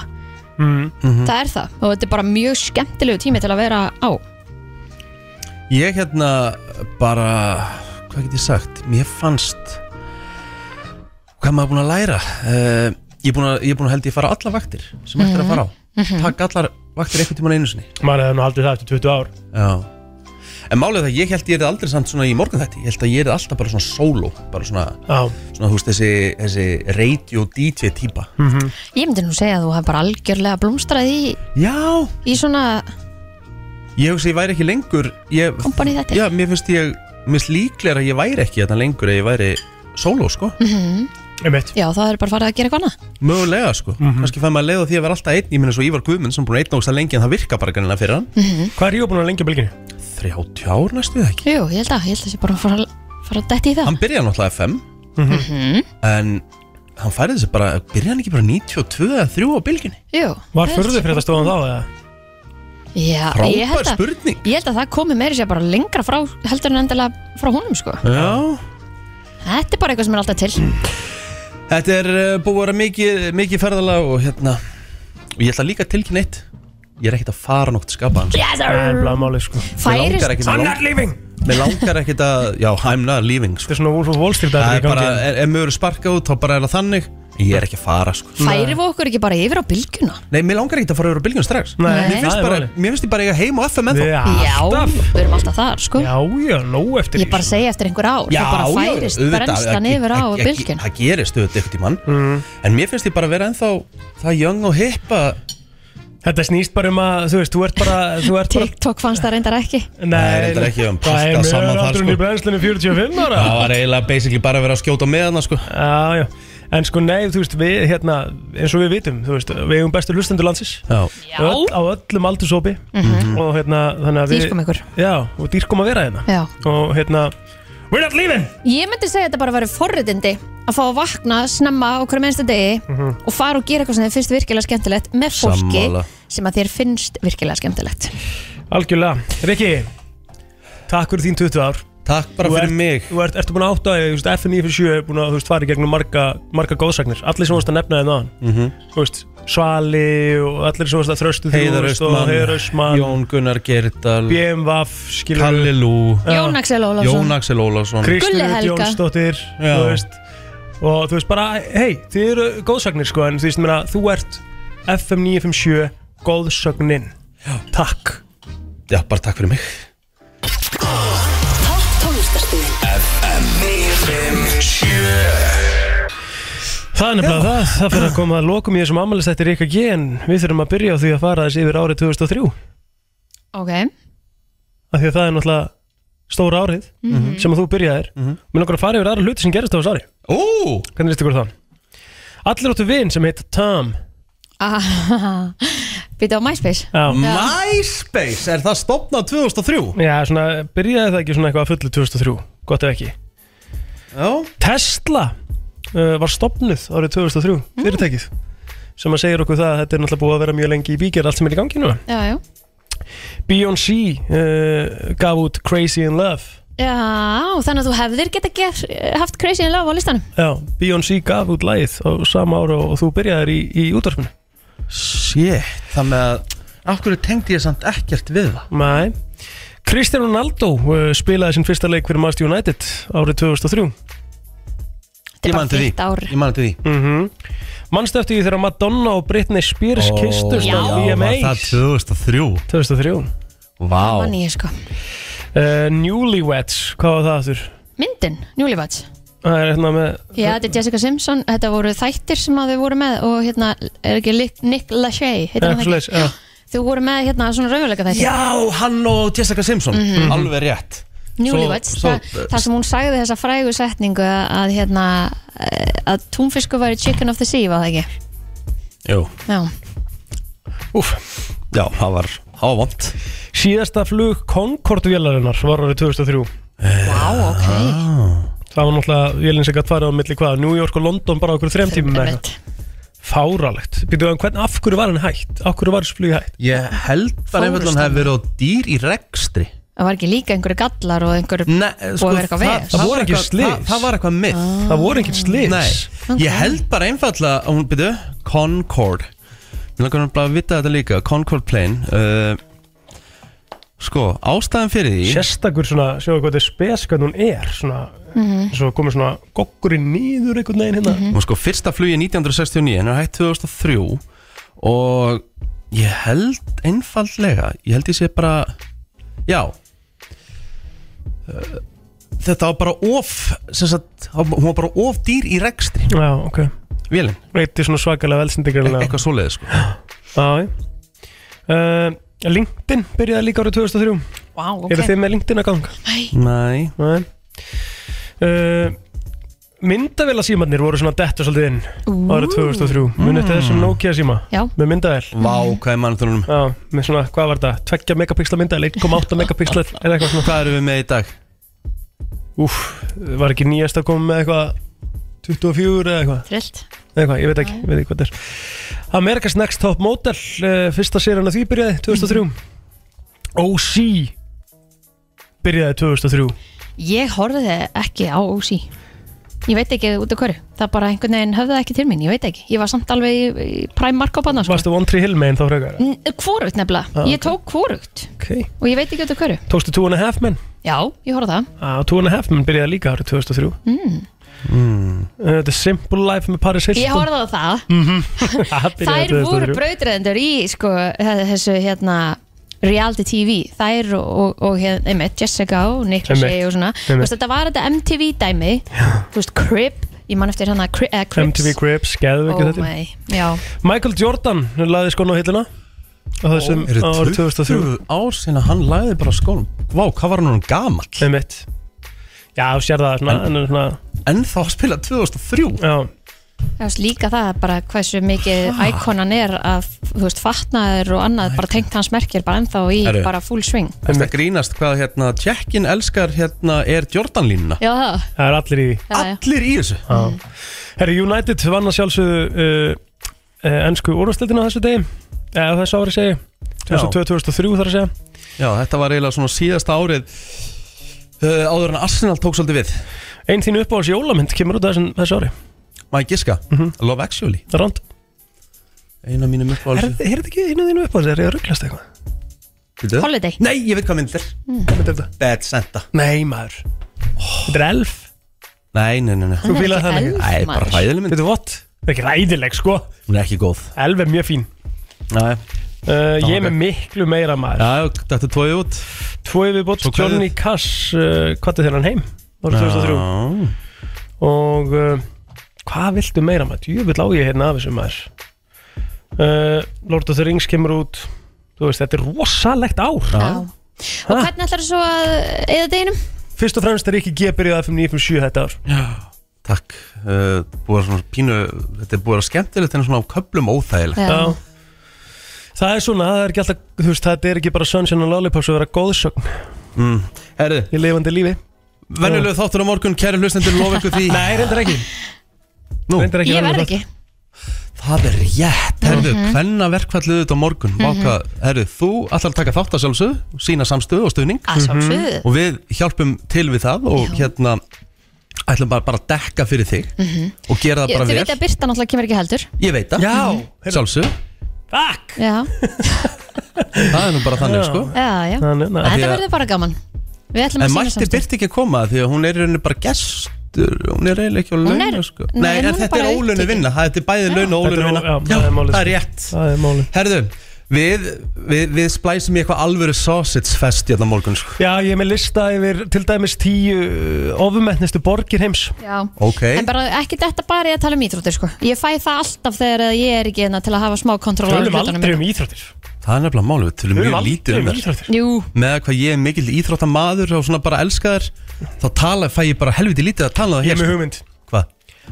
mm -hmm.
Það er það og þetta er bara mjög skemmtilegu tími til að vera á.
Ég hérna bara, hvað get ég sagt, mér fannst, hvað maður búin að læra, uh, ég er búin að, ég er búin að held ég fara á allar vaktir sem hægt er að fara á,
Mhm.
taka allar vaktir einhvern tímann einu sinni.
Maður hefði nú haldið það eftir 20 ár
Já, en málið er það, ég held ég er aldrei samt svona í morgun þetta, ég held að ég er alltaf bara svona solo, bara svona,
Já.
svona þú veist þessi, þessi radio DJ típa.
Ég myndi nú segja að þú hef bara algjörlega blómstrað í,
Já,
í svona
ég hugsa ég væri ekki lengur, ég,
kompani þetta.
já, mér finnst ég, mér finnst líklega að ég væri ekki þetta lengur ef ég væri solo, sko.
Mhm.
Einmitt.
Já, þá er bara farið að gera eitthvað annað.
Mögulega sko, kannski fæði maður leið á því að vera alltaf einn Ég minna svo Ívar Guðmund sem er búin að einn ógsta lengi En það virka bara gannina fyrir hann
Mhm.
Hvað er ég búin að lengja bylginni?
30 ár næstu eða ekki
Jú, ég held að, ég held að sé bara að fara, fara að detti í það.
Hann byrjaði náttúrulega FM
Mhm.
En hann færði þessi bara, byrjaði hann ekki bara 92 eða 3 á bylginni
Jú.
Var
það er-
förðu fyrir þetta stóðan þá eða?
Já,
Frábær
ég held að-
spurning.
Ég held að það komi meiri sér bara lengra frá heldur en endilega frá honum sko
Já
Þetta er bara eitthvað sem er alltaf til
Hmm, Þetta er uh, búið að vera mikið, mikið ferðalag og hérna Og ég ætla líka að tilkynna eitt Ég er ekkert að fara nokkuð skapa hans
Yes, sir.
Það er blaða máli sko
Færist- langar ekki-
I'm not leaving
Mér langar ekkert að, já, I'm not leaving sko.
Þetta er svona Wolf of Wall Street
Það er
atriði í
bara,
gangi.
ef ef mér eru sparkað út Þá bara er það þannig Ég er ekki að fara sko
Færi við okkur ekki bara yfir á bylgjuna?
Nei, mér langar ekki að fara yfir á bylgjum strax
Nei,
Nei.
Mér finnst
það er
bara,
málið.
mér finnst ég bara eiga heim og FM ennþá
Já,
Já, við erum alltaf þar sko
Já, já, nóg eftir
Ég bara segi eftir einhver ár Það bara færist
auðvitað,
brennslan
það-
yfir á
það-
bylgjuna
Það gerist auðvitað ekkert í mann
Mm.
En mér finnst ég bara vera ennþá það young og hip að
Þetta snýst bara um að, þú veist, þú ert bara, þú ert
<laughs>
bara
TikTok fannst það reyndar ekki
Nei, reyndar ekki, við höfum
það er
pantað saman
mjög
þar,
afturinn
sko.
í brennslunni 45 ára
Það var eiginlega basically bara að vera að skjóta með hana sko
Já, já, en sko nei, þú veist, við hérna, eins og við vitum, þú veist, við eigum bestu hlustendur landsins
Já.
Já.
Öll, Á öllum aldursopi
Mhm.
Og hérna, þannig að við
Dýrkum ykkur.
Já, og dýrkum að vera hérna
Já.
Og hérna, we're not leaving
Ég myndi segja að þetta bara verið forröðindi að fá að vakna snemma á hverjum einsta degi
Mhm.
og fara og gera eitthvað sem þið finnst virkilega skemmtilegt með fólki
Sammála.
sem að þér finnst virkilega skemmtilegt
Algjörlega, Rikki Takk fyrir þín 20 ár
Takk bara fyrir mig
Þú ert, ertu búin að átta, þig, þú veist, FN 957 er búin að, þú veist, fara í gegnum marga, marga góðsagnir Allir sem vorst að nefna þeim aðan
Mhm.
Þú veist, Svali og allir sem vorst að þröstu þrjú,
Heiðar
þú veist, og
Austmann,
Heiðar Austmann
Jón Gunnar Gerdal
BMWaf, skilur
Kalli Lú
Jón Axel Ólafsson.
Jón Axel Ólafsson
Kristi
Gulli
Rut
Helga.
Jónsdóttir
Já.
þú veist, og þú veist bara hei, þið eru góðsagnir sko en þú veist, meina, þú ert FM 957 góðsögnin takk
Já, bara takk fyrir mig
Það er nefnilega það, það fyrir að koma að lokum í þessum ammælistætti Ríka G en við þurfum að byrja á því að fara þess yfir árið 2003
Ok, <laughs>
af því að það er náttúrulega stóra árið
Mhm.
sem að þú byrjaðir mm -hmm. með langar að fara yfir aðra hluti sem gerist á þessu ári
Ó!
Hvernig listu ykkur það? Allir áttu vin sem heit Tom
Býta á MySpace
Já.
MySpace, er það stopnað 2003?
Já, svona, byrjaði það ekki svona eitthvað að fullu 2003 Gott ef ekki
Já
Tesla uh, var stopnuð árið 2003,
Mm.
fyrirtækið sem að segir okkur það að þetta er náttúrulega búið að vera mjög lengi í bíkir allt sem er í gangi núna
já, já
Beyoncé uh, gaf út Crazy in Love
Já, þannig að þú hefðir geta get, haft Crazy in Love á listanum
Já, Beyoncé gaf út lagið á sama ára og þú byrjaðir í, í útvarpinu
Shit, það með að Af hverju tengdi ég samt ekkert við það?
Nei Cristiano Ronaldo uh, spilaði sinn fyrsta leik fyrir Master United árið 2003
Ég man eftir því. Ég man eftir því
mm
Mhm.
Manstu eftir því þegar Madonna og Britney Spears oh, kistust
Já,
á
var það
VMAs
2003
2003
Vá
Mann ég sko
uh, Newlyweds, hvað var það aftur?
Myndin, Newlyweds
Það er hérna með
Já, þetta er Jessica Simpson, þetta voru þættir sem að þau voru með og hérna, er ekki Lick- Nick Lachey, heitir
Eitthvað
hann það
svoleiðis,
ekki?
já.
Þau voru með hérna svona raunveruleika þættir
Já, hann og Jessica Simpson
Mhm.
Alveg rétt
Newlyweds,
Svo-
það,
svo-
það sem hún sagði þessa frægu setningu að, að hérna eh, að túnfiskur væri chicken of the sea, var það ekki?
Jú,
Já,
já, það var ávont
Síðasta flug Concorde-vélarinnar var árið 2003
Vá, ok
Það var náttúrulega vélinn sem gætt farið á milli hvað New York og London bara okkur þrem tímum með
eitthvað.
Fáralegt Býtu, en hvern, af hverju var hann hægt? Af hverju var þessu flug hægt?
Ég held bara einhvern veginn hefði verið á dýr í rekstri
það var ekki líka einhverju gallar og einhverju
Nei,
búið að vera eitthvað Ah.
það,
veð
það voru
var
ekki
eitthvað-
slis
það- það
var eitthvað mitt
Það voru ekki slis
Nei, ég held bara einfallega að hún byrju Concorde Mér langar nú bara að vita þetta líka Concorde plane uh, Sko, ástæðan fyrir því
Sérstakur svona, sjáu hvað þetta er spes hvernig hún er Svona,
Mhm.
svo komið svona goggurinn nýður einhvern veginn hérna
Mhm.
Og sko, fyrsta flugi 1969 en er hægt 2003 og ég held einfallega, ég held ég sé bara já Uh, þetta var bara of sem sagt, hún var bara of dýr í rekstri
Já, ok
Vélinn
Reytti svona svakalega velsendikarlega
E- eitthvað svoleiði sko
Já, já uh, LinkedIn byrjaði líka árið 2003
Vá, ok.
Eru þið með LinkedIn að ganga?
Nei
Nei uh, Myndavél voru svona dettu svolítið inn
Ú.
árið
Mm.
2003 Munið þetta þessum Nokia síma
Já.
með myndavél
Vá, hvað er manntunum?
Já, með svona, hvað var þetta? 2 megapixla myndavél, 1,8 megapixla eða eitthvað svona
Hvað erum við með í dag?
Úf, var ekki nýjast að koma með eitthvað 24 eða eitthvað
Trillt
Nei, hvað, ég veit ekki, ég veit ekki hvað þetta er Amerikas Next Top Model uh, Fyrsta serían að því byrjaði
Mhm.
2003 OC Byrjaði 2003
Ég horfði ekki á OC Ég veit ekki út af hverju Það bara einhvern veginn höfði það ekki til mín, ég veit ekki Ég var samt alveg í, í prime mark á banna sko.
Varstu One Tree Hill meginn þá frekar?
N- Hvorugt nefnilega,
Ah,
ég tók hvorugt
Okay.
Og ég veit ekki út af hverju
Tókstu Two and a Half Men?
Já, ég horfði á það
Ah, two and a Half Men byrjaði líka árið 2003
mm.
mm. uh, The Simple Life með Paris Hilton
Ég horfði á það
<laughs> Það
Þær
byrjaði
voru
2003.
brautræðendur í sko, þessu hérna reality TV, þær og, og, og hérna, einmitt, Jessica og Niklas
Einmitt,
og svona, þú
einmitt.
veist, þetta var þetta MTV dæmi, þú veist, Crip ég man eftir hann að Crip, eh, Crips
MTV Crips, geðu
oh
ekki þetta
my, já,
Michael Jordan laði skónu á hillina á þessum
Ó, eru
árið 2003
20 ár sinna hann lagði bara skónum Vá, hvað var hann orðinn gamall?
Einmitt. Já, þú sér það svona, en, svona...
en þá spila 2003
Já,
þú veist, líka það bara hversu mikið íkonan er að, þú veist, fatnaður og
Oh
annað bara tengt hans merkir bara ennþá í
Herru.
bara full swing
Það grínast hvað hérna Tjekkin elskar hérna er Jordan línuna
já, það,
það er allir í því
já, já,
Allir í þessu
Já. Herri, United vann að sjálfsögðu uh, uh, ennsku úrvastildina þessu degi eða þessu ári segi 2002, 2003 þarf að segja
Já, þetta var eiginlega svona síðasta árið uh, áður en Arsenal tók svolítið við
Einn þín uppáhalds jólamynd kemur út af þessu, þessu ári
Má ég giska? Love Actually
Ránd
Einu af mínum uppáhalds
Er er þetta ekki einu þínu uppáhalds? Er ég að rugglast eitthvað?
Bíddu.
Holiday.
Nei, ég veit hvað mynd þetta er
Hvað er þetta?
Bad Santa
Nei maður Þetta er elf
Nei, nei, nei, nei
Þú fílaði það ekki?
Æ, bara hræðileg mynd
Þetta er vott Það er ekki ræðileg sko
Hún er ekki góð
Elf er mjög fín
Nei
uh, Ég
Ok.
er með miklu meira maður
Já, þetta er tóið út
Tvoi við bótt
Svo kveðið.
Johnny Cash uh, Hvað er þér hann heim? Árið 2003
Já.
og uh, hvað viltu meira maður? Jöfnvill á ég hérna af þessu maður uh, Lord of the Rings kemur út þú veist, þetta er rosalegt ár
já. og hvernig ætlar svo að eða deginum?
fyrst og fremst er ekki gebyrjað FM 957 þetta ár
Takk uh, Búið að svona pínu Þetta er búið að vera skemmtilegt en svona á köflum óþægilegt
Já.
það er svona, það er ekki alltaf þú veist, þetta er ekki bara Sunshine and Lollipops að vera góðsögn
mm. Herðu,
í lifandi lífi
Eh. <laughs> venjulegu þáttur á morgun Kæri hlustendur, lofa ykkur því
Nei, reyndar ekki
Nú.
Reyndar
Ég verð ekki
Það er rétt, herðu,
Mhm.
hvenna verkfallið þetta á morgun mm
Mhm.
herðu, þú ætlar að taka þátt að sjálfsög sína samstöðu og stuðning
Að sjálfsögðu.
Mhm. og við hjálpum til við það og hérna ætlum bara, bara að dekka fyrir þig
Mhm.
og gera það
Ég-
bara
Þið
vel
veit að Birta náttúrulega kemur ekki heldur
Ég veit það, Mhm.
Já,
sjálfsög <laughs>
Já,
það er nú bara þannig
já,
sko
já
Þannig, nei. Því
Þetta
að-
verður bara gaman Við ætlum
En
að sína
mætti
samstöð
Birta ekki að koma því að hún er í rauninni bara gestur hún er eiginlega ekki á
Hún er-
launa sko.
nei, hún
en
er
þetta
bara
er ólunu
upptekin.
vinna þetta er bæði laun og ólunu vinna
Já, það er málið,
það er
sko.
rétt Herðu, við, við, við splæsum í eitthvað alvöru sausage fest hérna á morgun sko.
Já, ég er með lista yfir til dæmis tíu ofumettnistu borgir heims
Já
Ok.
En bara ekki þetta bara ég að tala um íþróttir sko Ég fæ það alltaf þegar að ég er ekki hérna til að hafa smá kontról
Tölum aldrei um íþróttir
það er nefnilega málið, við tölum
Tölum
mjög
aldrei
lítið
um
um það
íþróttir.
Jú,
með að hvað ég er mikill íþróttamaður og svona bara elskaður þá tala, fæ ég bara helviti lítið að tala um það
Ég er
hér
með
sko.
hugmynd
Hvað?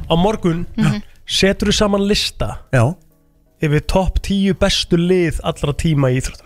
Á morgun setur við saman lista
Já
Yfir topp tíu bestu lið allra tíma í íþróttum